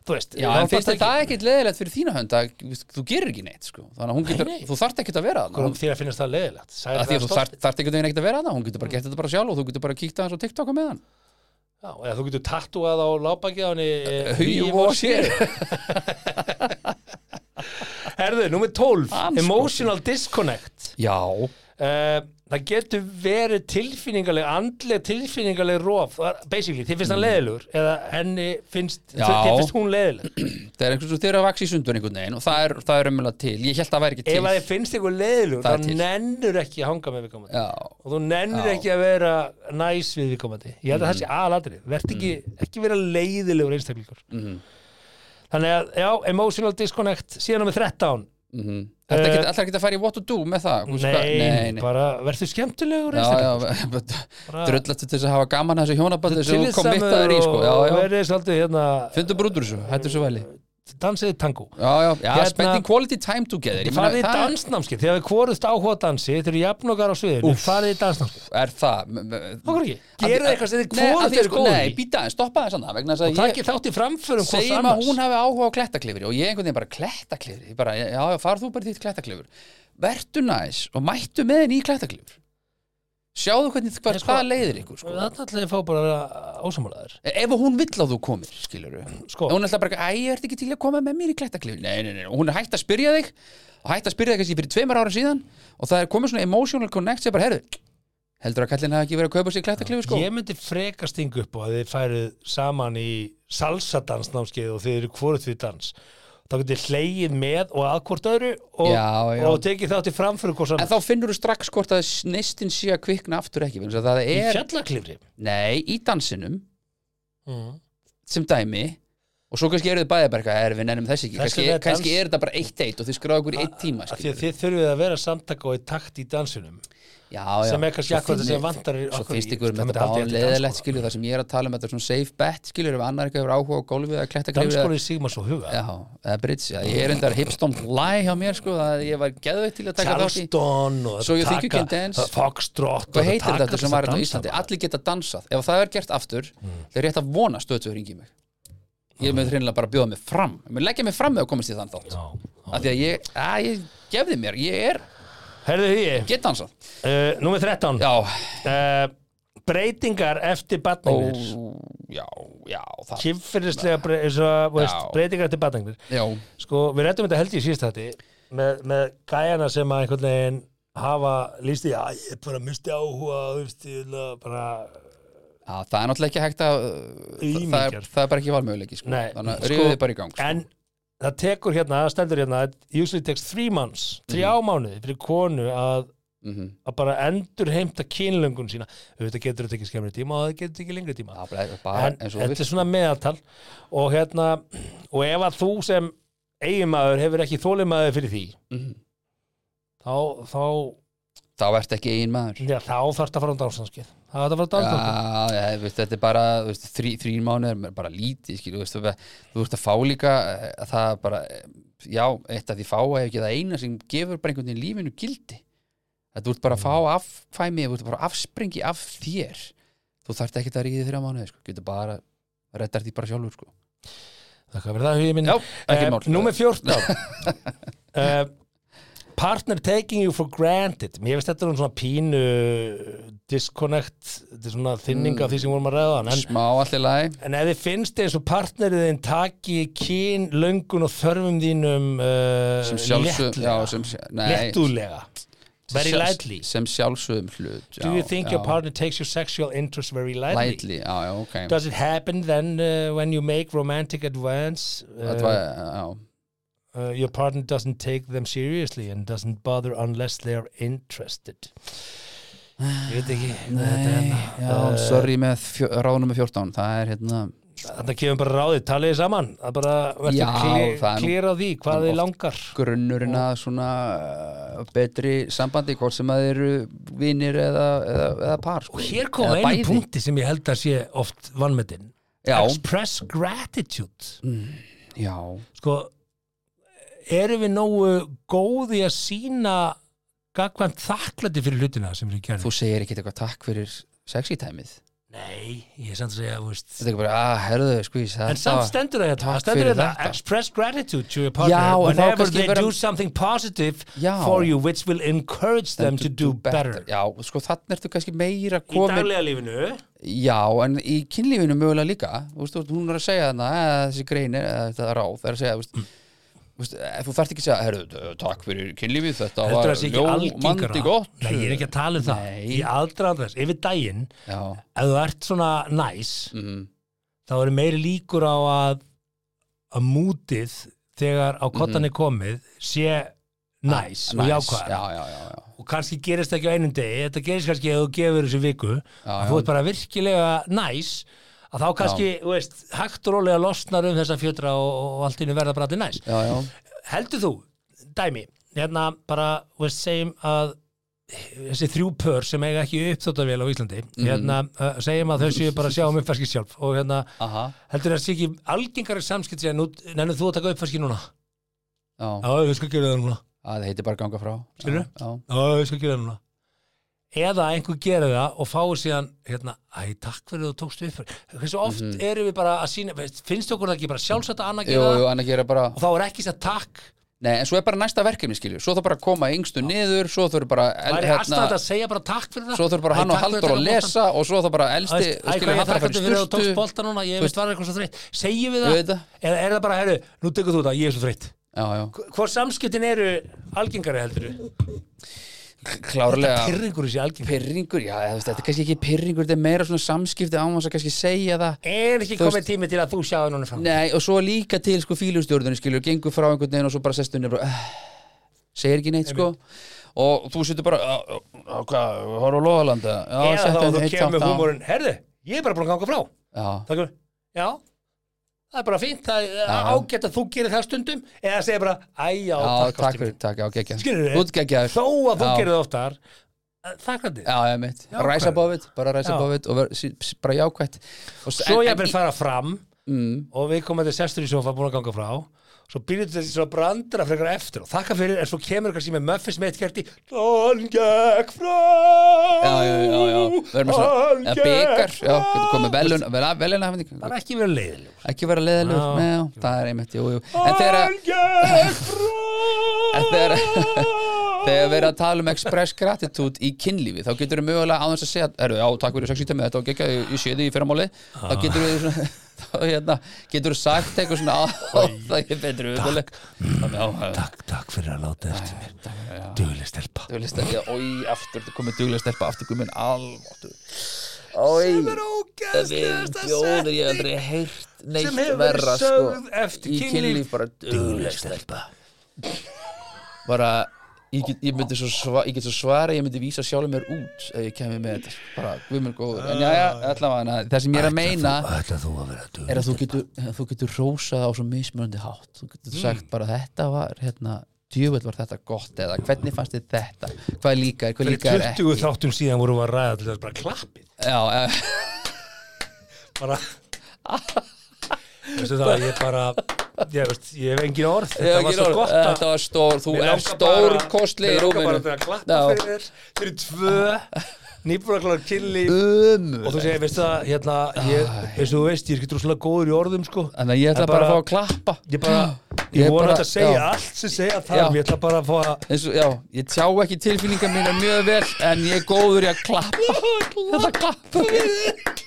S3: Þú veist,
S2: já
S3: látast
S2: en finnst þér
S3: ekki-
S2: það ekkit leðilegt fyrir þína hönd að þú- þú gerir ekki neitt, sko. Þannig að hún getur,
S3: nei.
S2: þú þarft ekkit að vera
S3: Hverjum
S2: það.
S3: þér að finnast það leiðilegt? Særi
S2: Að því að þú þarft, þarft ekkit að vera það, hún getur bara gett þetta bara sjálf og þú getur bara kíkt aðeins á TikTok með hann.
S3: Já, eða þú getur tattúað á lábakið á henni eh,
S2: Hugi og sér.
S3: Herðu, nummer 12
S2: Anskotin.
S3: Emotional disconnect
S2: Já,
S3: uh, Það getur verið tilfinningaleg andleg tilfinningaleg rof Það- Basically, þið finnst hann leiðilegur eða henni finnst,
S2: Mm. Já.
S3: þið finnst hún leiðileg
S2: það er einhvers og þeir eru að vaxa í sundur einhvern veginn og það er, það er umjöla til. Ég held að það væri ekki
S3: Ef að
S2: til.
S3: þið finnst ykkur leiðilegur
S2: Það er
S3: þá
S2: til.
S3: nennur ekki að hanga með við komandi
S2: Já, Mm.
S3: og þú nennir ekki að vera næs við viðkomandi ég held að það sé aðalatri verð ekki, ekki vera leiðilegur einstaklingur
S2: Mm-hmm.
S3: þannig að, já, emotional disconnect síðan nummer 13
S2: Mhm. Ætla ekkert- ætlar ekkert að fara í what to do með það Hvers-
S3: Eh. nei,
S2: hvað- nei, nei.
S3: bara verður skemmtilegur
S2: Já, já,
S3: einstaklingur
S2: but- drullastu til þess að hafa gaman að þessu hjónabandi sem þú kom mitt að
S3: Tillitssamur
S2: í sko. já,
S3: og
S2: já.
S3: verður svolítið hérna
S2: fundu brútur þessu, hættu þessu væli
S3: dansiði tango
S2: já, já, já
S3: Hérna-
S2: spending quality time together Ég meina,
S3: farið í
S2: það
S3: dansnámskið, þegar við hvorust áhuga á dansi þeir eru jafnokkar á sviðinu, farið í dansnámskið
S2: er það m- m-
S3: okkur ekki,
S2: Að-
S3: gerðu
S2: að-
S3: eitthvað sem þið
S2: Nei, að
S3: hvorust
S2: því
S3: eru
S2: sko,
S3: góð
S2: nei,
S3: í
S2: býta aðeins, stoppa aðeins annað vegna þess
S3: og það
S2: að ég
S3: ekki þátt í framförum hvort
S2: segjum að
S3: annars
S2: hún hafi áhuga á klettaklifri og ég einhvern veginn bara klettaklifri Ég bara, já, já, far þú bara í þitt klettaklifur vertu næs og mættu með henni í klettaklifur sjáðu hvernig hvað,
S3: sko,
S2: hvað leiðir ykkur sko. E,
S3: Það er alltaf að fá bara að vera ósamálaður
S2: Ef hún vill að þú komir, skilur við
S3: Sko.
S2: Hún er alltaf bara, æ, ég ert ekki til að koma með mér í klættaklifin Nei, nei, nei, og hún er hægt að spyrja þig og hægt að spyrja þig kannski fyrir tveimur ára síðan og það er komið svona emotional connect sem bara, herðu, heldur að kallin hafi ekki verið að kaupa sér klættaklifi, sko
S3: Ég myndi freka stinga upp á að þið færið saman í salsadansnámskeið og þið eru hvorið því dans þá getið hlegið með og að hvort öðru og,
S2: Já, já.
S3: og tekið þátt í framfyrir hvort
S2: En
S3: saman
S2: þá finnur þú strax hvort að neistin sé að kvikna aftur ekki vegna þess að það
S3: í
S2: er,
S3: fjallaklifri
S2: nei, í dansinum
S3: mm.
S2: sem dæmi og svo kannski eru þið bæði bara eitthvað, er við nennum þess ekki
S3: Þess
S2: kannski,
S3: vegna er
S2: kannski
S3: dans-
S2: er þetta bara eitt eitt og þið skráðu ykkur í eitt tíma
S3: af því
S2: skilurðu.
S3: að þið þurfið að vera samtaka og í takt í dansunum
S2: já, já.
S3: sem er kannski
S2: Svo
S3: akkurat
S2: finni-
S3: sem vantar
S2: Svo
S3: okkur í- sko,
S2: finnst ykkur
S3: það
S2: með
S3: myndi
S2: þetta
S3: halda ég
S2: bán
S3: eftir
S2: leðilegt
S3: dansskóla.
S2: skilur það sem ég er að tala um þetta er svona safe bet skilur ef annar eitthvað hefur áhuga á gólfið eða klettaklifið eða-
S3: Dansskóli Sigmars og Huga
S2: Já, eða bridge, já, ég er endar hipstom fly hjá mér sko, það ég var geðveitt til að taka þátt í
S3: Charleston og
S2: So you think you
S3: taka-
S2: can dance?
S3: Foxtrot
S2: Hvað
S3: og
S2: heitir
S3: taka
S2: þetta sem
S3: þessa
S2: var hérna á
S3: dansa
S2: Íslandi?
S3: bara. Mm.
S2: Allir geta dansað, ef það er gert aftur þeir rétt að vona stöðtöður ringi mig Ég mun hreinlega bara bjóða mig fram Ég mun leggja mig fram með að komast í þann þátt
S3: Já.
S2: Af því að ég, að ég gefði mér, ég er
S3: Herðu hugi,
S2: get dansað
S3: uh, númer 13
S2: Já,
S3: uh, breytingar eftir
S2: ó,
S3: batningnir
S2: já, já, það
S3: kynferðislega bre eins og, þú veist,
S2: Já.
S3: breytingar eftir batningnir
S2: Já,
S3: sko, við rættum þetta held ég síðst þetta með, með gæjana sem að einhvern veginn hafa líst í að ég bara misti áhuga þú veist, ég vil að bara
S2: Já, það er náttúrulega ekki hægt að það er,
S3: Ímyndjar.
S2: það er bara ekki valmöguleiki sko.
S3: Nei,
S2: þannig að
S3: sko,
S2: rífið þið bara í gang sko.
S3: en það tekur hérna, það stendur hérna it usually takes three months, þrjá mánuði fyrir konu að,
S2: Mhm.
S3: að bara endur heimta kynlöngun sína auðvitað getur þetta ekki skemmri tíma og það getur þetta ekki lengri tíma
S2: Já, bara, bara
S3: en
S2: eins og þú
S3: þetta er
S2: vilt
S3: svona meðaltal og hérna, og ef að þú sem eiginmaður hefur ekki þólimaður fyrir því
S2: Mhm.
S3: þá, þá,
S2: þá ert ekki ein maður
S3: já, þá þarfst að fara á dánsanskið það þarf að fara á
S2: Já,
S3: dánsanskið
S2: já, þú veist, þetta er bara þú veist, þrí, þrín mánuðir, er bara lítið skil, þú, veist, þú, veist, þú veist að fá líka eh, það bara, eh, já, eitt að því fá er ekki það eina sem gefur bara einhvern veginn lífinu gildi að þú ert bara að
S3: Mm.
S2: fá affæmi þú ert bara afspringi af þér þú þarft ekki að ríði þrjá mánuði sko. getur bara, rettar því bara sjálfur sko.
S3: það er það hugið minn
S2: já, ekki
S3: Eh,
S2: mál
S3: Númer 14 uh, Partner taking you for granted Mér finnst þetta er svona pínu eh, disconnect þetta er svona þinning af því sem vorum að ræða áðan. en,
S2: smá allir lagi
S3: en ef þið finnst eins og partnerið þinn taki kyn, löngun og þörfum þínum uh,
S2: sem sjálfsög já, sem, nei,
S3: lettúlega Very
S2: sjálfs-
S3: lightly
S2: sem sjálfsögum hlut
S3: Do
S2: já,
S3: you think
S2: já,
S3: your partner takes your sexual interest very lightly?
S2: lightly, já, já, ok
S3: Does it happen then uh, when you make romantic advance?
S2: þetta
S3: uh,
S2: var, já
S3: uh, your partner doesn't take them seriously and doesn't bother unless they are interested ég veit ekki þetta er
S2: Ah, Nei,
S3: hérna.
S2: já, sorry með fjó, ráðnum með 14 það er hérna
S3: þarna kemur bara ráðið, talið þið saman að bara
S2: Já,
S3: verður
S2: það er nú-
S3: klýra því hvað
S2: nú
S3: þið
S2: oft-
S3: langar
S2: grunnurinn að svona uh, betri sambandi hvort sem að þeir eru vinir eða, eða, eða par sko.
S3: og hér kom
S2: Eða
S3: einu
S2: bæði.
S3: punkti sem ég held að sé oft vannmetinn
S2: Já.
S3: express gratitude
S2: já,
S3: sko erum við nógu góði að sína gagvæmt þakklæti fyrir hlutina sem við gerum
S2: þú segir ekkit eitthvað takk fyrir sexy tæmið þetta
S3: nei, ég er samt að segja, þú veist
S2: er ekki bara, að herðu, skvís
S3: En samt stendur það hérna,
S2: Takk
S3: stendur
S2: fyrir
S3: þetta
S2: þetta.
S3: express gratitude to your partner
S2: Já, en þá
S3: whenever
S2: kannski
S3: they
S2: vera-
S3: do something positive
S2: Já.
S3: for you which will encourage them to do better.
S2: já, sko þannig ertu kannski meira
S3: Í
S2: komin
S3: daglega lífinu
S2: Já, en í kynlífinu mögulega líka þú veist, þú veist, hún er að segja þarna að þessi greinir, að þetta ráð er að segja þú veist, þú veist, eh, þú þarft ekki að segja herru, eh, takk fyrir kynlífið, þetta
S3: Heldur það
S2: var
S3: sé ekki
S2: ljómandi
S3: algengara
S2: gott
S3: Nei, ég er ekki að tala um það
S2: Nei.
S3: Í aldrað þess, yfir daginn
S2: Já,
S3: ef þú ert svona næs
S2: mm,
S3: þá eru meiri líkur á að að mútið þegar á kottan er komið sé næs og
S2: nice.
S3: jákvæðar
S2: Mhm. Ah, Já, já, já, já,
S3: og kannski gerist ekki á einum degi þetta gerist kannski ef þú gefur þessu viku
S2: Já,
S3: að
S2: já.
S3: þú ert bara virkilega næs að þá kannski, þú veist, hægt og rólega losnar um þessa fjötra og, og allt innu verða bara allir næs.
S2: já, já.
S3: Heldur þú, dæmi, hérna bara, þú veist, segjum að þessi þrjú pör sem eiga ekki uppþóttavél á Íslandi,
S2: Mhm.
S3: hérna uh, segjum að þau séu bara að sjá um uppfæski sjálf og hérna,
S2: Aha, heldur
S3: heldur það sé ekki algengari samskipt sér, nennið þú að taka uppfæski núna?
S2: Já,
S3: Já, við skal gera það núna.
S2: að það heitir bara ganga frá
S3: Skilurðu?
S2: Já, já.
S3: Já, við skal gera það núna eða einhver gera það og fái síðan hérna, æ, takk fyrir þú tókstu upp fyrir. hversu oft
S2: Mhm.
S3: erum við bara að sína veist, finnst okkur það ekki bara sjálfsagt að annað
S2: Jú,
S3: gera það
S2: jú, en að gera bara
S3: og þá er ekki sér takk
S2: Nei, en svo er bara næsta verkefni, skilju Svo þarf bara að koma yngstu niður, svo þarf bara el-
S3: það er alltaf að segja bara takk fyrir það
S2: hérna- Svo þarf bara hann
S3: Æ, takk
S2: og
S3: fyrir
S2: Haldur
S3: að
S2: að
S3: taka
S2: lesa og svo þarf bara elsti,
S3: boltann. Æ, æ,
S2: skilju,
S3: hvað
S2: hann
S3: ég
S2: þarf að
S3: þakka
S2: fara í
S3: þér fyrir þú tókst
S2: sturtu
S3: bolta núna ég
S2: Þú veist-
S3: veist var eitthvað svo þreytt segjum við
S2: Ég
S3: það,
S2: veit það.
S3: eða er það bara, herru, nú tekur þú það, ég er svo þreytt
S2: Já, já,
S3: hvort samskiptin eru algengari heldur
S2: klárlega
S3: pyrringur þessi algengari
S2: Pyrringur, já, þú veist, þetta er kannski ekki pyrringur þetta er meira svona samskipti ánvans að kannski segja það
S3: er ekki
S2: Þú veist-
S3: komið tími til að þú sjáðu núna fram
S2: Nei, og svo líka til sko fílustjórnunni skilur, gengur frá einhvern veginn og svo bara sestu nefnir uh, segir ekki neitt sko og þú setur bara uh, uh, uh, hvað, horf á loðalanda já,
S3: eða
S2: settu
S3: þá að þú
S2: eitt
S3: kemur
S2: tákn
S3: með
S2: á.
S3: húmórin herðu, ég er bara búin að ganga frá
S2: Já,
S3: Takk fyrir. Já, það er bara fínt, það er
S2: Já.
S3: ágætt að þú gerir það stundum eða segir bara, æjá,
S2: já,
S3: takk
S2: takk
S3: ástin mín."
S2: fyrir, takk, já, geggja
S3: Skilurðu?
S2: Útgeggjaður
S3: Þó að þú
S2: Já.
S3: gerir það oftar, eh, þakkandi.
S2: Já, ég mitt,
S3: Jákvæður.
S2: ræsa bófið, bara ræsa
S3: Já.
S2: bófið og ver, sí- sí- bara jákvætt og, s-
S3: Svo
S2: en-
S3: ég verið
S2: en-
S3: fara fram
S2: mm,
S3: og við komum þetta sestur í sofa búin að ganga frá svo byrjum þetta svo að brandra frekar eftir og þakka fyrir en svo kemur kannski með muffins með eitt kerti Hann gekk frá
S2: Já, já, já, já, við erum
S3: Hann
S2: með svona eða byggar,
S3: gekk
S2: já, getur
S3: frá.
S2: komið velun velun að
S3: Það er ekki verið leiðilegur
S2: ekki vera leiðilegur,
S3: Já.
S2: neða, það er einmitt jú, jú. en þegar
S3: Hann gekk frá
S2: en þegar þegar við erum að tala um express gratitude í kynlífi, þá getur við mögulega á þess að segja "Heyrðu, já, takk fyrir sexítæmi, þetta var geggjað, ég- ég sé þig í fyrramáli þá getur við svona þá hérna, getur við sagt eitthvað svona "Á, það er betri umhverleg já,
S3: Takk, takk fyrir að láta eftir mér Duðlega stelpa
S2: þú veist að ég, oi, aftur, þú komið duglega stelpa aftur, guð minn, alváttu
S5: sem er ógæðslegasta
S2: Þjóður ég hef aldrei heyrt neitt
S5: sem hefur verið
S2: verra sko
S5: sögð eftir
S2: í kynlíf
S5: kynlíf.
S2: bara dugleg stelpa bara ég get, ég myndi svo sva, ég get svo svara ég myndi vísa sjálfur mér út ef ég kemi með þetta sko. bara guð mér góður en já já
S5: Ah.
S2: allavega það sem ég er að meina
S5: Ætla þú að vera dugleg
S2: er að þú getur, að þú getur rósað á svo mismunandi hátt þú getur
S5: Mm.
S2: sagt bara þetta var hérna, djöfull var þetta gott eða hvernig fannst þið þetta hvað líka er, hvað líka er
S3: Fyrir
S2: ekki
S3: 20 þáttum síðan vorum við að ræða til þess bara klappið
S2: já, eh,
S3: bara veistu það, ég bara ég, veist, ég hef engin orð þetta
S2: ég
S3: var
S2: ekki
S3: svo
S2: orð.
S3: gott að
S2: þetta var stór, þú
S3: Mér
S2: er
S3: langar
S2: stór
S3: bara-
S2: kostli í
S3: mér langar bara
S2: rúminu
S3: til að klappa
S2: Já.
S3: fyrir þér fyrir tvö nýbúraklar kynli og þú segir, veistu það, hérna ég, eins og þú veist, ég er ekki droslega góður í orðum sko.
S2: þannig að ég ætla
S3: En
S2: bara að fá að klappa
S3: ég bara,
S2: Ég
S3: ég voru
S2: bara-
S3: alltaf að segja
S2: já.
S3: allt sem segja
S2: Já.
S3: þarf, ég ætla bara að fá að
S2: eins og, já, ég tjá ekki tilfinningar mínar mjög vel en ég er góður í að klappa þetta klappa við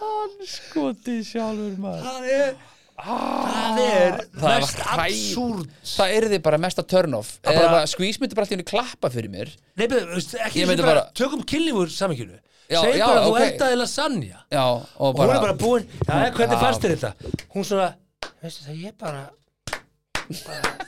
S2: hann skoti sjálfur maður
S3: það er, það er
S2: það
S3: mest
S2: var hræ-
S3: absúrt
S2: það yrði bara mesta turn off
S3: bara-
S2: eða skvís myndi bara allt í henni klappa fyrir mér
S3: Nei, betur, veist, ekki
S2: Ég
S3: sem
S2: myndi
S3: bara,
S2: bara-
S3: tökum kynlíf úr saminginu
S2: Já,
S3: Segð
S2: já,
S3: bara að þú
S2: ok.
S3: eldaði lasagna
S2: já, og
S3: og hún
S2: bara,
S3: er bara búin, já, hvernig
S2: Já.
S3: fannst þér þetta? Hún svona, veistu það, ég bara, bara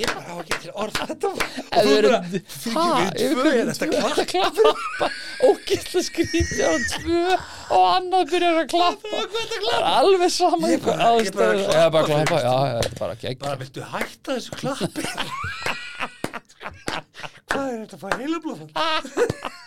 S3: ég bara á ekki til orð þetta var- og þú
S2: Ef
S3: er bara,
S2: við erum-
S3: fyrir
S2: Ha,
S3: ekki
S2: ef
S3: við
S2: við
S3: tvö
S2: erum
S3: er þetta
S2: tvö,
S3: klart
S2: klappa ógæsla skrítið á tvö og annað byrjar að klappa Það er alveg saman
S3: Ég bara- ég bara
S2: aðstæður.
S3: klappa
S2: Já, bara
S3: fyrir
S2: klappa, já, já, þetta er bara gegn
S3: bara, viltu hætta þessu klappi? hvað er þetta að fara heilablóðfall?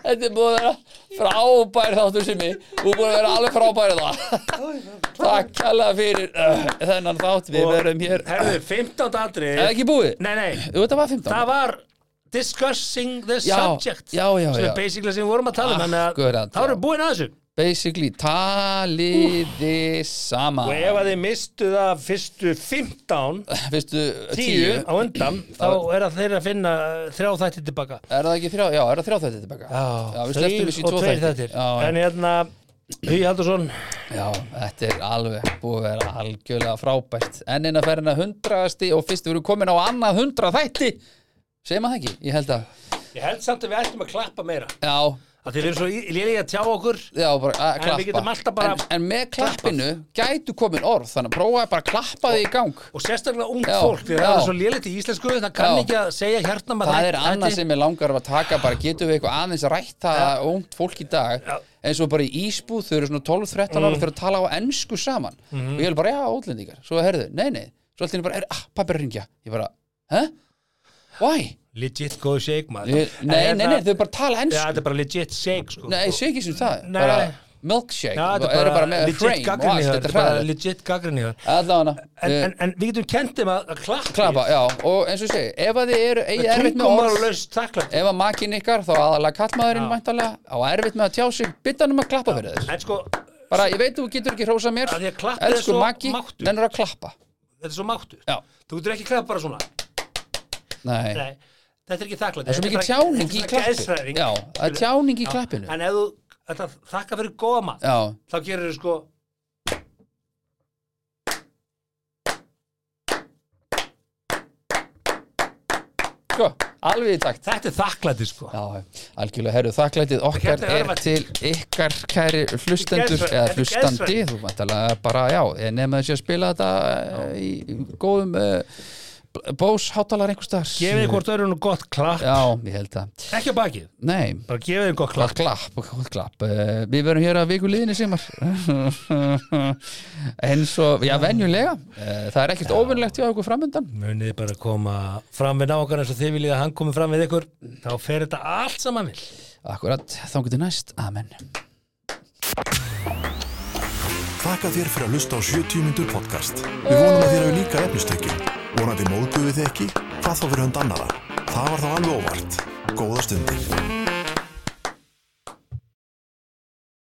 S2: Þetta er búið að vera frábær þáttur sem ég Þú er búið að vera alveg frábær í það Takk kærlega fyrir uh, þennan þátt Við verum hér Er
S3: herðu, 15. andri
S2: það ekki búið?
S3: nei, nei,
S2: Jú, þetta var 15
S3: það var discussing the
S2: Já,
S3: subject
S2: já, já,
S3: sem
S2: já.
S3: er basically sem við vorum að tala um þannig að
S2: Akkurat,
S3: þá erum
S2: já.
S3: við búin að þessu
S2: Basically, taliði saman
S3: og ef að þið mistuð af fyrstu 15
S2: Veistu,
S3: 10
S2: tíu
S3: á undan þá er að þeir að finna uh, þrjá þætti tilbaka
S2: Er það ekki þrjá? Já, er það þrjá þættir tilbaka? já við
S3: þrír
S2: slepptum þessu í
S3: og
S2: tvo
S3: tveir
S2: þætti.
S3: þættir
S2: Já,
S3: en hérna Hugi Haldursson
S2: já, þetta er alveg búið að vera algjörlega frábært Enn eina ferðina hundraðasti og fyrst við erum komin á annað hundrað þætti Segir maður það ekki? Ég held að
S3: ég held samt að við ættum að klappa meira
S2: Já,
S3: að þið erum svo lélega að tjá okkur
S2: Já, bara að klappa
S3: við getum alltaf bara
S2: en, en með klappinu gætu komin orð Þannig að prófaði bara að klappa því í gang
S3: og sérstaklega ungt
S2: Já,
S3: fólk því það
S2: já.
S3: er svo lélegt í íslensku það kann
S2: Já.
S3: ekki að segja hérna maður
S2: Það
S3: þætti-
S2: er annað
S3: þætti.
S2: sem ég langar að taka bara getum við eitthvað aðeins að rætta ja. ungt fólk í dag
S3: Já. Mm.
S2: eins og bara í Ísbúð þau eru svona 12-13 ára fyrir að tala á ennsku saman
S3: Mhm.
S2: og ég er bara, já, útlendingar, svo herðu, nei, nei svo allt í einu bara, er, ah, pappi er að ringja ég bara, hæ? Why?
S3: legit góð shake maður
S2: Ég, nei,
S3: En
S2: nei, nei,
S3: hérna-
S2: þau bara tala
S3: Já,
S2: ennsku
S3: þetta er bara legit shake sko
S2: Nei, ég sé ekki sem það,
S3: Nei.
S2: bara milkshake,
S3: Já, þetta
S2: eru
S3: er
S2: bara
S3: bara
S2: með
S3: legit
S2: frame og allt,
S3: gaggrinni
S2: þetta
S3: þetta
S2: er
S3: er bara
S2: hræðilegt
S3: legit gaggrinni en,
S2: Allavega, eh,
S3: en, en við getum kent þeim að að klappa
S2: klappa, já, og eins og ég segi ef að þið eru, eigið erfitt með orð
S3: tungumálust þakklætt
S2: ef að makinn ykkar, þá aðalega kallmaðurinn
S3: Já.
S2: væntalega, á erfitt með að tjá sig byttanum að klappa fyrir þess,
S3: en sko þetta
S2: bara ég veit þú getur ekki hrósa mér,
S3: Af því að klappið er
S2: elsku
S3: svo
S2: maki
S3: máttugt.
S2: nennur að klappa,
S3: er svo máttu
S2: já,
S3: þú getur ekki klappa bara svona
S2: nei
S3: Nei, þetta er ekki þakklætt
S2: það er svo mikið tjáning í klappi já, það er tjáning í klappinu
S3: en ef þú ætlar að þakka fyrir góða mat
S2: já,
S3: þá gerir þau sko
S2: sko, alveg í takt
S3: þetta er þakklætti sko
S2: Já, algjörlega herru, þakklætið okkar
S3: Hérna er
S2: er
S3: alveg-
S2: til ykkar kæri hlustendur
S3: Geðsveit,
S2: eða
S3: þetta er
S2: hlustandi,
S3: geðsveit.
S2: þú vantarlega bara, já, nefnum þessi að spila þetta eh, í góðum uh, bósháttalar einhver staðar.
S3: gefið þið hvort öðrunum gott klapp
S2: Já, ég held það.
S3: ekki á bakið
S2: Nei,
S3: bara gefið þið gott
S2: bara
S3: klapp
S2: klapp, klapp, klapp. Eh, Við verum hér að viku liðinni sem eins og, já, venjulega, Eh, það er ekkert óvinnlegt hjá okkur framöndan.
S3: munið bara koma fram við nákvæmlega eins og þið viljið að hann komi fram við ykkur þá fer þetta allt saman vil
S2: Akkurat, þá getur næst, amen.
S4: Þakka þér fyrir að hlusta á 70 myndur podcast. Við vonum að þér hefur líka efnistökin. Vonandi móðguðu þið ekki, hvað þá fyrir hund annara. Það var þá alveg óvart. Góða stundir.